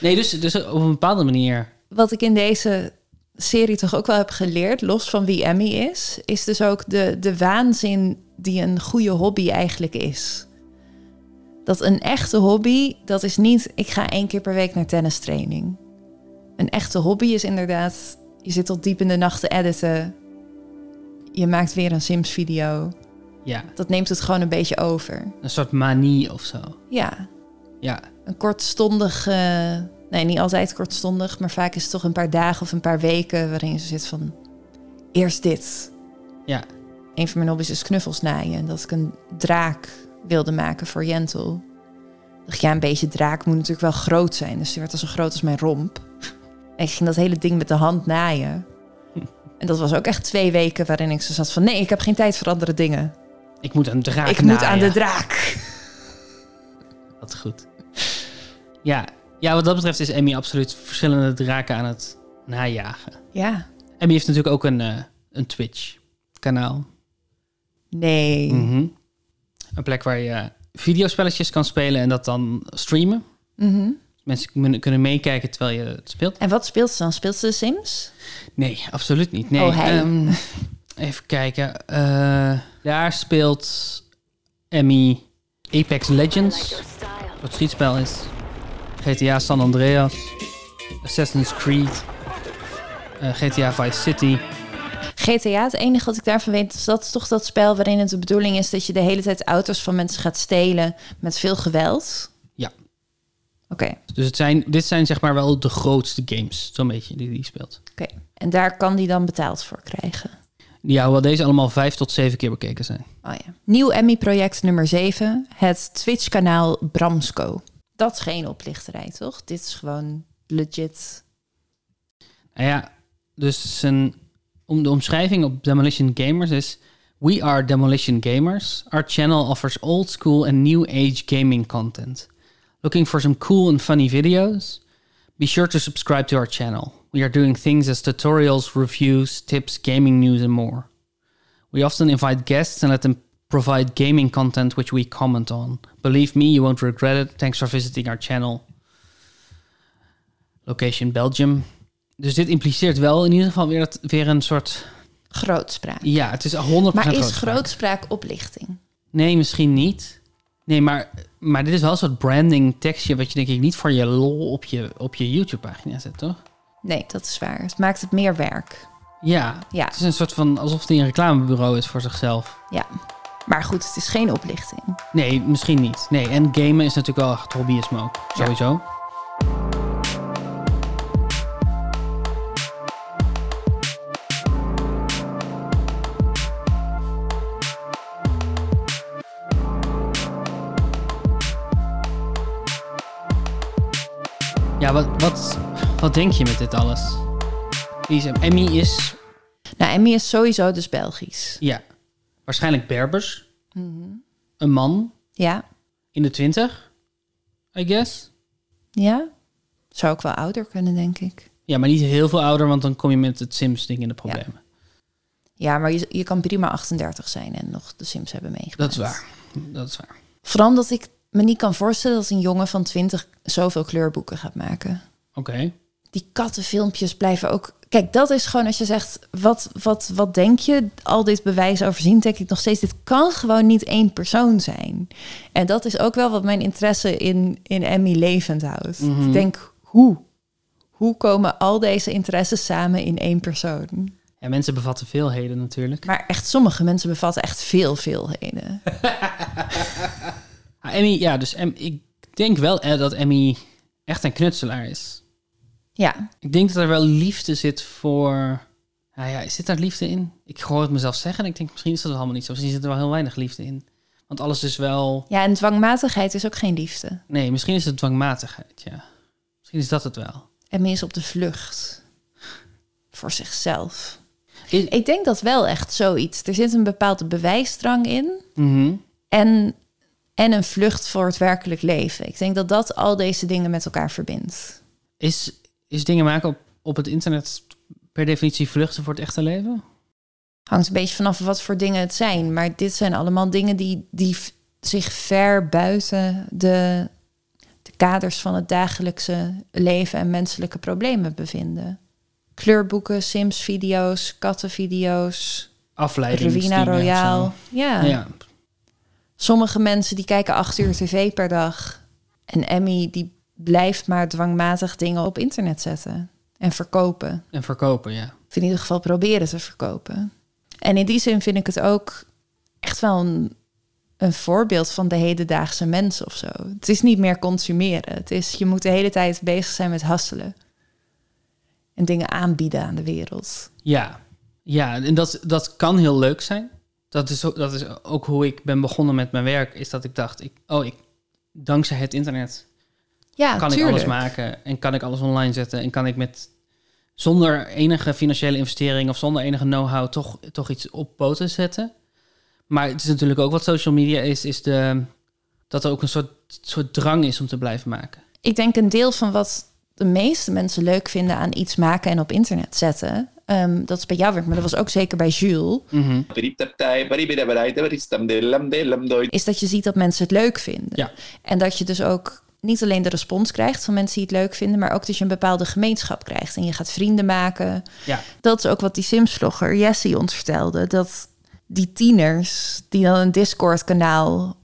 Speaker 1: Nee, dus, dus op een bepaalde manier...
Speaker 9: Wat ik in deze serie toch ook wel heb geleerd, los van wie Emmy is, is dus ook de, de waanzin die een goede hobby eigenlijk is. Dat een echte hobby, dat is niet ik ga één keer per week naar tennistraining. Een echte hobby is inderdaad, je zit tot diep in de nacht te editen. Je maakt weer een Sims video.
Speaker 1: Ja,
Speaker 9: Dat neemt het gewoon een beetje over.
Speaker 1: een soort manie of zo.
Speaker 9: Ja,
Speaker 1: Ja,
Speaker 9: een kortstondig, eh, nee, niet altijd kortstondig, maar vaak is het toch een paar dagen of een paar weken waarin je zo zit van eerst dit.
Speaker 1: Ja.
Speaker 9: Een van mijn hobby's is knuffels naaien en dat ik een draak wilde maken voor Jentel. Ik dacht, ja, een beetje draak moet natuurlijk wel groot zijn, dus die werd al zo groot als mijn romp. En ik ging dat hele ding met de hand naaien. En dat was ook echt twee weken waarin ik zo zat van... nee, ik heb geen tijd voor andere dingen.
Speaker 1: ik moet een draak
Speaker 9: ik moet
Speaker 1: naaien.
Speaker 9: aan de draak.
Speaker 1: Dat is goed. Ja. ja, wat dat betreft is Emmy absoluut verschillende draken aan het najagen.
Speaker 9: Ja.
Speaker 1: Emmy heeft natuurlijk ook een, eh, een Twitch-kanaal.
Speaker 9: Nee.
Speaker 1: Mhm. Een plek waar je videospelletjes kan spelen en dat dan streamen.
Speaker 9: Mhm.
Speaker 1: Met Mensen kunnen- kunnen meekijken terwijl je het speelt.
Speaker 9: En wat speelt ze dan? Speelt ze de Sims?
Speaker 1: Nee, absoluut niet. Nee,
Speaker 9: Oh, hij.
Speaker 1: ehm, even kijken. Eh, daar speelt Emmy Apex Legends. Wat schietspel is. GTA San Andreas. Assassin's Creed. eh, GTA Vice City.
Speaker 9: GTA, het enige wat ik daarvan weet, is dat is toch dat spel waarin het de bedoeling is dat je de hele tijd auto's van mensen gaat stelen met veel geweld.
Speaker 1: Ja.
Speaker 9: Oké.
Speaker 1: Dus het zijn, dit zijn zeg maar wel de grootste games, zo'n beetje, die die speelt.
Speaker 9: Oké. En daar kan die dan betaald voor krijgen.
Speaker 1: Ja, hoewel deze allemaal vijf tot zeven keer bekeken zijn.
Speaker 9: Oh ja. Nieuw Emmy-project nummer 7, het Twitch-kanaal Bramsco. Dat is geen oplichterij, toch? Dit is gewoon legit.
Speaker 1: Nou ja, dus zijn, om de omschrijving op Demolition Gamers is... We are Demolition Gamers. Our channel offers old school and new age gaming content. Looking for some cool and funny videos? Be sure to subscribe to our channel. We are doing things as tutorials, reviews, tips, gaming news and more. We often invite guests and let them provide gaming content which we comment on. Believe me, you won't regret it. Thanks for visiting our channel. Location Belgium. Dus dit impliceert wel in ieder geval weer, dat, weer een soort...
Speaker 9: Grootspraak.
Speaker 1: Ja, het is 100% grootspraak.
Speaker 9: Maar is grootspraak oplichting?
Speaker 1: Nee, misschien niet. Nee, maar, maar dit is wel een soort branding tekstje... wat je denk ik niet voor je lol op je, op je YouTube-pagina zet, toch?
Speaker 9: Nee, dat is waar. Het maakt het meer werk.
Speaker 1: Ja,
Speaker 9: Ja.
Speaker 1: het is een soort van... alsof het een reclamebureau is voor zichzelf.
Speaker 9: Ja. Maar goed, het is geen oplichting.
Speaker 1: Nee, misschien niet. Nee, en gamen is natuurlijk wel echt hobbyisme ook. Sowieso. Ja, wat, wat, wat denk je met dit alles? Wie is Emmy is,
Speaker 9: Nou, Emmy is sowieso dus Belgisch.
Speaker 1: ja, waarschijnlijk Berbers. Een man
Speaker 9: Ja,
Speaker 1: in de twintig, I guess.
Speaker 9: ja. Zou ik wel ouder kunnen, denk ik.
Speaker 1: Ja, maar niet heel veel ouder, want dan kom je met het Sims-ding in de problemen.
Speaker 9: Ja, maar je, je kan prima 38 zijn en nog de Sims hebben meegemaakt.
Speaker 1: dat is waar. Dat is waar.
Speaker 9: Vooral omdat ik me niet kan voorstellen dat een jongen van 20 zoveel kleurboeken gaat maken.
Speaker 1: Oké.
Speaker 9: Die kattenfilmpjes blijven ook. Kijk, dat is gewoon als je zegt: wat, wat, wat denk je? Al dit bewijs overzien, denk ik nog steeds. Dit kan gewoon niet één persoon zijn. En dat is ook wel wat mijn interesse in, in Emmy levend houdt.
Speaker 1: Mhm.
Speaker 9: Ik denk: hoe? Hoe komen al deze interesses samen in één persoon?
Speaker 1: Ja, mensen bevatten veelheden natuurlijk.
Speaker 9: Maar echt, sommige mensen bevatten echt veel, veelheden.
Speaker 1: Ah, Emmy, ja, dus Em- ik denk wel eh, dat Emmy echt een knutselaar is.
Speaker 9: Ja,
Speaker 1: Ik denk dat er wel liefde zit voor... Nou ja, zit daar liefde in? Ik hoor het mezelf zeggen en ik denk misschien is dat wel helemaal niet zo. Misschien zit er wel heel weinig liefde in. Want alles is wel...
Speaker 9: ja en dwangmatigheid is ook geen liefde.
Speaker 1: Nee, misschien is het dwangmatigheid, ja. Misschien is dat het wel.
Speaker 9: Emmy is op de vlucht. Voor zichzelf. Ik denk dat wel echt zoiets. Er zit een bepaalde bewijsdrang in.
Speaker 1: Mhm.
Speaker 9: En, en een vlucht voor het werkelijk leven. Ik denk dat dat al deze dingen met elkaar verbindt.
Speaker 1: Is, is dingen maken op, op het internet per definitie vluchten voor het echte leven?
Speaker 9: Hangt een beetje vanaf wat voor dingen het zijn. Maar dit zijn allemaal dingen die, die v- zich ver buiten de, de kaders van het dagelijkse leven en menselijke problemen bevinden. Kleurboeken, Sims-video's, kattenvideo's.
Speaker 1: Afleiding.
Speaker 9: Ravina Royale. Ja.
Speaker 1: ja.
Speaker 9: Sommige mensen die kijken acht uur tv per dag. En Emmy die blijft maar dwangmatig dingen op internet zetten. En verkopen.
Speaker 1: En verkopen, ja.
Speaker 9: Of in ieder geval proberen te verkopen. En in die zin vind ik het ook echt wel een, een voorbeeld van de hedendaagse mens of zo. Het is niet meer consumeren. Het is, je moet de hele tijd bezig zijn met hasselen. En dingen aanbieden aan de wereld.
Speaker 1: Ja, ja en dat, dat kan heel leuk zijn. Dat is, ook- dat is ook hoe ik ben begonnen met mijn werk. Is dat ik dacht, ik, oh, ik, dankzij het internet
Speaker 9: Ja,
Speaker 1: kan ik
Speaker 9: tuurlijk.
Speaker 1: alles maken. En kan ik alles online zetten. En kan ik met zonder enige financiële investering of zonder enige know-how toch, toch iets op poten zetten. Maar het is natuurlijk ook wat social media is, is de, dat er ook een soort, soort drang is om te blijven maken.
Speaker 9: ik denk een deel van wat de meeste mensen leuk vinden aan iets maken en op internet zetten. ehm, dat is bij jou werk, maar dat was ook zeker bij Jules. Is dat je ziet dat mensen het leuk vinden. En dat je dus ook niet alleen de respons krijgt van mensen die het leuk vinden, maar ook dat je een bepaalde gemeenschap krijgt en je gaat vrienden maken.
Speaker 1: Ja.
Speaker 9: Dat is ook wat die Sims-vlogger Jessie ons vertelde. Dat die tieners die dan een Discord-kanaal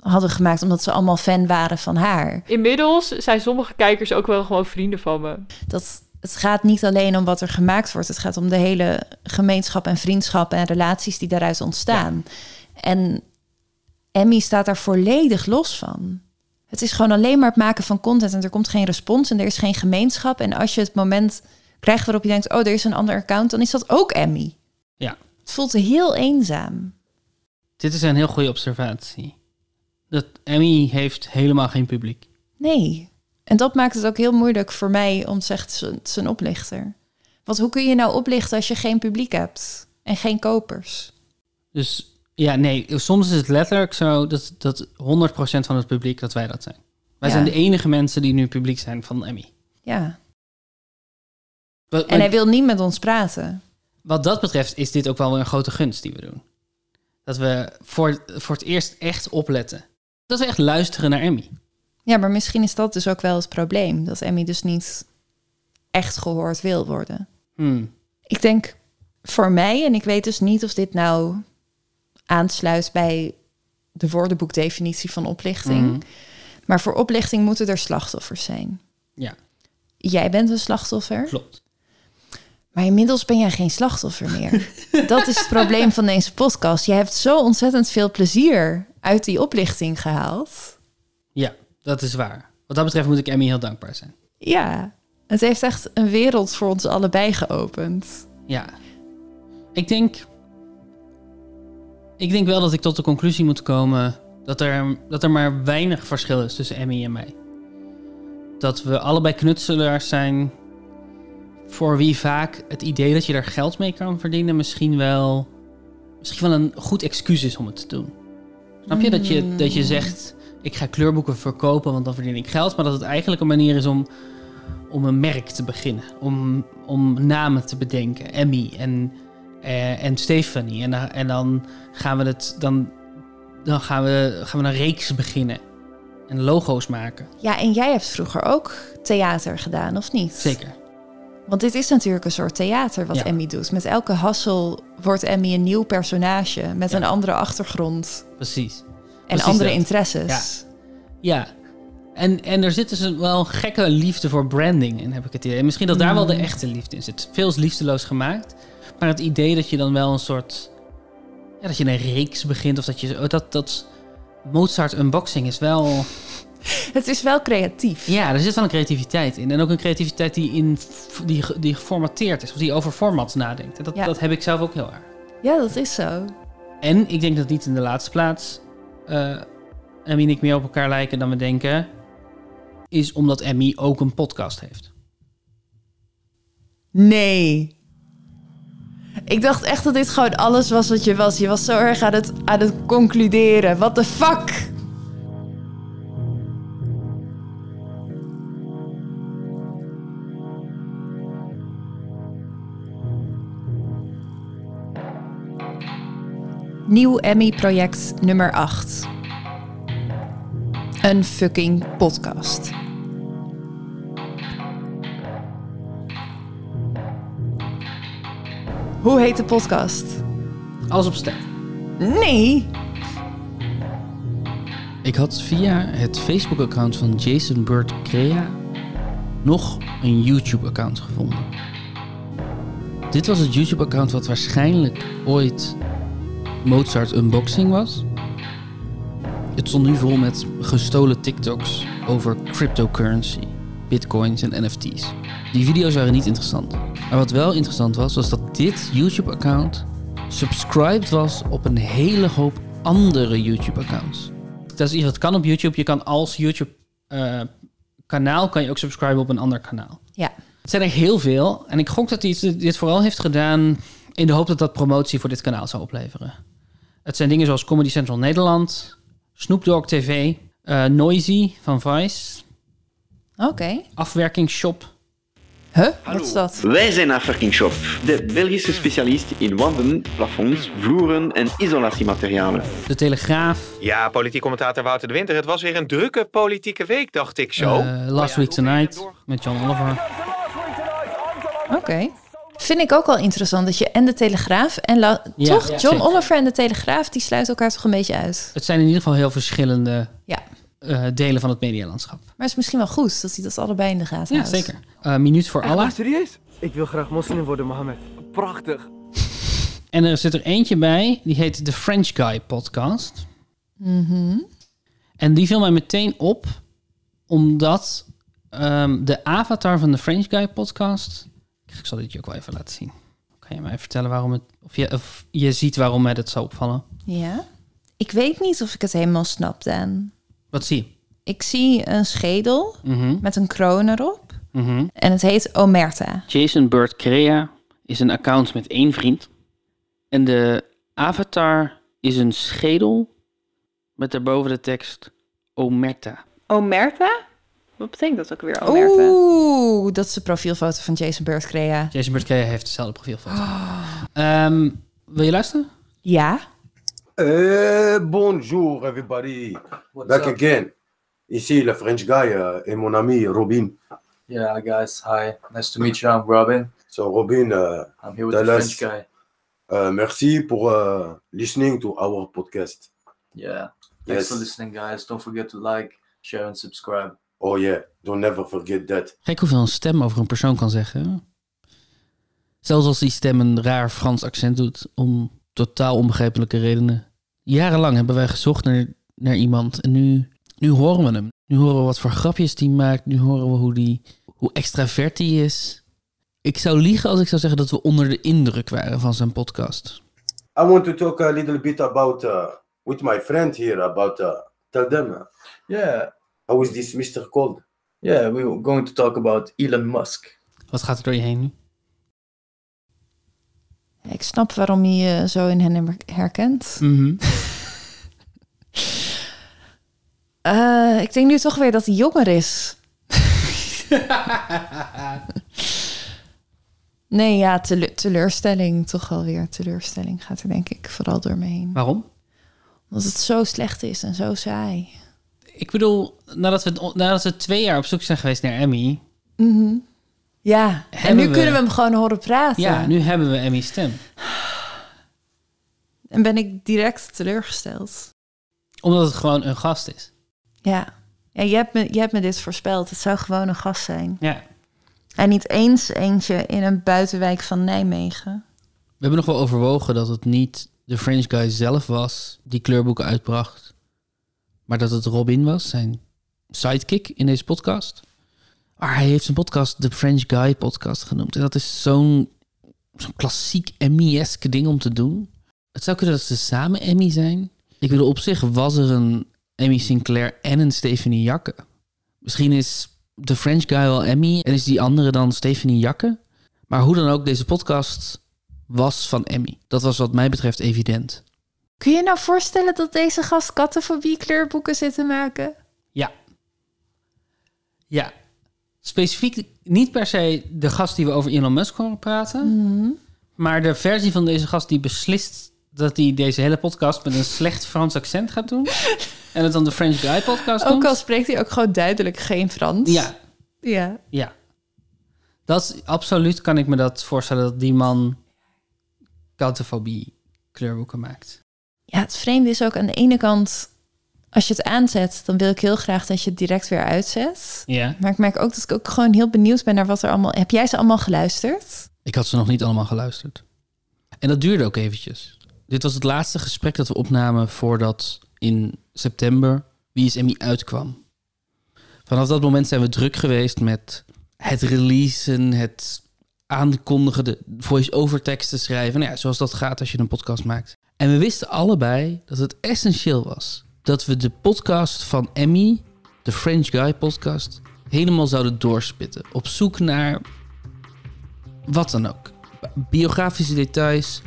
Speaker 9: hadden gemaakt omdat ze allemaal fan waren van haar.
Speaker 17: Inmiddels zijn sommige kijkers ook wel gewoon vrienden van me.
Speaker 9: Dat het gaat niet alleen om wat er gemaakt wordt. Het gaat om de hele gemeenschap en vriendschap en relaties die daaruit ontstaan. En Emmy staat daar volledig los van. Het is gewoon alleen maar het maken van content en er komt geen respons en er is geen gemeenschap. En als je het moment krijgt waarop je denkt, oh, er is een ander account, dan is dat ook Emmy.
Speaker 1: Ja.
Speaker 9: Het voelt heel eenzaam.
Speaker 1: Dit is een heel goede observatie. Dat Emmy heeft helemaal geen publiek.
Speaker 9: Nee. En dat maakt het ook heel moeilijk voor mij om te zeggen, het is een- het is een oplichter. Want hoe kun je nou oplichten als je geen publiek hebt en geen kopers?
Speaker 1: Dus ja, nee, soms is het letterlijk zo dat, dat 100% van het publiek dat wij dat zijn. Wij
Speaker 9: Ja.
Speaker 1: zijn de enige mensen die nu publiek zijn van Emmy.
Speaker 9: Ja.
Speaker 1: Wat,
Speaker 9: En hij wil niet met ons praten.
Speaker 1: wat dat betreft is dit ook wel een grote gunst die we doen. Dat we voor, voor het eerst echt opletten. Dat we echt luisteren naar Emmy.
Speaker 9: Ja, maar misschien is dat dus ook wel het probleem. Dat Emmy dus niet echt gehoord wil worden.
Speaker 1: Hmm.
Speaker 9: Ik denk voor mij, en ik weet dus niet of dit nou aansluit bij de woordenboekdefinitie van oplichting.
Speaker 1: Mhm.
Speaker 9: Maar voor oplichting moeten er slachtoffers zijn.
Speaker 1: Ja,
Speaker 9: Jij bent een slachtoffer.
Speaker 1: Klopt.
Speaker 9: Maar inmiddels ben jij geen slachtoffer meer. dat is het probleem van deze podcast. Jij hebt zo ontzettend veel plezier uit die oplichting gehaald.
Speaker 1: ja, dat is waar. Wat dat betreft moet ik Emmy heel dankbaar zijn.
Speaker 9: Ja, het heeft echt een wereld voor ons allebei geopend.
Speaker 1: Ja. Ik denk. Ik denk wel dat ik tot de conclusie moet komen. Dat er, dat er maar weinig verschil is tussen Emmy en mij. Dat we allebei knutselaars zijn. Voor wie vaak het idee dat je daar geld mee kan verdienen. misschien wel. misschien wel een goed excuus is om het te doen. Snap je dat je, dat je zegt. Ik ga kleurboeken verkopen, want dan verdien ik geld. Maar dat het eigenlijk een manier is om om een merk te beginnen. Om, om namen te bedenken. Emmy en, eh, en Stephanie. En, da- en dan gaan we het. Dan, dan gaan we, gaan we een reeks beginnen. En logo's maken.
Speaker 9: Ja, en jij hebt vroeger ook theater gedaan, of niet?
Speaker 1: Zeker.
Speaker 9: Want dit is natuurlijk een soort theater wat
Speaker 1: Ja.
Speaker 9: Emmy doet. Met elke hassel wordt Emmy een nieuw personage met een andere achtergrond
Speaker 1: Precies.
Speaker 9: en
Speaker 1: Precies
Speaker 9: andere
Speaker 1: dat.
Speaker 9: interesses.
Speaker 1: Ja. En, en er zit dus een wel gekke liefde voor branding in, heb ik het idee. Misschien dat daar wel de
Speaker 9: Mm.
Speaker 1: echte liefde in zit. Veel is liefdeloos gemaakt. Maar het idee dat je dan wel een soort... Ja, dat je een reeks begint of dat je... oh, Dat, dat Mozart unboxing is wel...
Speaker 9: Het is wel creatief.
Speaker 1: Ja, er zit wel een creativiteit in. En ook een creativiteit die, in, f- die, ge- die geformateerd is. Of die over format nadenkt. En dat,
Speaker 9: Ja.
Speaker 1: dat heb ik zelf ook heel erg.
Speaker 9: Ja, dat is zo.
Speaker 1: En ik denk dat niet in de laatste plaats eh Emmy en ik meer op elkaar lijken dan we denken. Is omdat Emmy ook een podcast heeft.
Speaker 9: Nee. Ik dacht echt dat dit gewoon alles was wat je was. Je was zo erg aan het, aan het concluderen. What the fuck? Nieuw Emmy-project nummer 8. Een fucking podcast. Hoe heet de podcast?
Speaker 1: Alles op stem.
Speaker 9: Nee.
Speaker 1: Ik had via het Facebook-account van Jason Bird Crea nog een YouTube-account gevonden. Dit was het YouTube-account wat waarschijnlijk ooit Mozart Unboxing was. Het stond nu vol met gestolen TikToks over cryptocurrency, bitcoins en NFT's. Die video's waren niet interessant. Maar wat wel interessant was, was dat dit YouTube-account subscribed was op een hele hoop andere YouTube-accounts. Dat is iets wat kan op YouTube. Je kan als YouTube-kanaal kan je ook subscriben op een ander kanaal.
Speaker 9: Ja.
Speaker 1: Het zijn er heel veel. En ik gok dat hij dit- dit vooral heeft gedaan in de hoop dat dat promotie voor dit kanaal zou opleveren. Het zijn dingen zoals Comedy Central Nederland, Snoop Dogg TV, eh, Noisy van Vice,
Speaker 9: Oké.
Speaker 1: Afwerkingsshop.
Speaker 9: Huh? Wat is dat?
Speaker 4: Wij zijn Afwerking Shop, de Belgische specialist in wanden, plafonds, vloeren en isolatiematerialen.
Speaker 1: De Telegraaf,
Speaker 22: Ja, politiek commentator Wouter de Winter. Het was weer een drukke politieke week, dacht ik zo. Oh
Speaker 1: eh, Last Week Tonight met John Oliver.
Speaker 9: Oké. Vind ik ook wel interessant dat je en de Telegraaf en... La-
Speaker 1: Ja,
Speaker 9: toch?
Speaker 1: ja,
Speaker 9: John
Speaker 1: zeker.
Speaker 9: Oliver en de Telegraaf, die sluiten elkaar toch een beetje uit?
Speaker 1: Het zijn in ieder geval heel verschillende
Speaker 9: Ja.
Speaker 1: eh, delen van het medialandschap.
Speaker 9: Maar het is misschien wel goed dat hij dat allebei in de gaten
Speaker 1: Ja,
Speaker 9: houdt.
Speaker 1: zeker. Eh, minuut voor Allah.
Speaker 23: serieus? Ik wil graag moslim worden, Mohammed. Prachtig.
Speaker 1: En er zit er eentje bij, die heet de French Guy Podcast.
Speaker 9: Mhm.
Speaker 1: En die viel mij meteen op, omdat ehm, de avatar van de French Guy podcast. Ik zal dit je ook wel even laten zien. Kan je mij vertellen waarom het. Of je, of je ziet waarom mij dat zou opvallen?
Speaker 9: Ja. Ik weet niet of ik het helemaal snap, Dan.
Speaker 1: Wat zie je?
Speaker 9: Ik zie een schedel
Speaker 1: Mhm.
Speaker 9: met een kroon erop.
Speaker 1: Mhm.
Speaker 9: En het heet Omerta.
Speaker 2: Jason Bird Crea is een account met één vriend. En de avatar is een schedel met daarboven de tekst Omerta.
Speaker 3: Omerta? Wat betekent dat ook weer, Omerta?
Speaker 9: Oeh, dat is de profielfoto van Jason Bird Crea.
Speaker 1: Jason Bird Crea heeft dezelfde profielfoto.
Speaker 2: Ah.
Speaker 1: Ehm, wil je luisteren?
Speaker 9: Ja.
Speaker 24: Eh, bonjour everybody. Back
Speaker 23: up?
Speaker 24: again. Ici le French guy uh, et mon ami Robin.
Speaker 23: Yeah, guys. Hi. Nice to meet you. I'm Robin.
Speaker 24: So Robin, uh,
Speaker 23: I'm here with
Speaker 24: tell
Speaker 23: the
Speaker 24: us,
Speaker 23: French guy.
Speaker 24: uh, merci pour uh, listening to our podcast.
Speaker 23: Yeah. Thanks
Speaker 24: Yes.
Speaker 23: for listening, guys. Don't forget to like, share, and subscribe.
Speaker 24: Oh yeah, don't never forget that.
Speaker 1: Gek hoeveel een stem over een persoon kan zeggen. Zelfs als die stem een raar Frans accent doet, om totaal onbegrijpelijke redenen. Jarenlang hebben wij gezocht naar, naar iemand en nu, nu horen we hem. Nu horen we wat voor grapjes die maakt, nu horen we hoe, die, hoe extravert hij is. Ik zou liegen als ik zou zeggen dat we onder de indruk waren van zijn podcast.
Speaker 24: I want to talk a little bit about uh, with my friend here about uh, tell them. uh,
Speaker 23: Yeah.
Speaker 24: How is this Mr. Cold?
Speaker 23: Yeah, we were going to talk about Elon Musk.
Speaker 1: Wat gaat er door je heen nu?
Speaker 9: Ik snap waarom je je zo in hen herkent.
Speaker 1: Mhm.
Speaker 9: Eh, ik denk nu toch weer dat hij jonger is. nee, ja, tele- teleurstelling. Toch wel weer teleurstelling gaat er denk ik vooral door me heen.
Speaker 1: Waarom?
Speaker 9: Omdat het zo slecht is en zo saai.
Speaker 1: Ik bedoel, nadat we, nadat we twee jaar op zoek zijn geweest naar Emmy.
Speaker 9: Mhm. Ja, en
Speaker 1: Hebben
Speaker 9: nu
Speaker 1: we-
Speaker 9: kunnen we hem gewoon horen praten.
Speaker 1: Ja, nu hebben we Emmy's stem.
Speaker 9: En ben ik direct teleurgesteld.
Speaker 1: Omdat het gewoon een gast is.
Speaker 9: Ja, ja je, hebt me, je hebt me dit voorspeld. Het zou gewoon een gast zijn.
Speaker 1: Ja.
Speaker 9: En niet eens eentje in een buitenwijk van Nijmegen.
Speaker 1: We hebben nog wel overwogen dat het niet de French guy zelf was die kleurboeken uitbracht. Maar dat het Robin was, zijn sidekick in deze podcast. Maar hij heeft zijn podcast de French Guy podcast genoemd. En dat is zo'n zo'n klassiek Emmy-eske ding om te doen. Het zou kunnen dat ze samen Emmy zijn. Ik bedoel, op zich was er een Emmy Sinclair en een Stephanie Jakke. Misschien is de French Guy wel Emmy en is die andere dan Stephanie Jakke. Maar hoe dan ook, deze podcast was van Emmy. Dat was wat mij betreft evident.
Speaker 9: Kun je nou voorstellen dat deze gast kattenfobie kleurboeken zit te maken?
Speaker 1: Ja. Ja. Specifiek niet per se de gast die we over Elon Musk horen praten. Maar de versie van deze gast die beslist dat hij deze hele podcast met een slecht Frans accent gaat doen. en het dan de French Guy podcast
Speaker 9: Ook
Speaker 1: noemt.
Speaker 9: al spreekt hij ook gewoon duidelijk geen Frans.
Speaker 1: Ja.
Speaker 9: Ja.
Speaker 1: Ja. Dat is, absoluut kan ik me dat voorstellen dat die man kattenfobie kleurboeken maakt.
Speaker 9: Ja, het vreemde is ook aan de ene kant... Als je het aanzet, dan wil ik heel graag dat je het direct weer uitzet.
Speaker 1: Ja.
Speaker 9: Maar ik merk ook dat ik ook gewoon heel benieuwd ben naar wat er allemaal... Heb jij ze allemaal geluisterd?
Speaker 1: Ik had ze nog niet allemaal geluisterd. En dat duurde ook eventjes. Dit was het laatste gesprek dat we opnamen voordat in september Wie is Emmy uitkwam. Vanaf dat moment zijn we druk geweest met het releasen, het aankondigen, de voice-over teksten schrijven. Nou ja, zoals dat gaat als je een podcast maakt. En we wisten allebei dat het essentieel was dat we de podcast van Emmy, de French Guy podcast, helemaal zouden doorspitten. Op zoek naar wat dan ook. Biografische details,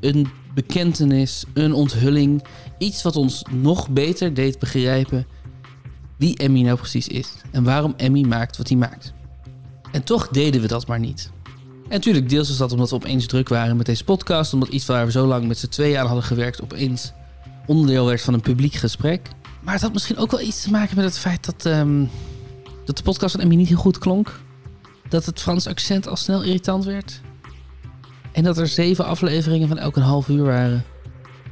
Speaker 1: een bekentenis, een onthulling. Iets wat ons nog beter deed begrijpen wie Emmy nou precies is en waarom Emmy maakt wat hij maakt. En toch deden we dat maar niet. En natuurlijk, deels is dat omdat we opeens druk waren met deze podcast, omdat iets waar we zo lang met z'n tweeën aan hadden gewerkt opeens onderdeel werd van een publiek gesprek. Maar het had misschien ook wel iets te maken met het feit dat, ehm, dat de podcast van Emmy niet heel goed klonk. Dat het Frans accent al snel irritant werd. En dat er zeven afleveringen van elk een half uur waren.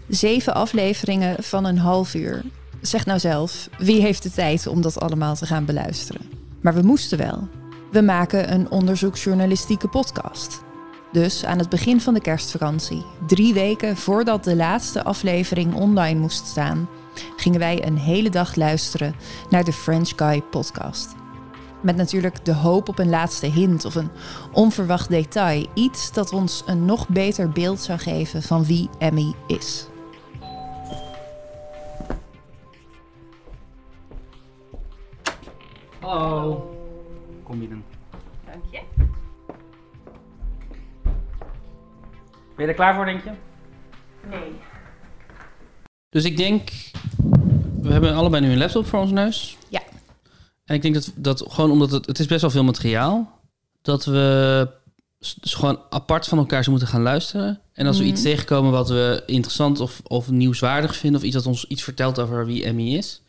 Speaker 9: Zeven afleveringen van een half uur. Zeg nou zelf, wie heeft de tijd om dat allemaal te gaan beluisteren? Maar we moesten wel. We maken een onderzoeksjournalistieke podcast. Dus aan het begin van de kerstvakantie, drie weken voordat de laatste aflevering online moest staan, gingen wij een hele dag luisteren naar de French Guy podcast. Met natuurlijk de hoop op een laatste hint of een onverwacht detail. Iets dat ons een nog beter beeld zou geven van wie Emmy is.
Speaker 5: Oh. Kom binnen.
Speaker 14: Dank je.
Speaker 5: Ben je er klaar voor, denk je?
Speaker 14: Nee.
Speaker 1: Dus ik denk, we hebben allebei nu een laptop voor ons neus.
Speaker 9: Ja.
Speaker 1: En ik denk dat, dat gewoon omdat het, het is best wel veel materiaal, dat we s- s- gewoon apart van elkaar zo moeten gaan luisteren. En als we
Speaker 9: Mhm.
Speaker 1: iets tegenkomen wat we interessant of, of nieuwswaardig vinden, of iets dat ons iets vertelt over wie Emmy is,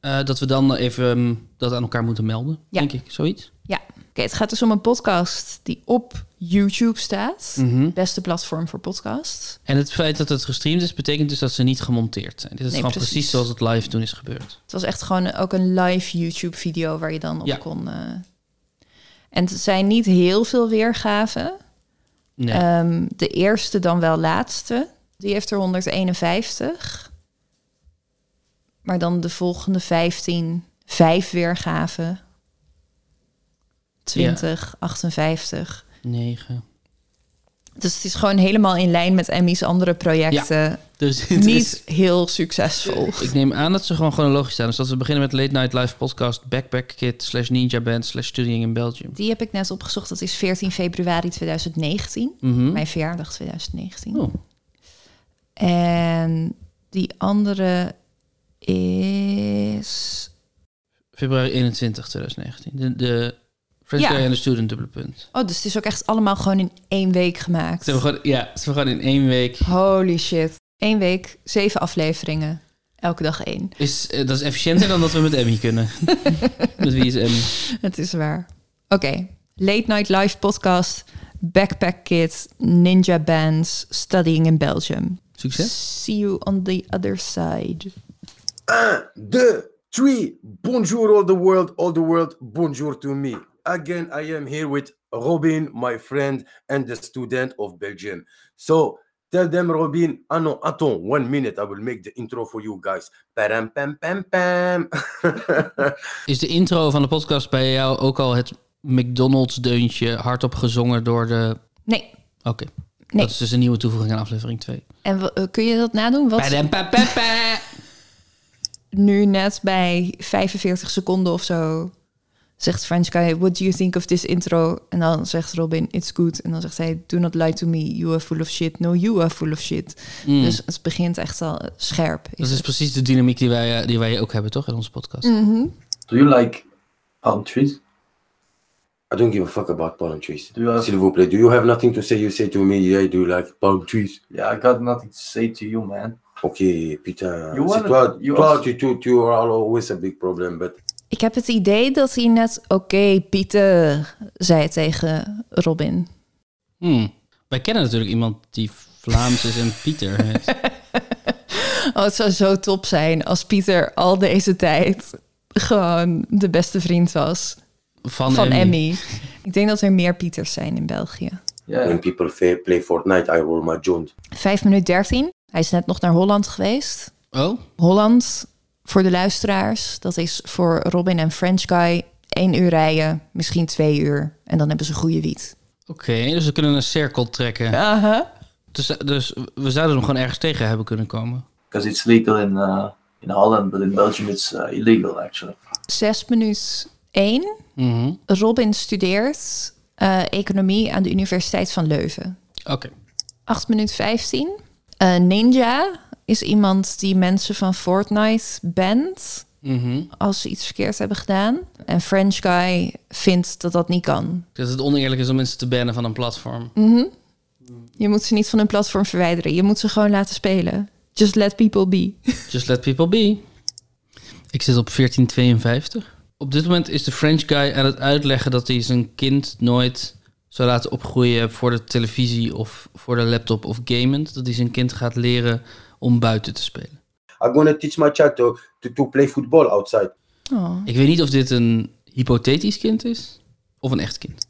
Speaker 1: eh, dat we dan even ehm, dat aan elkaar moeten melden,
Speaker 9: Ja.
Speaker 1: denk ik, zoiets.
Speaker 9: Ja, oké, het gaat dus om een podcast die op YouTube staat.
Speaker 1: Mhm.
Speaker 9: Beste platform voor podcasts.
Speaker 1: En het feit dat het gestreamd is, betekent dus dat ze niet gemonteerd zijn. Dit is
Speaker 9: Nee,
Speaker 1: gewoon
Speaker 9: precies.
Speaker 1: precies. zoals het live toen is gebeurd.
Speaker 9: Het was echt gewoon ook een live YouTube video waar je dan op
Speaker 1: Ja.
Speaker 9: kon. eh. En het zijn niet heel veel weergaven.
Speaker 1: Nee.
Speaker 9: Ehm, de eerste dan wel laatste. Die heeft er 151. Maar dan de volgende 15, vijf weergaven. 20, 58.
Speaker 1: Negen.
Speaker 9: Dus het is gewoon helemaal in lijn met Emmy's andere projecten.
Speaker 1: Dus het
Speaker 9: Niet heel succesvol.
Speaker 1: Ik neem aan dat ze gewoon chronologisch staan. Dus dat we beginnen met Late Night Live Podcast, Backpack Kid, slash Ninja Band, slash Studying in Belgium.
Speaker 9: Die heb ik net opgezocht. Dat is 14 februari 2019.
Speaker 1: Mhm.
Speaker 9: Mijn verjaardag 2019.
Speaker 1: Oh.
Speaker 9: En die andere is...
Speaker 1: Februari 21, 2019. De, de French
Speaker 9: Ja.
Speaker 1: Guy en de Student dubbele punt.
Speaker 9: Oh, dus het is ook echt allemaal gewoon in één week
Speaker 1: Ze
Speaker 9: gemaakt.
Speaker 1: hebben gewoon, ja, ze hebben gewoon in één week...
Speaker 9: Holy shit. Eén week, zeven afleveringen. Elke dag één.
Speaker 1: Is, eh, dat is efficiënter dan dat we met Emmy kunnen. met wie is Emmy?
Speaker 9: Het is waar. Oké. Late Night Live podcast. Backpack Kids. Ninja Bands. Studying in Belgium.
Speaker 1: Succes.
Speaker 9: See you on the other side.
Speaker 24: Un, deux, three. Bonjour, all the world, all the world. Bonjour to me. Again, I am here with Robin, my friend and the student of Belgium. So tell them, Robin. Ah no, attends, one minute. I will make the intro for you guys. Pam, pam, pam, pam.
Speaker 1: Is de intro van de podcast bij jou ook al het McDonald's-deuntje hardop gezongen door de...
Speaker 9: Nee.
Speaker 1: Oké. Dat is dus een nieuwe toevoeging aan aflevering 2.
Speaker 9: En wa- eh, kun je dat nadoen? Wat... Nu net bij 45 seconden of zo zegt French guy, what do you think of this intro? En dan zegt Robin, it's good. En dan zegt hij, do not lie to me, you are full of shit. No, you are full of shit.
Speaker 1: Mm.
Speaker 9: Dus het begint echt al eh, scherp.
Speaker 1: Dat is precies de dynamiek die wij, eh, die wij ook hebben, toch? In onze podcast.
Speaker 9: Mhm.
Speaker 24: Do you like palm trees? I don't give a fuck about palm trees. Do you have... S'il vous plaît, do you have nothing to say? You say to me, yeah, do you like palm trees? Yeah, I got nothing to say to you, man. Okay, putain.
Speaker 9: You
Speaker 24: C'est
Speaker 9: wanna-
Speaker 24: toi,
Speaker 9: you
Speaker 24: toi,
Speaker 9: also-
Speaker 24: tu, tu, you are always a big problem, but
Speaker 9: Ik heb het idee dat hij net, oké, Pieter, zei tegen Robin.
Speaker 1: Hmm. Wij kennen natuurlijk iemand die Vlaams is en Pieter heet.
Speaker 9: Oh, het zou zo top zijn als Pieter al deze tijd gewoon de beste vriend was
Speaker 1: Van,
Speaker 9: Emmy.
Speaker 24: Emmy.
Speaker 9: Ik denk dat er meer Pieters zijn in België.
Speaker 24: when people fa- play Fortnite, I roll my joint.
Speaker 9: 5 minuut 13. Hij is net nog naar Holland geweest.
Speaker 1: Oh.
Speaker 9: Holland, voor de luisteraars, dat is voor Robin en French Guy één uur rijden, misschien twee uur. En dan hebben ze goede wiet.
Speaker 1: Oké, dus we kunnen een cirkel trekken.
Speaker 9: Aha.
Speaker 1: Dus, dus we zouden hem gewoon ergens tegen hebben kunnen komen.
Speaker 6: because it's legal in uh, in Holland, but in Belgium it's uh, illegal actually.
Speaker 9: 6 minuut 1. Robin studeert eh, economie aan de Universiteit van Leuven.
Speaker 1: Oké.
Speaker 9: 8 minuut 15. Eh, Ninja is iemand die mensen van Fortnite bent.
Speaker 1: Mhm.
Speaker 9: als ze iets verkeerd hebben gedaan. En French Guy vindt dat dat niet kan.
Speaker 1: Dat het oneerlijk is om mensen te bannen van een platform.
Speaker 9: Mhm. Je moet ze niet van hun platform verwijderen. Je moet ze gewoon laten spelen. Just let people be.
Speaker 1: Just let people be. Ik zit op 1452. Op dit moment is de French guy aan het uitleggen dat hij zijn kind nooit zou laten opgroeien voor de televisie of voor de laptop of gamend. Dat hij zijn kind gaat leren om buiten te spelen.
Speaker 24: I'm gonna teach my child to, to, to play football outside.
Speaker 1: Ik weet niet of dit een hypothetisch kind is of een echt kind.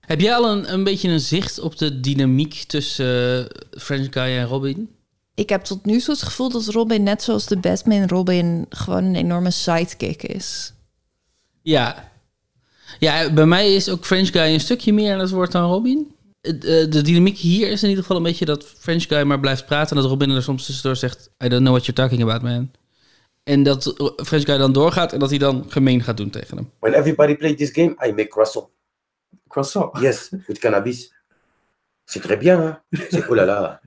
Speaker 1: Heb jij al een, een beetje een zicht op de dynamiek tussen eh, French guy en Robin?
Speaker 9: Ik heb tot nu toe het gevoel dat Robin, net zoals de Batman Robin, gewoon een enorme sidekick is.
Speaker 1: Ja. Ja, bij mij is ook French Guy een stukje meer aan het woord dan Robin. Het, eh, De dynamiek hier is in ieder geval een beetje dat French Guy maar blijft praten... en dat Robin er soms tussendoor zegt... I don't know what you're talking about, man. En dat eh, French Guy dan doorgaat en dat hij dan gemeen gaat doen tegen hem.
Speaker 24: When everybody plays this game, I make croissant.
Speaker 6: Croissant?
Speaker 24: Yes, with cannabis. C'est très bien, hein? C'est oh là là.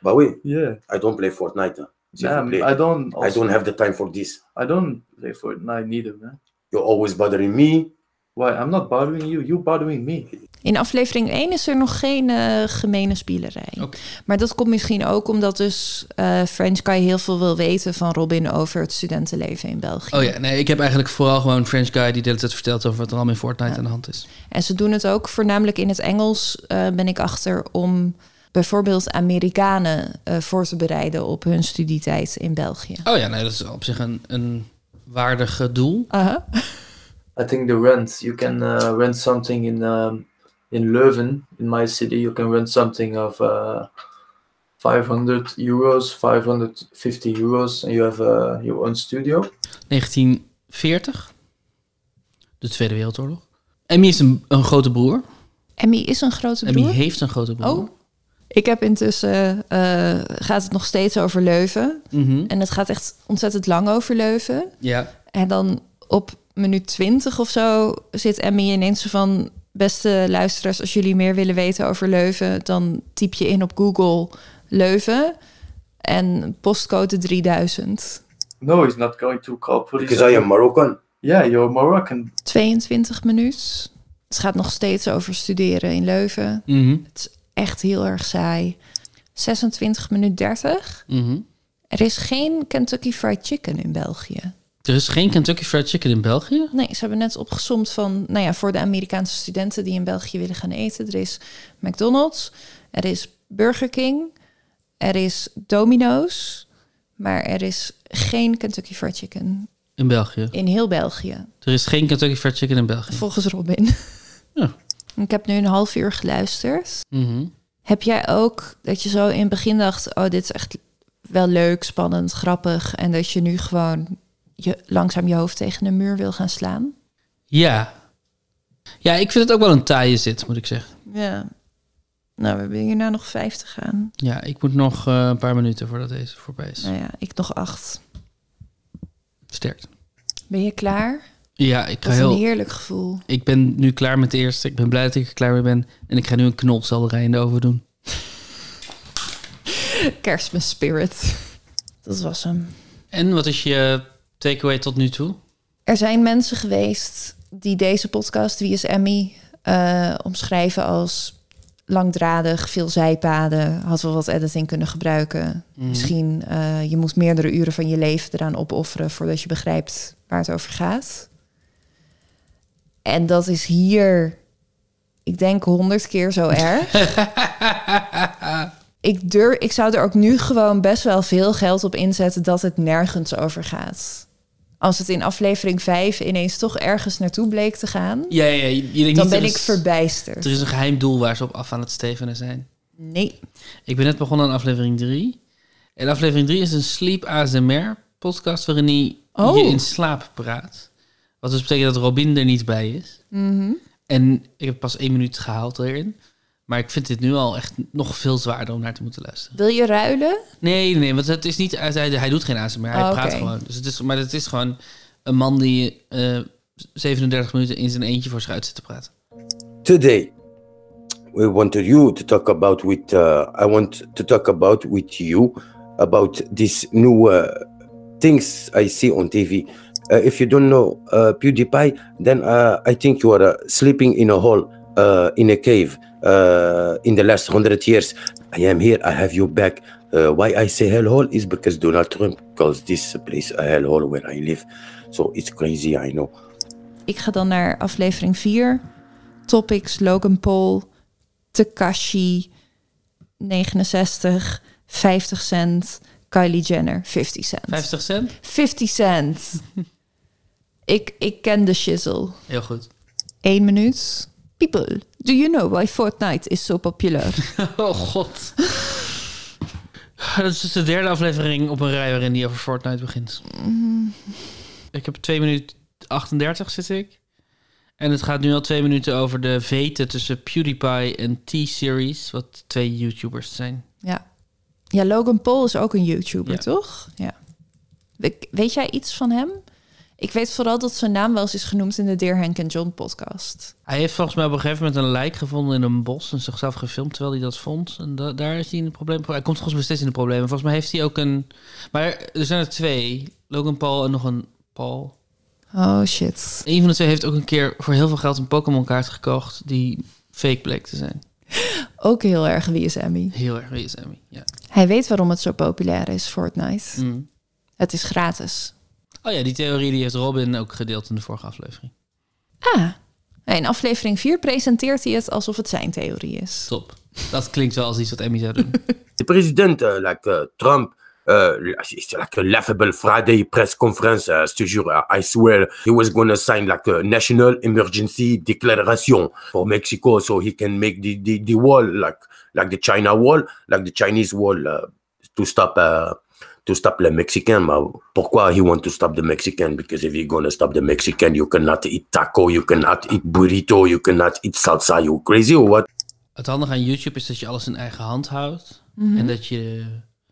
Speaker 24: Bah oui.
Speaker 6: Yeah.
Speaker 24: I don't play Fortnite. Hein? S'il
Speaker 6: Yeah,
Speaker 24: vous plaît.
Speaker 6: I don't
Speaker 24: I
Speaker 6: also.
Speaker 24: don't have the time for this.
Speaker 6: I don't play Fortnite neither, man.
Speaker 24: You're always bothering me.
Speaker 6: Why? I'm not bothering you. You're bothering me.
Speaker 9: In aflevering 1 is er nog geen eh gemene spielerij. Maar dat komt misschien ook omdat dus eh French Guy heel veel wil weten van Robin over het studentenleven in België.
Speaker 1: Oh ja, nee, ik heb eigenlijk vooral gewoon French Guy... die de hele tijd vertelt over wat er allemaal in Fortnite aan de hand is.
Speaker 9: En ze doen het ook voornamelijk in het Engels, eh, ben ik achter, om bijvoorbeeld Amerikanen eh, voor te bereiden op hun studietijd in België.
Speaker 1: Oh ja, nee, dat is op zich een, een waardig eh, doel.
Speaker 9: Aha.
Speaker 6: I think the rent. You can uh, rent something in um, in Leuven, in my city. You can rent something of uh, 500 euros, 550 euros, and you have uh, your own studio.
Speaker 1: 1940. De Tweede Wereldoorlog. Emmy is een, een grote broer.
Speaker 9: Emmy is een grote broer.
Speaker 1: Emmy heeft een grote broer.
Speaker 9: Oh. Ik heb intussen, eh, gaat het nog steeds over Leuven.
Speaker 1: Mhm.
Speaker 9: En het gaat echt ontzettend lang over Leuven.
Speaker 1: Ja.
Speaker 9: En dan op minuut 20 of zo zit Emmy ineens zo van... Beste luisteraars, als jullie meer willen weten over Leuven... dan typ je in op Google Leuven en postcode 3000.
Speaker 6: No, he's not going to call police.
Speaker 24: Because I am Moroccan.
Speaker 6: Yeah, you're Moroccan.
Speaker 9: 22 minuut. Het gaat nog steeds over studeren in Leuven.
Speaker 1: Mhm.
Speaker 9: Het is echt heel erg saai. 26 minuut 30.
Speaker 1: Mhm.
Speaker 9: Er is geen Kentucky Fried Chicken in België.
Speaker 1: Er is geen Kentucky Fried Chicken in België.
Speaker 9: Nee, ze hebben net opgezomd van, nou ja, voor de Amerikaanse studenten die in België willen gaan eten. Er is McDonald's, er is Burger King, er is Domino's, maar er is geen Kentucky Fried Chicken
Speaker 1: In België.
Speaker 9: in heel België,
Speaker 1: Er is geen Kentucky Fried Chicken in België.
Speaker 9: volgens Robin. Ik heb nu een half uur geluisterd.
Speaker 1: Mhm.
Speaker 9: Heb jij ook dat je zo in het begin dacht, oh, dit is echt wel leuk, spannend, grappig, en dat je nu gewoon je, langzaam je hoofd tegen de muur wil gaan slaan?
Speaker 1: Ja. Ja, ik vind het ook wel een taaie zit, moet ik zeggen.
Speaker 9: Ja. Nou, we hebben hierna nog vijf te gaan.
Speaker 1: Ja, ik moet nog eh, een paar minuten voordat deze voorbij is.
Speaker 9: Nou ja, ik nog acht.
Speaker 1: Sterkt.
Speaker 9: Ben je klaar?
Speaker 1: Ja, ik ga
Speaker 9: Wat
Speaker 1: heel...
Speaker 9: een heerlijk gevoel.
Speaker 1: Ik ben nu klaar met de eerste. Ik ben blij dat ik er klaar mee ben. En ik ga nu een knolselderij in de oven doen.
Speaker 9: Kerstmis spirit. Dat was hem.
Speaker 1: En wat is je takeaway tot nu toe?
Speaker 9: Er zijn mensen geweest die deze podcast, Wie is Emmy, eh, omschrijven als langdradig, veel zijpaden, had wel wat editing kunnen gebruiken.
Speaker 18: Mhm.
Speaker 9: Misschien eh, je moet meerdere uren van je leven eraan opofferen voordat je begrijpt waar het over gaat. En dat is hier, ik denk, honderd keer zo erg. ik, durf, ik zou er ook nu gewoon best wel veel geld op inzetten dat het nergens over gaat. Als het in aflevering 5 ineens toch ergens naartoe bleek te gaan,
Speaker 1: Ja, ja, je, je denkt
Speaker 9: dan
Speaker 1: niet,
Speaker 9: ben
Speaker 1: er
Speaker 9: ik
Speaker 1: is-
Speaker 9: verbijsterd.
Speaker 1: Er is een geheim doel waar ze op af aan het stevenen zijn.
Speaker 9: Nee.
Speaker 1: Ik ben net begonnen aan aflevering 3. En aflevering 3 is een sleep ASMR podcast waarin hij
Speaker 9: Oh.
Speaker 1: je in slaap praat. Wat dus betekent dat Robin er niet bij is.
Speaker 9: Mhm.
Speaker 1: En ik heb pas één minuut gehaald erin. Maar ik vind dit nu al echt nog veel zwaarder om naar te moeten luisteren.
Speaker 9: Wil je ruilen?
Speaker 1: Nee, nee, want het is niet, hij, hij doet geen ASMR, hij
Speaker 9: Oh,
Speaker 1: praat
Speaker 9: oké.
Speaker 1: gewoon. Dus het is, maar het is gewoon een man die eh 37 minuten in zijn eentje voor zich uit zit te praten.
Speaker 24: Today, we wanted you to talk about with. Uh, I want to talk about with you about these new uh, things I see on TV. Uh, if you don't know uh, PewDiePie, then uh, I think you are uh, sleeping in a hole, uh, in a cave, uh, in the last hundred years. I am here. I have you back. Uh, why I say hellhole is because Donald Trump calls this place a hellhole where I live. So it's crazy, I know.
Speaker 9: Ik ga dan naar aflevering 4. Topics, Logan Paul, Takashi, 69, 50 cent, Kylie Jenner, 50 cent.
Speaker 1: 50 cent?
Speaker 9: 50 cent. ik, ik ken de shizzle.
Speaker 1: Heel goed.
Speaker 9: Eén minuut. People, do you know why Fortnite is so popular?
Speaker 1: Oh god. Dat is dus de derde aflevering op een rij waarin die over Fortnite begint.
Speaker 9: Mm.
Speaker 1: Ik heb 2 minuten 38 zit ik. En het gaat nu al twee minuten over de veten tussen PewDiePie en T-Series, wat twee YouTubers zijn.
Speaker 9: ja. ja, Logan Paul is ook een YouTuber,
Speaker 1: Ja.
Speaker 9: toch? Ja. We- weet jij iets van hem? Ik weet vooral dat zijn naam wel eens is genoemd in de Dear Henk en John podcast.
Speaker 1: Hij heeft volgens mij op een gegeven moment een lijk gevonden in een bos en zichzelf gefilmd terwijl hij dat vond. En da- daar is hij in de problemen. voor. Hij komt volgens mij steeds in de problemen. Volgens mij heeft hij ook een. Maar er zijn er twee: Logan Paul en nog een Paul.
Speaker 9: Oh shit.
Speaker 1: Een van de twee heeft ook een keer voor heel veel geld een Pokémon kaart gekocht die fake bleek te zijn.
Speaker 9: Ook heel erg wie is Emmy.
Speaker 1: Heel erg wees, Emmy. Ja.
Speaker 9: Hij weet waarom het zo populair is, Fortnite.
Speaker 1: Mm.
Speaker 9: Het is gratis.
Speaker 1: Oh ja, die theorie die heeft Robin ook gedeeld in de vorige aflevering.
Speaker 9: Ah, in aflevering 4 presenteert hij het alsof het zijn theorie is.
Speaker 1: Top. Dat klinkt wel als iets wat Emmy zou doen.
Speaker 24: The president, uh, like uh, Trump, uh, it's like a laughable Friday press conference. Uh, je te jure, uh, I swear he was gonna sign like a national emergency declaration for Mexico so he can make the, the, the wall like like the China wall, like the Chinese wall uh, to stop uh, to stop the Mexican. Uh, pourquoi he want to stop the Mexican? Because if you're gonna stop the Mexican, you cannot eat taco, you cannot eat burrito, you cannot eat salsa. You crazy or what?
Speaker 1: Het handige aan YouTube is dat je alles in eigen hand houdt.
Speaker 9: Mhm.
Speaker 1: En dat je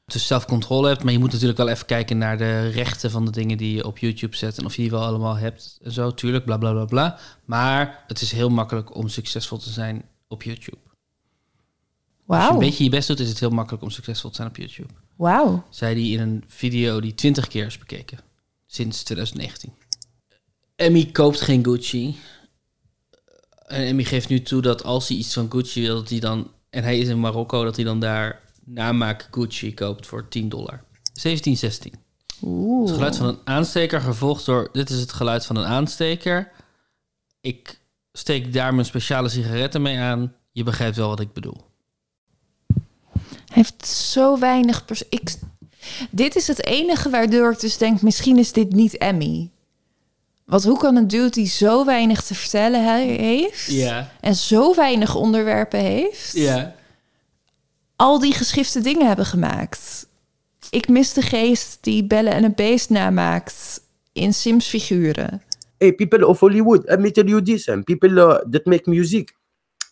Speaker 1: dus zelf controle hebt. Maar je moet natuurlijk wel even kijken naar de rechten van de dingen die je op YouTube zet. En of je die wel allemaal hebt. En zo, tuurlijk, bla bla bla bla. Maar het is heel makkelijk om succesvol te zijn op YouTube. Als je
Speaker 9: Wauw.
Speaker 1: een beetje je best doet, is het heel makkelijk om succesvol te zijn op YouTube.
Speaker 9: Wauw.
Speaker 1: Zei die in een video die 20 keer is bekeken. Sinds 2019. Emmy koopt geen Gucci. En Emmy geeft nu toe dat als hij iets van Gucci wil, dat hij dan... En hij is in Marokko, dat hij dan daar namaak Gucci koopt voor 10 dollar. 17, 16.
Speaker 9: Oeh.
Speaker 1: Het geluid van een aansteker gevolgd door... Dit is het geluid van een aansteker. Ik steek daar mijn speciale sigaretten mee aan. Je begrijpt wel wat ik bedoel.
Speaker 9: Hij heeft zo weinig pers. Ik... Dit is het enige waardoor ik dus denk: misschien is dit niet Emmy. Want hoe kan een dude die zo weinig te vertellen he- heeft
Speaker 1: Ja.
Speaker 9: en zo weinig onderwerpen heeft,
Speaker 1: Ja.
Speaker 9: al die geschifte dingen hebben gemaakt? Ik mis de geest die bellen en een beest namaakt in Sims-figuren.
Speaker 24: hey people of hollywood let me tell you this and people uh, that make music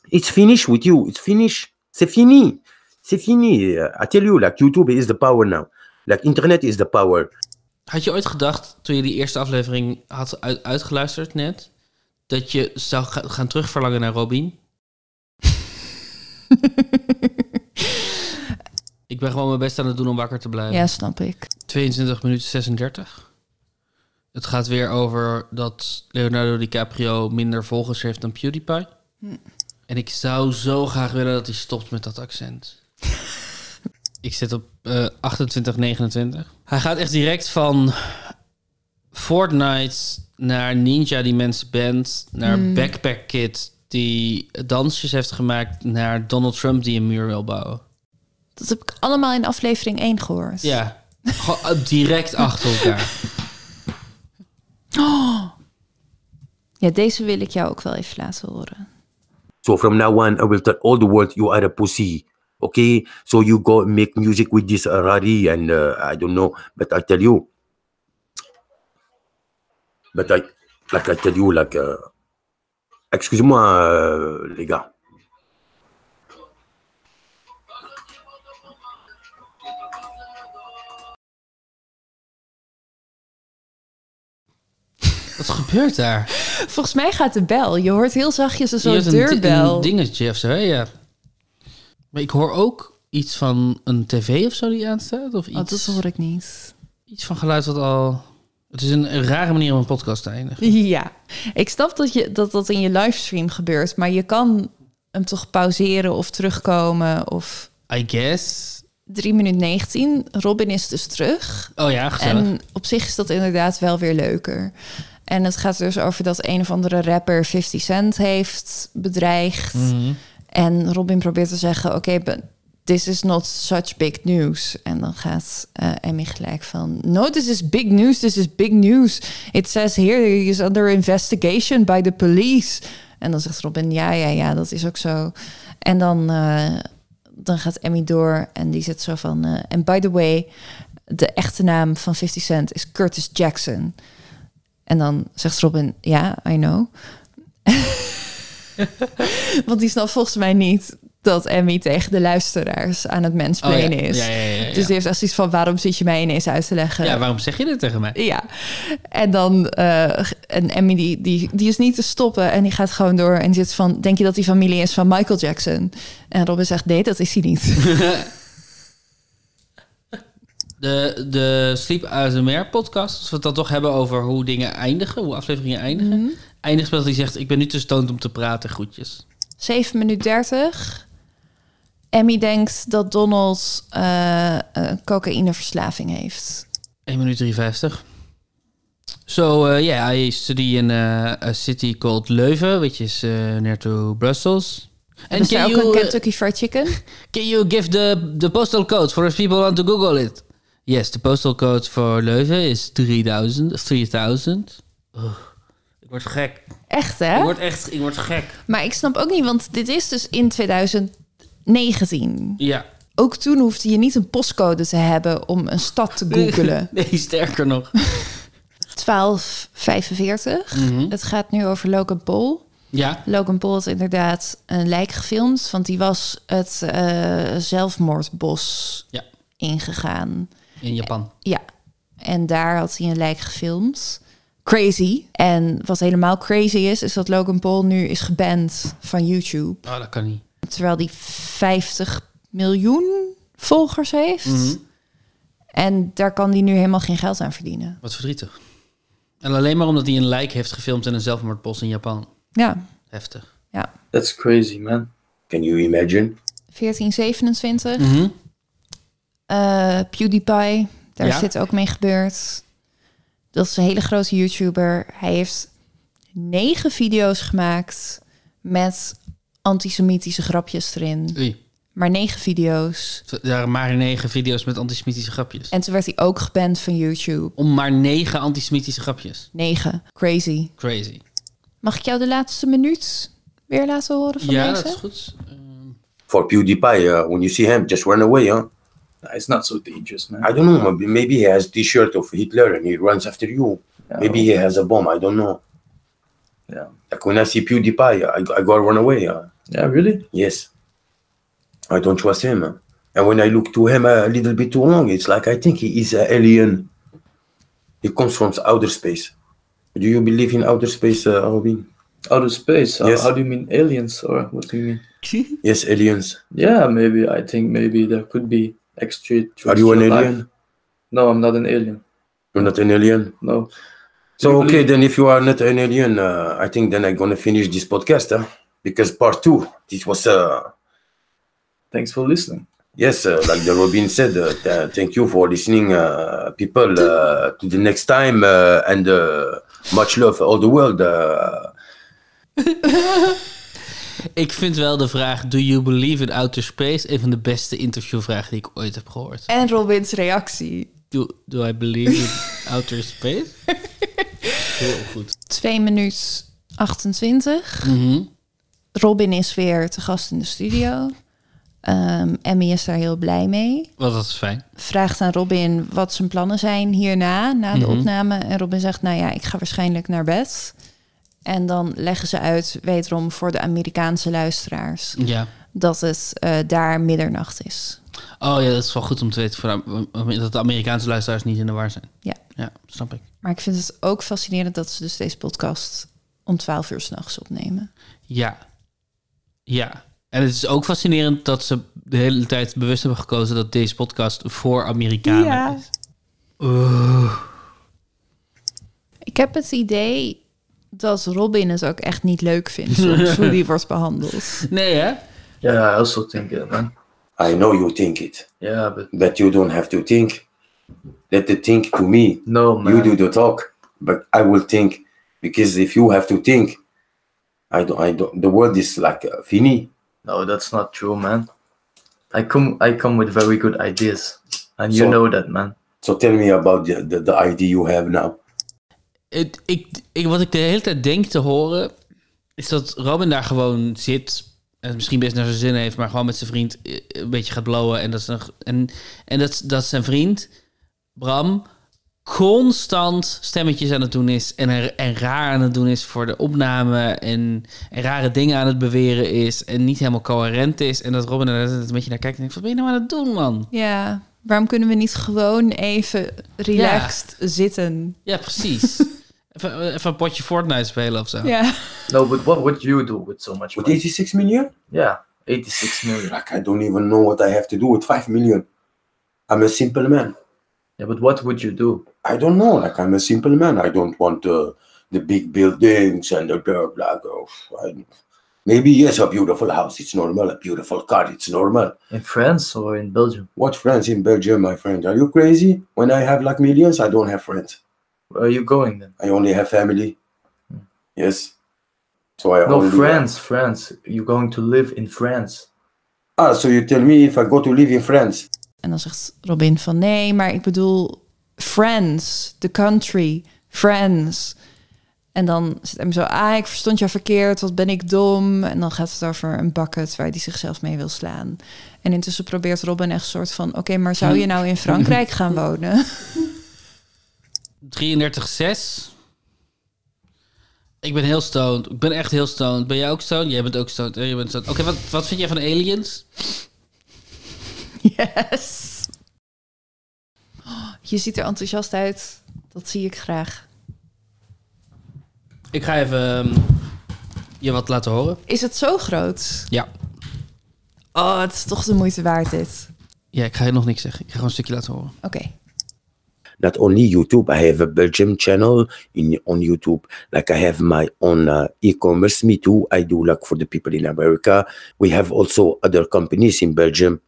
Speaker 24: it's finished with you it's finished c'est fini c'est fini Uh, i tell you like youtube is the power now like internet is the power
Speaker 1: Had je ooit gedacht, toen je die eerste aflevering had uit- uitgeluisterd net, dat je zou ga- gaan terugverlangen naar Robin? ik ben gewoon mijn best aan het doen om wakker te blijven.
Speaker 9: Ja, snap ik.
Speaker 1: 22 minuten 36. Het gaat weer over dat Leonardo DiCaprio minder volgers heeft dan PewDiePie.
Speaker 9: Hm.
Speaker 1: En ik zou zo graag willen dat hij stopt met dat accent. ik zit op eh 28, 29. Hij gaat echt direct van Fortnite naar Ninja die mensen bent, naar
Speaker 9: Hmm.
Speaker 1: Backpack Kid die dansjes heeft gemaakt, naar Donald Trump die een muur wil bouwen.
Speaker 9: Dat heb ik allemaal in aflevering 1 gehoord.
Speaker 1: Ja, gewoon eh, direct achter elkaar.
Speaker 9: Oh. Ja, deze wil ik jou ook wel even laten horen.
Speaker 24: so from now on i will tell all the world you are a pussy okay so you go make music with this uh, rari and uh, i don't know but i tell you but i like i tell you like uh, excuse-moi euh, les gars
Speaker 1: Wat gebeurt daar?
Speaker 9: Volgens mij gaat de bel. Je hoort heel zachtjes een
Speaker 1: Je
Speaker 9: soort
Speaker 1: hebt een di-
Speaker 9: deurbel.
Speaker 1: Een dingetje of zo, hè? ja. Maar ik hoor ook iets van een tv of zo die aanstaat. Of iets,
Speaker 9: Oh, dat hoor Ah, ik niet.
Speaker 1: iets van geluid wat al... Het is een rare manier om een podcast te eindigen.
Speaker 9: Ja, ik snap dat, je, dat dat in je livestream gebeurt, maar je kan hem toch pauzeren of terugkomen of...
Speaker 1: I guess.
Speaker 9: 3 minuut 19, Robin is dus terug.
Speaker 1: Oh ja, gezellig.
Speaker 9: En op zich is dat inderdaad wel weer leuker. En het gaat dus over dat een of andere rapper 50 Cent heeft bedreigd.
Speaker 1: Mhm.
Speaker 9: En Robin probeert te zeggen, oké, but this is not such big news. En dan gaat eh, Emmy gelijk van, no, this is big news, this is big news. It says here he is under investigation by the police. En dan zegt Robin, ja, ja, ja, dat is ook zo. En dan, eh, dan gaat Emmy door en die zit zo van, eh, and by the way, de echte naam van 50 Cent is Curtis Jackson. En dan zegt Robin, ja, I know. Want die snapt volgens mij niet dat Emmy tegen de luisteraars aan het
Speaker 1: Oh
Speaker 9: mensplenen
Speaker 1: ja,
Speaker 9: is.
Speaker 1: ja, ja, ja, ja.
Speaker 9: Dus die heeft echt zoiets van, waarom zit je mij ineens uit te leggen?
Speaker 1: Ja, waarom zeg je dit tegen mij?
Speaker 9: Ja. En dan, eh, en Emmy die, die, die is niet te stoppen en die gaat gewoon door en zit van, denk je dat die familie is van Michael Jackson? En Robin zegt, nee, dat is hij niet.
Speaker 1: De, de Sleep ASMR podcast, als we het dan toch hebben over hoe dingen eindigen, hoe afleveringen eindigen.
Speaker 9: Mhm.
Speaker 1: Eindigt met dat hij zegt, ik ben nu te stoned om te praten, groetjes.
Speaker 9: 7 minuut 30. Emmy denkt dat Donald eh, een cocaïneverslaving heeft.
Speaker 1: 1 minuut 53. So, uh, yeah, I study in uh, a city called Leuven, which is uh, near to Brussels.
Speaker 9: En is daar ook een Kentucky Fried Chicken?
Speaker 1: uh, Can you give the, the postal code for if people want to Google it? Yes, the postal code for Leuven is 3000. 3000. Ugh, ik word gek.
Speaker 9: Echt, hè?
Speaker 1: Ik word echt ik word gek.
Speaker 9: Maar ik snap ook niet, want dit is dus in 2019.
Speaker 1: Ja.
Speaker 9: Ook toen hoefde je niet een postcode te hebben om een stad te googelen.
Speaker 1: Nee, sterker nog.
Speaker 9: 1245.
Speaker 1: Mhm.
Speaker 9: Het gaat nu over Logan Paul.
Speaker 1: Ja.
Speaker 9: Logan Paul had inderdaad een lijk gefilmd, want die was het eh, zelfmoordbos
Speaker 1: Ja.
Speaker 9: ingegaan.
Speaker 1: In Japan.
Speaker 9: Ja, en daar had hij een lijk gefilmd. Crazy. En wat helemaal crazy is, is dat Logan Paul nu is geband van YouTube.
Speaker 1: Oh, dat kan niet.
Speaker 9: Terwijl die 50 miljoen volgers heeft.
Speaker 1: Mhm.
Speaker 9: En daar kan die nu helemaal geen geld aan verdienen.
Speaker 1: Wat verdrietig. En alleen maar omdat hij een lijk heeft gefilmd in een zelfmoordbos in Japan.
Speaker 9: Ja.
Speaker 1: Heftig.
Speaker 9: Ja.
Speaker 6: That's crazy, man. Can you imagine?
Speaker 9: 1427.
Speaker 1: Mhm.
Speaker 9: Eh, PewDiePie, daar
Speaker 6: Ja.
Speaker 9: is dit ook mee gebeurd. Dat is een hele grote YouTuber. Hij heeft negen video's gemaakt met antisemitische grapjes erin.
Speaker 1: Oei.
Speaker 9: Maar negen video's.
Speaker 1: Er waren maar negen video's met antisemitische grapjes.
Speaker 9: En toen werd hij ook geband van YouTube.
Speaker 1: Om maar negen antisemitische grapjes.
Speaker 9: Negen. Crazy.
Speaker 1: Crazy.
Speaker 9: Mag ik jou de laatste minuut weer laten horen van
Speaker 1: Ja,
Speaker 9: deze?
Speaker 1: dat is goed.
Speaker 24: For PewDiePie, uh, when you see him, just run away, huh? It's not so dangerous, man. I don't know. Maybe maybe he has T-shirt of Hitler and he runs after you. Maybe he has a bomb. I don't know. Yeah. Like when I see PewDiePie, I, I gotta run away. uh.
Speaker 6: Yeah, really?
Speaker 24: Yes. I don't trust him. And when I look to him a little bit too long, it's like I think he is an alien. He comes from outer space. Do you believe in outer space, uh, Robin?
Speaker 6: Outer space? How-
Speaker 24: Yes.
Speaker 6: How do you mean aliens or what do you mean?
Speaker 24: Yes, aliens.
Speaker 6: Yeah, maybe. I think maybe there could be extraterrestrial
Speaker 24: Are you an
Speaker 6: life.
Speaker 24: alien?
Speaker 6: No, I'm not an alien.
Speaker 24: You're not an alien?
Speaker 6: No.
Speaker 24: So, okay, then if you are not an alien, uh, I think then I'm going to finish this podcast huh? because part two, this was. Uh,
Speaker 6: Thanks for listening.
Speaker 24: Yes, uh, like the Robin said, uh, th- thank you for listening, uh, people. Uh, to the next time, uh, and uh, much love all the world. Uh,
Speaker 1: Ik vind wel de vraag: Do you believe in outer space? Een van de beste interviewvragen die ik ooit heb gehoord.
Speaker 9: En Robins reactie.
Speaker 1: Do, do I believe in outer space? Heel goed.
Speaker 9: 2 minuut 28.
Speaker 1: Mhm.
Speaker 9: Robin is weer te gast in de studio. Ehm, Emmy is daar heel blij mee.
Speaker 1: Wel, dat is fijn.
Speaker 9: Vraagt aan Robin wat zijn plannen zijn hierna, na de
Speaker 1: Mhm.
Speaker 9: opname. En Robin zegt, nou ja, ik ga waarschijnlijk naar bed. En dan leggen ze uit, wederom voor de Amerikaanse luisteraars...
Speaker 1: Ja.
Speaker 9: dat het eh, daar middernacht is.
Speaker 1: Oh ja, dat is wel goed om te weten voor de- dat de Amerikaanse luisteraars niet in de war zijn.
Speaker 9: Ja.
Speaker 1: Ja, snap ik.
Speaker 9: Maar ik vind het ook fascinerend dat ze dus deze podcast... om 12 uur s'nachts opnemen.
Speaker 1: Ja. Ja. En het is ook fascinerend dat ze de hele tijd bewust hebben gekozen dat deze podcast voor Amerikanen is.
Speaker 9: heb het idee dat Robin het ook echt niet leuk vindt soms, hoe die wordt behandeld.
Speaker 1: Nee, hè?
Speaker 6: Yeah, I also think it, man.
Speaker 7: I know you think it,
Speaker 6: Yeah, but
Speaker 7: but you don't have to think. Let the think to me.
Speaker 6: No,
Speaker 7: You do the talk, but I will think because if you have to think, I don't. I don't. The world is like uh, fini.
Speaker 6: no, that's not true, man. I come, I come with very good ideas, and you
Speaker 7: So-
Speaker 6: know that, man.
Speaker 7: So tell me about the, the, the idea you have now.
Speaker 1: Het- ik, ik, wat ik de hele tijd denk te horen, is dat Robin daar gewoon zit. En het misschien best naar zijn zin heeft, maar gewoon met zijn vriend eh, een beetje gaat blowen. En dat, zijn, en, en dat, dat zijn vriend, Bram, constant stemmetjes aan het doen is. En, er- en raar aan het doen is voor de opname. En, en rare dingen aan het beweren is. En niet helemaal coherent is. En dat Robin er net een beetje naar kijkt en denkt: wat ben je nou aan het doen, man?
Speaker 9: Ja, waarom kunnen we niet gewoon even relaxed zitten?
Speaker 1: Ja, precies. even, even een potje Fortnite spelen of zo.
Speaker 9: Ja.
Speaker 6: No, but what would you do with so much
Speaker 7: With 86 million?
Speaker 6: Yeah, 86 million.
Speaker 7: Like I don't even know what I have to do with 5 million. I'm a simple man.
Speaker 6: Yeah, but what would you do?
Speaker 7: I don't know. Like I'm a simple man. I don't want uh, the big buildings and the blah blah. blah. I- Maybe yes, a beautiful house. It's normal. A beautiful car. It's normal.
Speaker 6: In France or in Belgium?
Speaker 7: What France? In Belgium, my friend. Are you crazy? When I have like millions, I don't have friends.
Speaker 6: Where are you going then? Hmm.
Speaker 7: I only have family. Yes. So I
Speaker 6: No,
Speaker 7: only
Speaker 6: France, France. You're going to live in France.
Speaker 7: Ah, so you tell me if I go to live in France?
Speaker 9: En dan zegt Robin van nee, maar ik bedoel friends, the country, friends. En dan zit hem zo, ah, ik verstond jou verkeerd, wat ben ik dom. En dan gaat het over een bucket waar hij zichzelf mee wil slaan. En intussen probeert Robin echt soort van, oké, maar zou je nou in Frankrijk gaan wonen?
Speaker 1: 33,6. Ik ben heel stoned. Ik ben echt heel stoned. Ben jij ook stoned? Jij bent ook stoned. Eh, jij bent stoned. Oké, wat, wat vind jij van aliens?
Speaker 9: Yes. Oh, je ziet er enthousiast uit, dat zie ik graag.
Speaker 1: Ik ga even ehm, je wat laten horen.
Speaker 9: Is het zo groot?
Speaker 1: Ja.
Speaker 9: Oh, het is toch de moeite waard dit.
Speaker 1: Ja, ik ga je nog niks zeggen. Ik ga gewoon een stukje laten horen.
Speaker 9: Oké.
Speaker 7: Not only YouTube. I have a Belgium channel in on YouTube. Like I have my own uh, e-commerce. Me too. I do like for the people in America. We have also other companies in Belgium.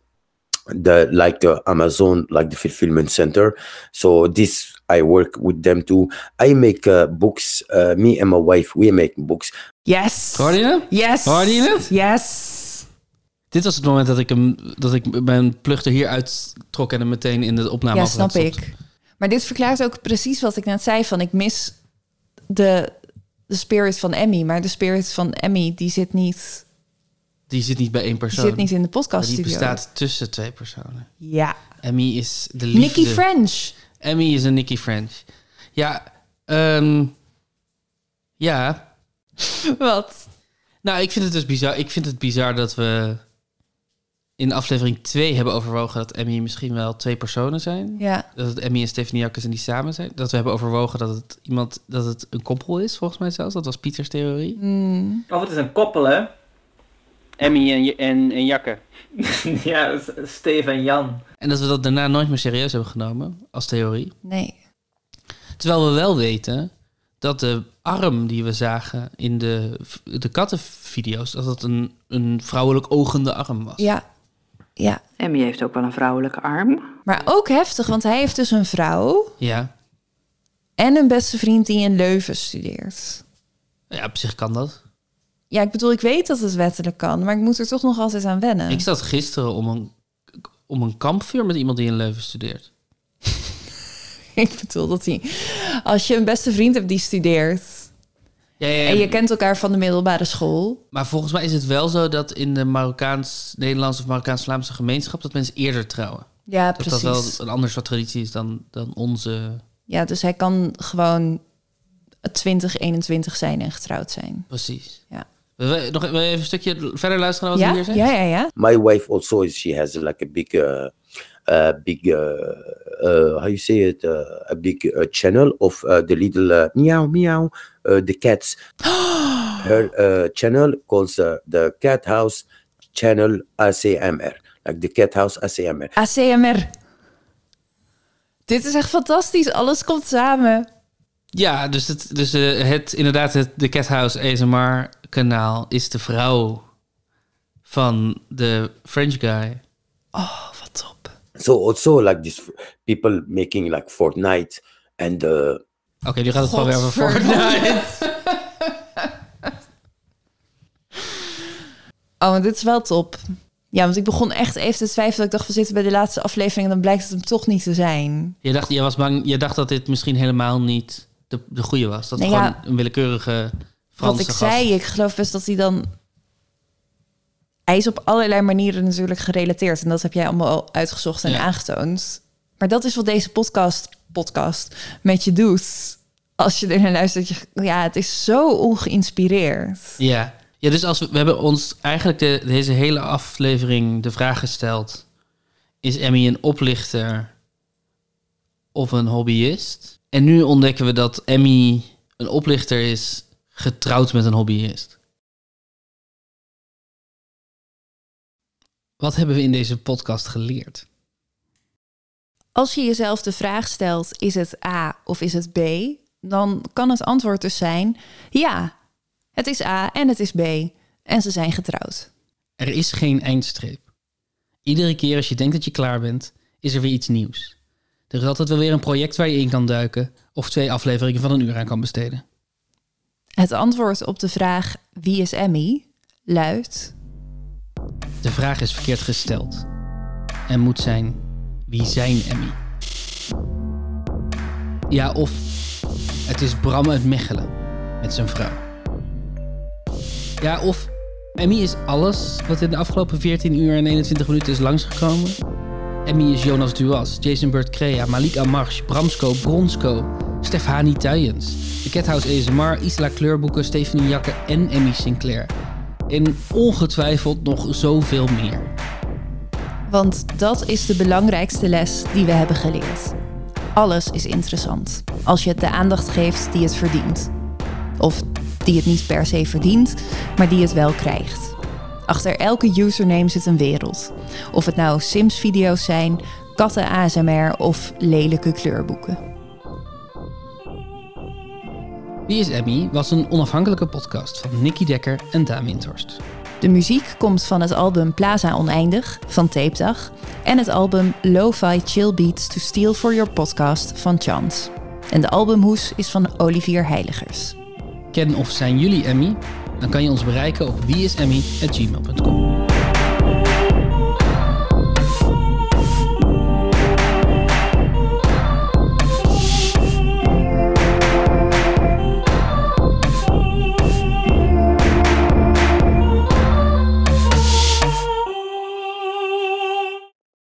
Speaker 7: the like uh, Amazon, like the fulfillment center. So this I work with them too. I make uh, books. Uh, me and my wife, we make books.
Speaker 9: Yes.
Speaker 1: Hoorde je het?
Speaker 9: Yes.
Speaker 1: Hoorde je het?
Speaker 9: Yes.
Speaker 1: Dit was het moment dat ik, hem, dat ik mijn plug er hier uittrok en hem meteen in de opname
Speaker 9: ja,
Speaker 1: had
Speaker 9: snap
Speaker 1: gestopt.
Speaker 9: ik. Maar dit verklaart ook precies wat ik net zei van ik mis de, de spirit van Emmy, maar de spirit van Emmy die zit niet.
Speaker 1: Die zit niet bij één persoon.
Speaker 9: zit niet in de
Speaker 1: Die
Speaker 9: podcaststudio.
Speaker 1: bestaat tussen twee personen.
Speaker 9: Ja.
Speaker 1: Emmy is de liefde.
Speaker 9: Nicky French.
Speaker 1: Emmy is een Nicky French. Ja, ehm, ja.
Speaker 9: Wat?
Speaker 1: Nou, ik vind het dus bizar. Ik vind het bizar dat we in aflevering 2 hebben overwogen dat Emmy misschien wel twee personen zijn.
Speaker 9: Ja.
Speaker 1: Dat het Emmy en Stephanie Jakkes en die samen zijn. Dat we hebben overwogen dat het iemand dat het een koppel is, volgens mij zelfs. Dat was Pieters theorie.
Speaker 20: Of het is een koppel, hè?
Speaker 2: Emmy en, en, en Jakke.
Speaker 20: ja, S- Steve en Jan.
Speaker 1: En dat we dat daarna nooit meer serieus hebben genomen als theorie.
Speaker 9: Nee.
Speaker 1: Terwijl we wel weten dat de arm die we zagen in de, de kattenvideo's, dat dat een, een vrouwelijk ogende arm was.
Speaker 9: Ja. Ja.
Speaker 15: Emmy heeft ook wel een vrouwelijke arm.
Speaker 9: Maar ook heftig, want hij heeft dus een vrouw
Speaker 1: Ja.
Speaker 9: en een beste vriend die in Leuven studeert.
Speaker 1: Ja, op zich kan dat.
Speaker 9: Ja, ik bedoel, ik weet dat het wettelijk kan, maar ik moet er toch nog altijd aan wennen.
Speaker 1: Ik zat gisteren om een, om een kampvuur met iemand die in Leuven studeert.
Speaker 9: Ik bedoel dat hij. Als je een beste vriend hebt die studeert.
Speaker 1: Ja, ja, ja.
Speaker 9: En je kent elkaar van de middelbare school.
Speaker 1: Maar volgens mij is het wel zo dat in de Marokkaans-Nederlandse of Marokkaans-Vlaamse gemeenschap dat mensen eerder trouwen.
Speaker 9: Ja,
Speaker 1: dat dat
Speaker 9: precies.
Speaker 1: wel een ander soort traditie is dan, dan onze.
Speaker 9: Ja, dus hij kan gewoon 20, 21 zijn en getrouwd zijn.
Speaker 1: Precies.
Speaker 9: Ja.
Speaker 1: Wil je nog wil je even een stukje verder luisteren naar wat
Speaker 9: Ja,
Speaker 1: hij hier zegt?
Speaker 9: ja, ja, ja.
Speaker 7: My wife also is she has like a big, uh, uh, big, uh, uh, how you say it, uh, a big uh, channel of uh, the little uh, meow meow, uh, the cats. Her uh, channel calls uh, the Cat House Channel ACMR, like the Cat House ACMR.
Speaker 9: ACMR. Dit is echt fantastisch. Alles komt samen.
Speaker 1: Ja, dus, het, dus eh, het, inderdaad, het, de Cat House ASMR-kanaal is de vrouw van de French guy. Oh,
Speaker 7: So also like this f- people making like Fortnite and uh,
Speaker 1: Oké, nu gaat het gewoon weer over Fortnite.
Speaker 9: Oh, maar dit is wel top. Ja, want ik begon echt even te twijfelen. Ik dacht, we zitten bij de laatste aflevering en dan blijkt het hem toch niet te zijn.
Speaker 1: Je dacht, je was bang, je dacht dat dit misschien helemaal niet de, de goede was. Dat het
Speaker 9: Nou ja,
Speaker 1: gewoon een willekeurige Franse
Speaker 9: Wat ik
Speaker 1: gast...
Speaker 9: zei, ik geloof best dat hij dan... Hij is op allerlei manieren natuurlijk gerelateerd. En dat heb jij allemaal al uitgezocht en
Speaker 1: Ja.
Speaker 9: aangetoond. Maar dat is wat deze podcast, podcast met je doet. Als je er naar luistert. Je, ja, het is zo ongeïnspireerd.
Speaker 1: Ja. ja, dus als we, we hebben ons eigenlijk de, deze hele aflevering de vraag gesteld... is Emmy een oplichter of een hobbyist? En nu ontdekken we dat Emmy een oplichter is getrouwd met een hobbyist. Wat hebben we in deze podcast geleerd?
Speaker 9: Als je jezelf de vraag stelt, is het A of is het B? Dan kan het antwoord dus zijn, ja, het is A en het is B. En ze zijn getrouwd.
Speaker 1: Er is geen eindstreep. Iedere keer als je denkt dat je klaar bent, is er weer iets nieuws. Er is altijd wel weer een project waar je in kan duiken of twee afleveringen van een uur aan kan besteden.
Speaker 9: Het antwoord op de vraag, wie is Emmy? Luidt,
Speaker 1: De vraag is verkeerd gesteld en moet zijn: wie zijn Emmy? Ja, of het is Bram uit Mechelen met zijn vrouw. Ja, of Emmy is alles wat in de afgelopen 14 uur en 21 minuten is langsgekomen. Emmy is Jonas Duas, Jason Burt Crea, Malik Amarche, Bramsco, Bronsco, Stefanie Tuijens, de Cathouse ASMR, Isla Kleurboeken, Stephanie Jakke en Emmy Sinclair. En ongetwijfeld nog zoveel meer.
Speaker 9: want dat is de belangrijkste les die we hebben geleerd. Alles is interessant, als je het de aandacht geeft die het verdient. Of die het niet per se verdient, maar die het wel krijgt. Achter elke username zit een wereld. Of het nou Sims-video's zijn, katten ASMR of lelijke kleurboeken.
Speaker 1: Wie is Emmy was een onafhankelijke podcast van Nicky Dekker en Daan Windhorst.
Speaker 9: De muziek komt van het album Plaza Oneindig van Tapedag en het album Lo-Fi Chill Beats to Steal for Your Podcast van Chance. En de albumhoes is van Olivier Heiligers.
Speaker 1: Ken of zijn jullie Emmy? Dan kan je ons bereiken op wieisemmy.gmail.com.